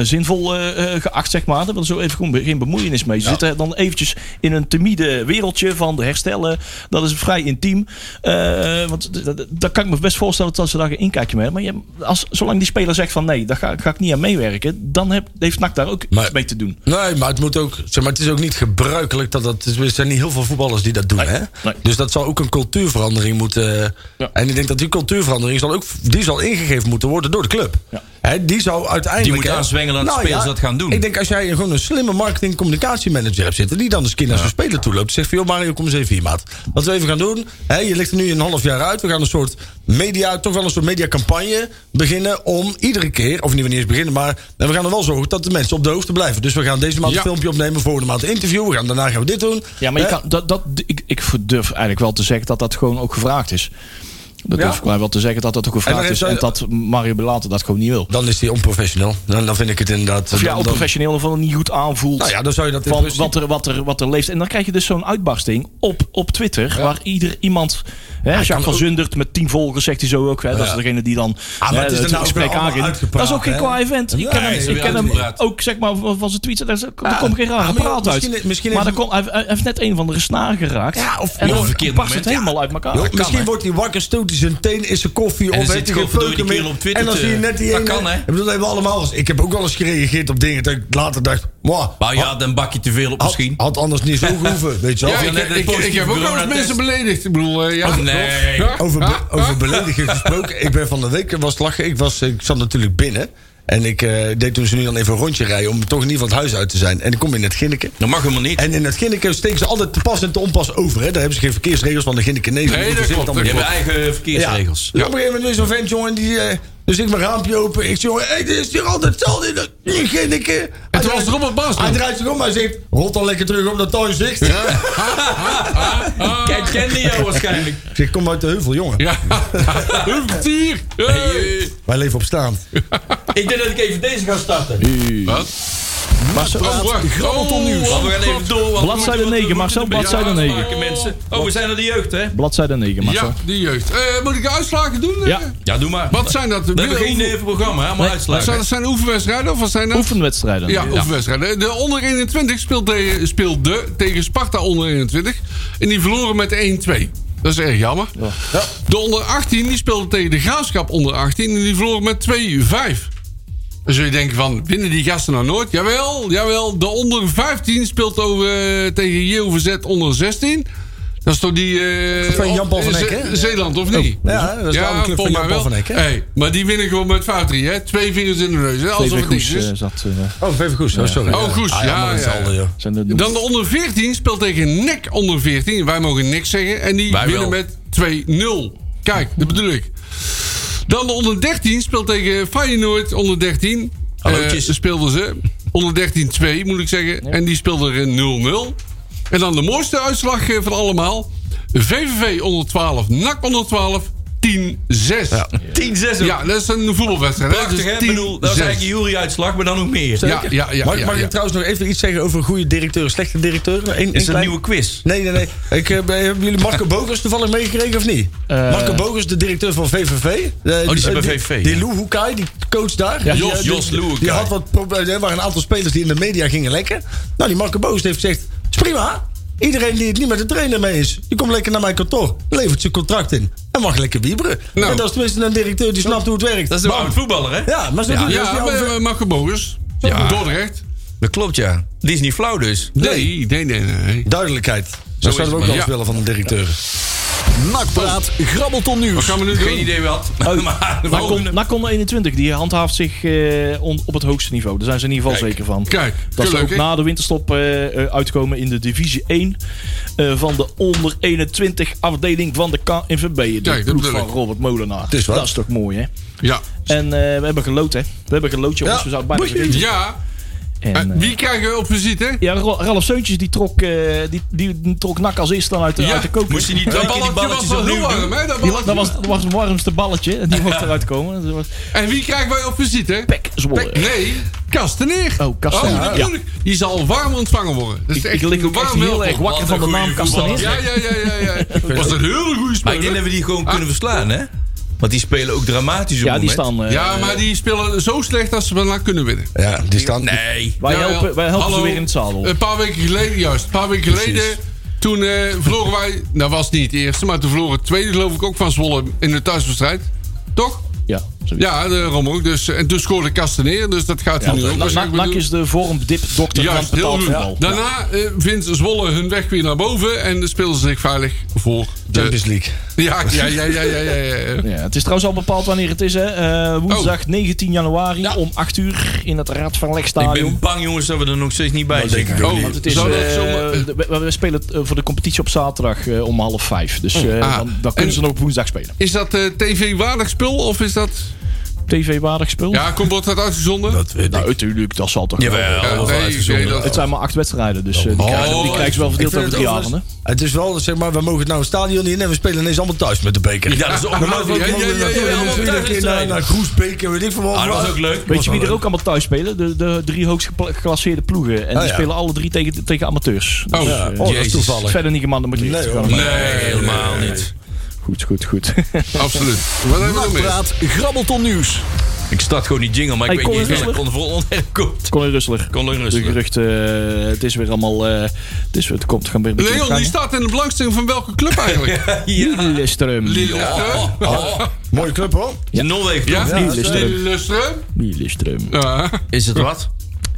Speaker 5: zinvol eh, eh, geacht, zeg maar. Daar willen ze ook even gewoon be- geen bemoeienis mee. Ze zitten dan eventjes in een timide wereldje van herstellen. Dat is vrij intiem. Eh, want d- d- dat kan ik me best voorstellen dat ze daar geen inkijkje mee hebben. Maar je, als, zolang die speler zegt van nee, daar ga, ga ik niet aan meewerken. Dan heb, heeft NAC daar ook
Speaker 4: Maar-
Speaker 5: iets mee te doen.
Speaker 4: Nee, maar het, moet ook, zeg maar het is ook niet gebruikelijk dat dat. Er zijn niet heel veel voetballers die dat doen. hè?
Speaker 5: nee.
Speaker 4: Dus dat zal ook een cultuurverandering moeten. eh,
Speaker 5: Ja.
Speaker 4: En ik denk dat die cultuurverandering zal ook, die zal ingegeven moeten worden door de club.
Speaker 5: Ja.
Speaker 4: En Hè, die zou uiteindelijk...
Speaker 2: Die moet
Speaker 4: hè, Nou
Speaker 2: aanzwengelen dat spelers dat gaan doen.
Speaker 4: Ik denk als jij gewoon een slimme marketing communicatiemanager hebt zitten... die dan eens een keer naar zo'n speler toe loopt... zegt van, joh Mario, kom eens even hier, maat. Wat we even gaan doen, hè, je ligt er nu een half jaar uit... we gaan een soort media, toch wel een soort mediacampagne beginnen... om iedere keer, of niet wanneer eens beginnen... maar we gaan er wel zorgen dat de mensen op de hoogte blijven. Dus we gaan deze maand
Speaker 3: Ja.
Speaker 4: een filmpje opnemen... volgende maand een interview, we gaan, daarna gaan we dit doen.
Speaker 5: Ja, maar je
Speaker 4: Hè,
Speaker 5: kan, dat, dat, ik, ik durf eigenlijk wel te zeggen dat dat gewoon ook gevraagd is. Dat
Speaker 3: Ja.
Speaker 5: durf ik mij wel te zeggen dat dat ook
Speaker 4: En
Speaker 5: gevraagd
Speaker 4: dan
Speaker 5: is.
Speaker 4: heeft
Speaker 5: En
Speaker 4: hij-
Speaker 5: dat Mario Belater dat gewoon niet wil.
Speaker 4: Dan is die onprofessioneel. Dan, dan vind ik het inderdaad...
Speaker 5: Of
Speaker 4: dan-
Speaker 5: ja,
Speaker 4: dan-
Speaker 5: onprofessioneel of dan niet goed aanvoelt.
Speaker 4: Nou ja, dan zou je dat in
Speaker 5: van
Speaker 4: principe-
Speaker 5: wat er, wat, er, wat er leeft. En dan krijg je dus zo'n uitbarsting op, op Twitter. Waar ieder iemand. Hè, Jacques van
Speaker 4: ook-
Speaker 5: Zundert met tien volgers zegt hij zo ook. Hè, Dat is degene die dan
Speaker 4: Ah, maar
Speaker 5: hè,
Speaker 4: het is
Speaker 5: het,
Speaker 4: er nou ook
Speaker 5: gesprek
Speaker 4: allemaal
Speaker 5: aangeeft. Dat
Speaker 4: uitgepraat,
Speaker 5: is ook geen
Speaker 4: hè?
Speaker 5: kwaai event. Ik ken
Speaker 4: Nee,
Speaker 2: ze
Speaker 5: hem, ik
Speaker 2: hebben
Speaker 5: ken hem
Speaker 2: uitgepraat.
Speaker 5: ook zeg maar, van van zijn tweets. Daar, daar komt geen rare
Speaker 4: Ah, maar joh,
Speaker 5: praat uit.
Speaker 4: misschien- misschien
Speaker 5: maar dan
Speaker 4: heeft-
Speaker 5: kon, hij, hij heeft net een van de snaar geraakt.
Speaker 4: Ja, of-
Speaker 5: en
Speaker 4: joh,
Speaker 5: dan
Speaker 2: verkeerd
Speaker 5: barst het
Speaker 2: moment.
Speaker 5: helemaal uit elkaar.
Speaker 4: Joh,
Speaker 2: Ah, kan,
Speaker 4: misschien
Speaker 2: hè?
Speaker 4: wordt hij wakker, stoot hij zijn teen in zijn koffie
Speaker 2: dan
Speaker 4: of
Speaker 2: zit
Speaker 4: weet
Speaker 2: hij
Speaker 4: ik geen
Speaker 2: godverdomme die
Speaker 4: peuken meer.
Speaker 2: kerel op Twitter
Speaker 4: En dan
Speaker 2: te-
Speaker 4: zie je net die
Speaker 2: Dat
Speaker 4: ene-
Speaker 2: kan, hè?
Speaker 4: Ik bedoel, dat hebben we allemaal eens. Ik heb ook wel eens gereageerd op dingen dat ik later dacht, wow,
Speaker 2: Maar je
Speaker 4: had-
Speaker 2: had een bakje te veel op
Speaker 4: had,
Speaker 2: misschien.
Speaker 4: had anders niet zo gehoeven, weet je wel.
Speaker 3: Ja, ik,
Speaker 2: net het
Speaker 3: ik, ik,
Speaker 2: positieve
Speaker 3: heb ook wel eens
Speaker 2: coronatest.
Speaker 3: mensen beledigd. Ik bedoel, eh, ja.
Speaker 2: Oh, nee.
Speaker 3: Ja,
Speaker 4: Over, be-
Speaker 3: ja, ja.
Speaker 4: over belediging gesproken. Ik ben van de week was het lachen. Ik, was, ik zat natuurlijk binnen. En ik eh, deed toen ze nu dan even een rondje rijden. Om toch in ieder geval het huis uit te zijn. En ik kom in het Ginneken.
Speaker 2: Dat mag helemaal niet.
Speaker 4: En in het Ginneken steken ze altijd te pas en te onpas over. Hè. Daar hebben ze geen verkeersregels van de Ginneken. Nee,
Speaker 3: Nee, dat klopt,
Speaker 2: Je
Speaker 3: dat
Speaker 2: hebt eigen verkeersregels.
Speaker 4: Ja. Op een gegeven moment is zo'n vent, jongen, die... eh, dus ik mijn raampje open. Ik zeg, jongen, hey, dit is hier altijd hetzelfde. in dat- in Geen ik. En
Speaker 3: toen was Robert Bas
Speaker 4: Hij
Speaker 3: nog.
Speaker 4: draait zich om, hij zegt... Rot dan lekker terug op dat tuinzicht.
Speaker 2: Kijk, kende jou waarschijnlijk.
Speaker 4: Ik zeg, kom uit de heuvel, jongen.
Speaker 3: Ja. Een tier. Hey.
Speaker 4: Wij leven op staand.
Speaker 2: Ik denk dat ik even deze ga starten.
Speaker 3: Wat?
Speaker 5: Maar zo-
Speaker 3: Oh, wacht. Oh,
Speaker 2: Maar we gaan even door. want we
Speaker 5: Bladzijde
Speaker 2: moeten- we
Speaker 5: 9,
Speaker 2: moeten
Speaker 5: Marcel,
Speaker 2: een beetje
Speaker 5: bladzijde
Speaker 2: aanspraken,
Speaker 3: 9.
Speaker 2: mensen. Oh, we zijn er de jeugd, hè?
Speaker 5: Bladzijde 9, maar
Speaker 3: Ja, die jeugd. Eh, moet ik de uitslagen doen?
Speaker 5: Ja.
Speaker 2: Ja, doe maar.
Speaker 3: Wat zijn dat?
Speaker 2: We hebben geen
Speaker 3: Oefen-
Speaker 2: eh, programma, hè, maar
Speaker 3: zijn
Speaker 2: uitslagen.
Speaker 3: dat zijn oefenwedstrijden of wat zijn dat?
Speaker 5: Oefenwedstrijden.
Speaker 3: Ja, oefenwedstrijden. De onder 21 speelde, tegen- speelde tegen Sparta onder 21. En die verloren met 1-2. Dat is erg jammer. De onder 18 die speelde tegen de Graafschap onder 18. En die verloren met 2-5. Dan zul je denken van, winnen die gasten nou nooit? Jawel, jawel. De onder 15 speelt over, eh, tegen JOVZ onder 16. Dat is toch die... eh,
Speaker 4: Van Jan Paul van
Speaker 3: Ze-
Speaker 4: Eck, hè? Oh.
Speaker 3: Zeeland, of niet?
Speaker 4: Ja, dat is de oude club van
Speaker 3: volgens mij
Speaker 4: Jan Paul
Speaker 3: wel.
Speaker 4: van Eck, hè?
Speaker 3: Hey, maar die winnen gewoon met 5-3, hè? Twee vingers in de neus, hè?
Speaker 5: Twee
Speaker 3: Alsof het niks
Speaker 5: Goes,
Speaker 3: is.
Speaker 5: eh, zat. eh,
Speaker 4: Oh, even Goes. Oh, sorry.
Speaker 3: Oh, Goes, ja,
Speaker 4: allemaal
Speaker 3: ja,
Speaker 4: hetzelfde,
Speaker 3: ja.
Speaker 4: joh.
Speaker 5: zijn de
Speaker 3: Dan de onder 14 speelt tegen NEC onder 14. Wij mogen niks zeggen. En die
Speaker 2: Wij wel.
Speaker 3: winnen met 2-0. Kijk, dat bedoel ik. Dan de onder 13 speelt tegen Feyenoord onder 13.
Speaker 2: Hallootjes.
Speaker 3: Eh, speelden ze. Onder 13-2 moet ik zeggen. En die speelde er een 0-0. En dan de mooiste uitslag eh, van allemaal. VVV onder 12, NAC onder 12, 10-6. Ja.
Speaker 2: 10-6. ook.
Speaker 3: dat is een voetbalwedstrijd. hè?
Speaker 2: Prachtig,
Speaker 3: Dus
Speaker 2: hè? Ik bedoel, dat is
Speaker 3: 10-6.
Speaker 2: eigenlijk een jury-uitslag, maar dan nog meer.
Speaker 3: Ja, ja, ja.
Speaker 4: mag ik-
Speaker 3: ja,
Speaker 4: mag
Speaker 3: ja.
Speaker 4: ik trouwens nog even iets zeggen over goede directeur en slechte directeur? Eén- één
Speaker 2: Is dat een
Speaker 4: klein-
Speaker 2: nieuwe quiz?
Speaker 4: Nee, nee, nee. Ik, eh, ben- hebben jullie Marco Bogers toevallig meegekregen of niet?
Speaker 5: Eh.
Speaker 4: Marco Bogers, de directeur van VVV.
Speaker 2: Oh, die zit bij
Speaker 4: eh,
Speaker 2: VVV,
Speaker 4: Die
Speaker 2: ja.
Speaker 4: Lou Hoekai, die coach daar.
Speaker 5: Ja,
Speaker 4: Die,
Speaker 2: Jos-
Speaker 4: eh, die-
Speaker 2: Jos Lou
Speaker 4: die
Speaker 2: Hoekai.
Speaker 4: had wat problemen. Er waren een aantal spelers die in de media gingen lekken. Nou, die Marco Bogers heeft gezegd, is prima. Iedereen die het niet met de trainer mee is, die komt lekker naar mijn kantoor. Levert zijn contract in. En mag lekker wieberen.
Speaker 3: Nou.
Speaker 4: En dat is tenminste een directeur die snapt hoe het werkt.
Speaker 2: Dat is een
Speaker 4: Bam.
Speaker 2: oud voetballer, hè?
Speaker 4: Ja, maar zo doe je dat is die
Speaker 3: Ja,
Speaker 4: oude-
Speaker 3: maar- eh, Marco Bogus.
Speaker 2: Ja.
Speaker 3: Dordrecht.
Speaker 2: Dat klopt, ja. Die is niet flauw, dus.
Speaker 3: Nee, nee, nee, nee.
Speaker 4: Duidelijkheid. Zo,
Speaker 2: is
Speaker 4: zouden we ook
Speaker 2: het.
Speaker 4: wel eens
Speaker 3: Ja.
Speaker 4: willen van de directeur.
Speaker 1: Nakpraat, grabbelton
Speaker 3: Wat
Speaker 1: nieuws.
Speaker 3: gaan we nu
Speaker 2: Geen
Speaker 3: doen?
Speaker 2: idee wat. Maar de
Speaker 3: Oh,
Speaker 5: Nakon,
Speaker 2: volgende.
Speaker 5: Nakon 21, die handhaaft zich eh, on- op het hoogste niveau. Daar zijn ze in ieder geval
Speaker 2: Kijk,
Speaker 5: zeker van.
Speaker 3: kijk,
Speaker 5: dat ze ook
Speaker 3: gelukkig.
Speaker 5: na de winterstop eh, eh, uitkomen in de divisie 1 eh, van de onder 21 afdeling van de KNVB. De
Speaker 3: Kijk, dat
Speaker 5: ploeg
Speaker 3: bedoel
Speaker 5: van
Speaker 3: ik.
Speaker 5: Robert Molenaar.
Speaker 4: is wat.
Speaker 5: dat is toch mooi, hè?
Speaker 3: Ja.
Speaker 5: En eh, we hebben geloot, hè? We hebben geloot, jongens.
Speaker 4: Ja.
Speaker 5: We zouden bijna vergeten.
Speaker 3: Ja.
Speaker 5: En,
Speaker 3: Eh,
Speaker 5: eh,
Speaker 3: Wie krijgen we op visite?
Speaker 5: ja, Ra- Ralf Seuntjes die trok, eh, die, die trok nak als eerste dan uit, de-
Speaker 3: Ja,
Speaker 5: uit de koker.
Speaker 2: Moest je niet
Speaker 3: Dat
Speaker 2: drie keer die
Speaker 3: balletje was
Speaker 2: balletjes
Speaker 3: wel heel
Speaker 2: opnieuw
Speaker 3: warm,
Speaker 2: doen?
Speaker 3: hè? Dat
Speaker 5: Die-
Speaker 3: balletje.
Speaker 5: dat, was, dat was het warmste balletje. en Die mocht eruit komen. Dat was
Speaker 3: En wie krijgen wij op visite?
Speaker 5: pek Zwolle.
Speaker 3: Nee, Kasteneer.
Speaker 5: Oh, Kasteneer.
Speaker 3: Oh, natuurlijk. Die zal warm ontvangen worden. Dat is
Speaker 5: Ik,
Speaker 3: echt
Speaker 5: ik lig ook echt
Speaker 3: warm
Speaker 5: heel
Speaker 3: welkom.
Speaker 5: erg wakker
Speaker 2: Wat
Speaker 5: van de
Speaker 2: een
Speaker 5: naam
Speaker 2: goeie voetballer.
Speaker 5: Castanis.
Speaker 3: Ja, ja, ja, ja. ja. Was een hele goede
Speaker 2: Maar ik denk dat
Speaker 3: speler. Ah.
Speaker 2: we die gewoon kunnen verslaan, hè? Want die spelen ook dramatisch op
Speaker 5: Ja,
Speaker 2: het
Speaker 5: die
Speaker 2: moment.
Speaker 5: staan. eh,
Speaker 3: Ja, maar die spelen zo slecht dat ze bijna kunnen winnen.
Speaker 4: Ja, die staan...
Speaker 2: Nee.
Speaker 5: Wij
Speaker 3: Ja, Nou ja.
Speaker 5: helpen, wij helpen ze
Speaker 3: Hallo. Eh,
Speaker 5: weer in het zadel.
Speaker 3: Een paar weken geleden, juist. Een paar weken geleden. Toen eh, verloren wij. Dat was niet het eerste, maar toen verloren het tweede, geloof ik, ook van Zwolle in de thuiswedstrijd. Toch?
Speaker 5: Ja, ja,
Speaker 3: Ja, daarom ook. Dus, en toen scoorde Kasteneer, dus dat gaat hij nu ook.
Speaker 5: Nak
Speaker 3: waarschijnlijk
Speaker 5: Nak
Speaker 3: weer
Speaker 5: is de vormdip-dokter
Speaker 3: doen.
Speaker 5: van
Speaker 3: Juist,
Speaker 5: het
Speaker 3: heel Nou,
Speaker 5: betaald
Speaker 3: goed.
Speaker 5: voetbal.
Speaker 3: Daarna eh, vindt Zwolle hun weg weer naar boven en spelen ze zich veilig voor de,
Speaker 4: Champions League.
Speaker 3: Ja, ja, ja, ja, ja. ja, ja.
Speaker 5: Ja, het is trouwens al bepaald wanneer het is. Hè. Eh, woensdag 19 januari om 8 uur in het Raad van
Speaker 2: Ik
Speaker 5: Legstadion.
Speaker 2: ben bang, jongens, dat we er nog steeds niet bij zijn.
Speaker 3: Oh,
Speaker 5: Want het is,
Speaker 3: zou dat
Speaker 5: eh,
Speaker 3: zomaar-
Speaker 5: de- we, we spelen het, eh, voor de competitie op zaterdag eh, om half vijf. Dus eh,
Speaker 3: Ah.
Speaker 5: dan, dan kunnen ze
Speaker 3: En-
Speaker 5: nog op woensdag spelen.
Speaker 3: Is dat eh, tv-waardig spul of is dat...
Speaker 5: TV-waardig spul?
Speaker 3: Ja, komt wordt dat uitgezonden?
Speaker 4: Dat weet
Speaker 5: Nou,
Speaker 4: ik.
Speaker 5: natuurlijk, dat zal toch wel.
Speaker 2: Jawel,
Speaker 3: Ja,
Speaker 2: wel
Speaker 3: nee,
Speaker 2: uitgezonden.
Speaker 3: nee, dat-
Speaker 5: Het zijn maar acht wedstrijden, dus eh, die,
Speaker 3: Oh,
Speaker 5: krijgen, die krijgen ze wel
Speaker 4: Ik
Speaker 5: verdeeld
Speaker 4: vind
Speaker 5: over
Speaker 4: het
Speaker 5: drie
Speaker 4: overigens-
Speaker 5: avonden.
Speaker 4: Het is wel, zeg maar, we mogen nou een stadion in en we spelen ineens allemaal thuis met de beker.
Speaker 2: Ja, dat is ook
Speaker 4: Normaal
Speaker 3: Ja, ja, ja, ja,
Speaker 4: natuurlijk
Speaker 3: ja, allemaal
Speaker 4: iedere
Speaker 2: thuis
Speaker 4: keer naar,
Speaker 2: zijn.
Speaker 4: naar Groesbeek en weet ik veel wat.
Speaker 2: Ah, dat was ook leuk.
Speaker 5: Weet je wie er ook allemaal thuis spelen? De, de drie hoogst gepla- geclasseerde ploegen. En die
Speaker 4: ja.
Speaker 5: spelen alle drie tegen, tegen amateurs.
Speaker 3: Oh,
Speaker 5: Dus,
Speaker 3: ja.
Speaker 5: eh,
Speaker 4: Oh, dat is
Speaker 2: Jezus.
Speaker 4: toevallig.
Speaker 5: verder niet gemaakt, dan moet je
Speaker 4: Nee,
Speaker 5: niet
Speaker 4: hoor.
Speaker 5: gaan maken.
Speaker 2: Nee, helemaal niet.
Speaker 5: Goed, goed, goed.
Speaker 3: Absoluut. Wat hebben we nog meer?
Speaker 1: Nakpraat, grabbelton nieuws.
Speaker 2: Ik start gewoon die jingle, maar
Speaker 5: Hey,
Speaker 2: ik weet
Speaker 5: Colin
Speaker 2: niet eens ik
Speaker 5: Rustler?
Speaker 2: kon vol ontwerp komt.
Speaker 5: Colin Rustler.
Speaker 2: Colin
Speaker 5: De
Speaker 2: Rustler.
Speaker 5: geruchten, eh, het is weer allemaal... eh, het, is, het komt gaan weer een beetje
Speaker 3: Leon, die
Speaker 5: op gang,
Speaker 3: staat in de belangstelling van welke club eigenlijk?
Speaker 5: hè? Lillestrøm.
Speaker 3: Lillestrøm?
Speaker 4: Mooie club hoor.
Speaker 2: Is het Noorwegen,
Speaker 3: Ja,
Speaker 2: toch?
Speaker 5: Lillestrøm.
Speaker 3: Lillestrøm?
Speaker 5: Lillestrøm.
Speaker 3: Ja.
Speaker 2: Is het wat?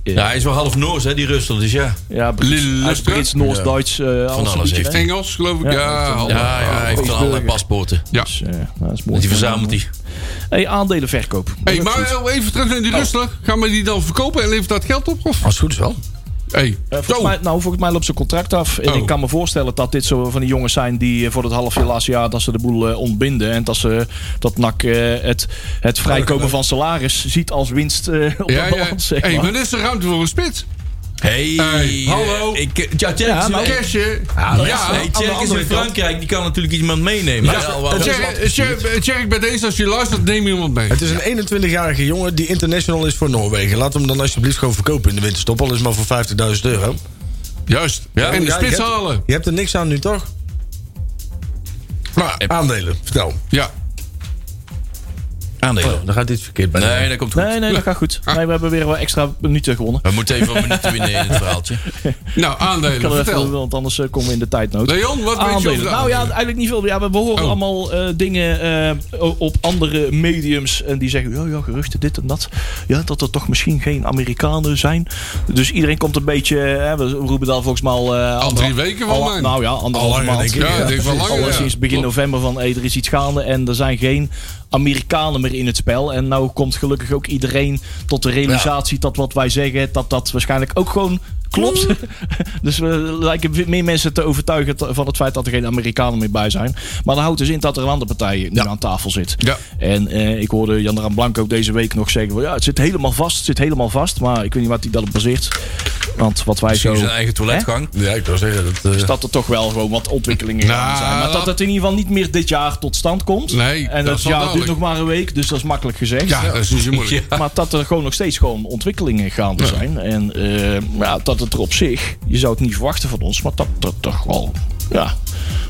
Speaker 5: Ja.
Speaker 2: Ja, hij is wel half Noors, hè, die Rustler. Dus ja.
Speaker 5: Ja,
Speaker 3: Lillestrøm.
Speaker 5: Brits, Brits Noors, Duits. eh, alles
Speaker 2: alles
Speaker 5: een
Speaker 2: heeft
Speaker 5: beetje, hè?
Speaker 3: Engels, geloof ik.
Speaker 5: Ja.
Speaker 3: Ja, hallo.
Speaker 2: Ja, ja, hij heeft wel allerlei paspoorten.
Speaker 3: Ja.
Speaker 5: Dus, eh, nou, dat is mooi.
Speaker 2: Die verzamelt hij.
Speaker 5: Hey, aandelenverkoop.
Speaker 3: Hey, maar even terug
Speaker 5: Oh.
Speaker 3: naar die Rustler. Gaan we die dan verkopen en levert dat geld op? Of?
Speaker 4: Als het goed is wel.
Speaker 3: Hey.
Speaker 5: Eh, volgens mij, nou, volgens mij loopt zijn contract af. En
Speaker 3: Oh.
Speaker 5: ik kan me voorstellen dat dit zo van die jongens zijn die eh, voor het half jaar laatste jaar dat ze de boel eh, ontbinden. En dat ze dat NAC eh, het, het vrijkomen van salaris ziet als winst eh, op
Speaker 3: Ja,
Speaker 5: de
Speaker 3: ja.
Speaker 5: balans. Zeg
Speaker 3: Hey,
Speaker 5: maar.
Speaker 3: maar dit is de ruimte voor een spits.
Speaker 2: Hey,
Speaker 3: Hey,
Speaker 2: eh,
Speaker 3: hallo.
Speaker 2: Ik, ja, Jack is,
Speaker 5: Ja, nou,
Speaker 2: hey,
Speaker 3: Kersje.
Speaker 2: ja,
Speaker 3: ja. Oh,
Speaker 2: hey, Jack
Speaker 5: de
Speaker 2: is
Speaker 5: andere
Speaker 2: in
Speaker 5: kant.
Speaker 2: Frankrijk, die kan natuurlijk iemand meenemen. Ja, wel- wel-
Speaker 3: Tjerk, Tjerk, Tjerk, bij deze, als je luistert, neem iemand mee.
Speaker 4: Het is een 21-jarige jongen die international is voor Noorwegen. Laat hem dan alsjeblieft gewoon verkopen in de winterstop. Al is het maar voor 50.000 euro.
Speaker 3: Juist.
Speaker 2: Ja,
Speaker 3: en de
Speaker 4: Ja,
Speaker 3: spits
Speaker 4: je hebt-
Speaker 3: halen.
Speaker 4: Je hebt er niks aan nu toch?
Speaker 3: Nou,
Speaker 4: Aandelen, vertel. Oh,
Speaker 3: ja.
Speaker 2: Aandelen.
Speaker 4: Dan gaat iets verkeerd bij.
Speaker 2: Nee, dat komt goed.
Speaker 5: Nee, nee, dat gaat goed.
Speaker 3: Ah.
Speaker 5: Nee, we hebben weer wat extra minuten gewonnen.
Speaker 2: We moeten even een minuut winnen in het verhaaltje.
Speaker 3: Nou,
Speaker 5: Ik kan
Speaker 3: aandelen.
Speaker 5: er even over,
Speaker 3: Vertel.
Speaker 5: want anders eh, komen we in de tijdnood.
Speaker 3: Leon, wat weet je over
Speaker 5: Aandelen.
Speaker 3: de
Speaker 5: Nou ja,
Speaker 3: aandelen?
Speaker 5: eigenlijk niet veel. Ja, we, we horen
Speaker 3: Oh.
Speaker 5: allemaal eh, dingen eh, o- op andere mediums. En die zeggen, ja, ja, geruchten, dit en dat. Ja, dat er toch misschien geen Amerikanen zijn. Dus iedereen komt een beetje... eh, we roepen daar volgens mij al... eh,
Speaker 3: Al drie weken
Speaker 5: al-
Speaker 3: van mij.
Speaker 5: Nou ja, anderhalve
Speaker 4: Al langer,
Speaker 5: maand.
Speaker 4: denk
Speaker 3: Ja,
Speaker 4: ik.
Speaker 3: ik denk wel
Speaker 5: precies.
Speaker 3: langer,
Speaker 5: Al
Speaker 3: ja.
Speaker 5: sinds begin
Speaker 3: Klopt.
Speaker 5: november van hey, er is iets gaande en er zijn geen Amerikanen meer in het spel. En nou komt gelukkig ook iedereen tot de realisatie dat wat wij zeggen, dat dat waarschijnlijk ook gewoon klopt. dus we lijken we- meer mensen te overtuigen t- van het feit dat er geen Amerikanen meer bij zijn. Maar dat houdt dus in dat er een andere partij nu aan tafel zit.
Speaker 3: Ja.
Speaker 5: En eh, ik hoorde Jan Daan Blanco deze week nog zeggen, van, ja, het zit helemaal vast, het zit helemaal vast. Maar ik weet niet wat hij dat op baseert. Want wat wij
Speaker 2: Misschien
Speaker 5: zo
Speaker 2: zijn eigen toiletgang.
Speaker 4: Ja, ik wil zeggen dat. eh,
Speaker 5: is dat er toch wel gewoon wat ontwikkelingen
Speaker 3: Nou,
Speaker 5: gaan zijn. Maar
Speaker 3: laat-
Speaker 5: dat het in ieder geval niet meer dit jaar tot stand komt.
Speaker 3: Nee, dat
Speaker 5: en
Speaker 3: is
Speaker 5: dat
Speaker 3: wel
Speaker 5: jaar duurt nog
Speaker 3: duidelijk.
Speaker 5: maar een week, dus dat is makkelijk gezegd.
Speaker 3: Ja, dat is niet zo moeilijk.
Speaker 5: Maar dat er gewoon nog steeds gewoon ontwikkelingen gaande zijn. En eh, ja, dat het er op zich, je zou het niet verwachten van ons, maar dat dat toch wel, ja,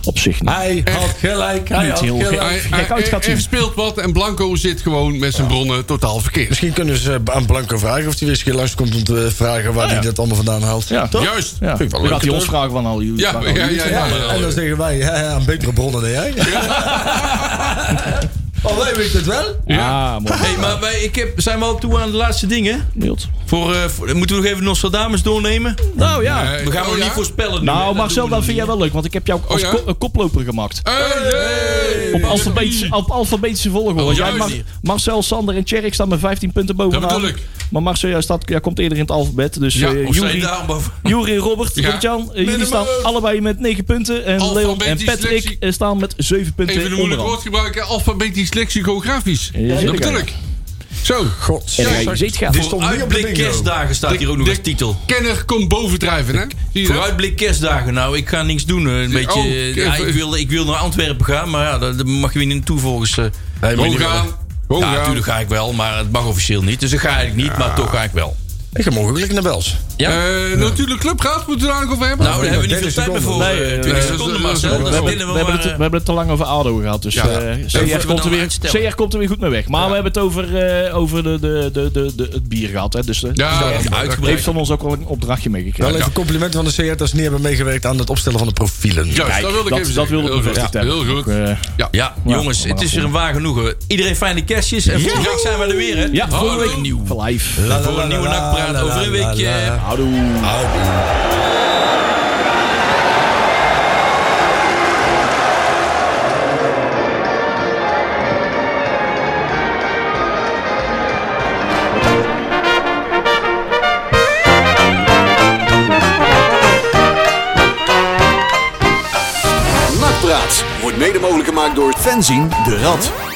Speaker 5: op zich
Speaker 3: Ah,
Speaker 5: niet.
Speaker 4: Hij had gelijk. Hij
Speaker 5: Niet
Speaker 4: had
Speaker 5: heel
Speaker 4: gelijk.
Speaker 5: gek.
Speaker 3: Hij-
Speaker 5: Kijk
Speaker 3: hij-
Speaker 5: uit, gaat
Speaker 3: Er
Speaker 5: zien.
Speaker 3: er speelt wat en Blanco zit gewoon met zijn bronnen totaal verkeerd.
Speaker 4: Misschien kunnen ze aan Blanco vragen of hij weer eens een keer langskomt om te vragen waar hij
Speaker 5: ja.
Speaker 4: dat allemaal vandaan haalt.
Speaker 5: Ja, toch?
Speaker 3: Juist.
Speaker 5: Ja.
Speaker 4: Vind ik wel
Speaker 5: Dan
Speaker 4: leuk.
Speaker 5: gaat hij ons vragen van al jullie.
Speaker 3: Ja,
Speaker 5: waar al
Speaker 3: ja,
Speaker 5: jullie
Speaker 3: ja,
Speaker 5: zijn.
Speaker 3: ja.
Speaker 4: En dan zeggen wij, ja, ja, aan betere bronnen dan jij. Oh, wij weten het wel.
Speaker 5: Ja, Ah, mooi.
Speaker 2: Hey, maar wij ik heb, zijn we al toe aan de laatste dingen?
Speaker 5: Beeld.
Speaker 2: Voor, eh, voor- moeten we nog even Nostradamus doornemen?
Speaker 5: Nou ja.
Speaker 3: Nee.
Speaker 2: We gaan
Speaker 3: Oh,
Speaker 2: nog
Speaker 3: ja? Oh,
Speaker 2: niet voorspellen nu. hè?
Speaker 5: Nou,
Speaker 2: Dat
Speaker 5: Marcel,
Speaker 2: doen we
Speaker 5: dat vind jij
Speaker 2: nog
Speaker 5: wel leuk, want ik heb jou als
Speaker 3: ja?
Speaker 5: ko- eh, koploper gemaakt.
Speaker 3: Hey, hey.
Speaker 5: Op alfabetische, op alfabetische volgorde. Want jij
Speaker 3: Oh, juist.
Speaker 5: mag- Marcel, Sander en Tjerk staan met 15 punten bovenaan.
Speaker 3: Dat bedoel ik.
Speaker 5: Maar Marcel jij staat, jij komt eerder in het alfabet. Dus
Speaker 3: Ja,
Speaker 5: eh,
Speaker 2: niet. Of zijn
Speaker 5: Juri,
Speaker 2: daar boven?
Speaker 5: Juri, Robert,
Speaker 3: Ja.
Speaker 5: Jan, eh, jullie
Speaker 3: hem
Speaker 5: staan
Speaker 3: uit.
Speaker 5: allebei met 9 punten. En Leon en
Speaker 3: Alfabetisch
Speaker 5: Patrick
Speaker 3: selectie.
Speaker 5: eh, staan met 7 punten
Speaker 3: Even een moeilijk
Speaker 5: onderaan.
Speaker 3: woord gebruiken. Alfabetisch lexicografisch.
Speaker 5: Ja,
Speaker 3: dat
Speaker 5: zeker.
Speaker 3: bedoel ik. Zo,
Speaker 4: God.
Speaker 5: En hij zit Eh, gaat.
Speaker 4: Die stond niet op de
Speaker 2: Uitblik
Speaker 4: bingo.
Speaker 2: kerstdagen staat hier ook nog
Speaker 3: de-
Speaker 2: als titel.
Speaker 3: kenner komt bovendrijven, hè? Zie je dat?
Speaker 2: Vooruitblik kerstdagen. Nou, ik ga niks doen. eh, Een beetje,
Speaker 3: Oh,
Speaker 2: eh, ja,
Speaker 3: even-
Speaker 2: ik, wil, ik wil naar Antwerpen gaan, maar ja, daar daar mag je weer niet naartoe volgens... eh,
Speaker 3: Gewoon gaan. Gewoon
Speaker 2: ja,
Speaker 3: gaan.
Speaker 2: natuurlijk ga ik wel, maar het mag officieel niet. Dus dat ga ik niet, maar toch ga ik wel. Nou,
Speaker 4: Ik ga morgen gelijk naar Bels.
Speaker 2: Ja?
Speaker 3: Eh, Natuurlijk clubgaat moeten we daar nog over hebben.
Speaker 2: nou, daar hebben we niet veel
Speaker 4: 30
Speaker 2: tijd meer voor.
Speaker 4: seconden.
Speaker 2: eh,
Speaker 5: Nee,
Speaker 2: 20
Speaker 3: eh,
Speaker 2: seconden,
Speaker 3: eh, eh,
Speaker 2: Marcel.
Speaker 3: we
Speaker 2: Dan
Speaker 5: We hebben,
Speaker 2: willen
Speaker 5: we,
Speaker 2: we
Speaker 5: hebben het, we
Speaker 2: maar... eh,
Speaker 5: hebben het te lang over ADO gehad, dus
Speaker 3: eh, Ja.
Speaker 5: eh,
Speaker 2: moeten
Speaker 5: CR,
Speaker 2: we
Speaker 5: komt er
Speaker 2: dan
Speaker 5: weer,
Speaker 2: uitstellen.
Speaker 5: CR komt er weer goed mee weg. Maar we hebben het over, eh, over de, de, de, de, de- het bier gehad. Hè, dus eh,
Speaker 3: Ja,
Speaker 5: CR
Speaker 3: dat-
Speaker 5: heeft
Speaker 2: Uitgebreid.
Speaker 5: van ons ook al een opdrachtje meegekregen.
Speaker 4: Wel even complimenten van de CR dat ze niet hebben meegewerkt aan het opstellen van de profielen.
Speaker 3: Juist,
Speaker 5: Kijk,
Speaker 3: dat wilde ik
Speaker 5: dat-
Speaker 3: even
Speaker 5: dat
Speaker 3: zeggen.
Speaker 5: wilde ik
Speaker 3: Heel
Speaker 5: bevestigd
Speaker 3: goed.
Speaker 5: hebben.
Speaker 3: Heel goed.
Speaker 5: Ook, eh,
Speaker 3: ja.
Speaker 2: Ja,
Speaker 5: Ja,
Speaker 2: jongens,
Speaker 5: maar
Speaker 2: het is weer een waar genoegen. Iedereen fijne kerstjes. En volgende week zijn we er weer, hè?
Speaker 5: Ja, volgende
Speaker 2: Hallo.
Speaker 5: week nieuw. Live.
Speaker 4: La, la,
Speaker 2: Voor
Speaker 4: la,
Speaker 2: een nieuwe
Speaker 4: la, la,
Speaker 2: nakpraat
Speaker 4: la,
Speaker 2: over een
Speaker 4: la, la,
Speaker 2: weekje.
Speaker 4: la.
Speaker 5: Houdoe.
Speaker 4: Houdoe.
Speaker 1: Praat wordt mede mogelijk gemaakt door fanzine de Rad.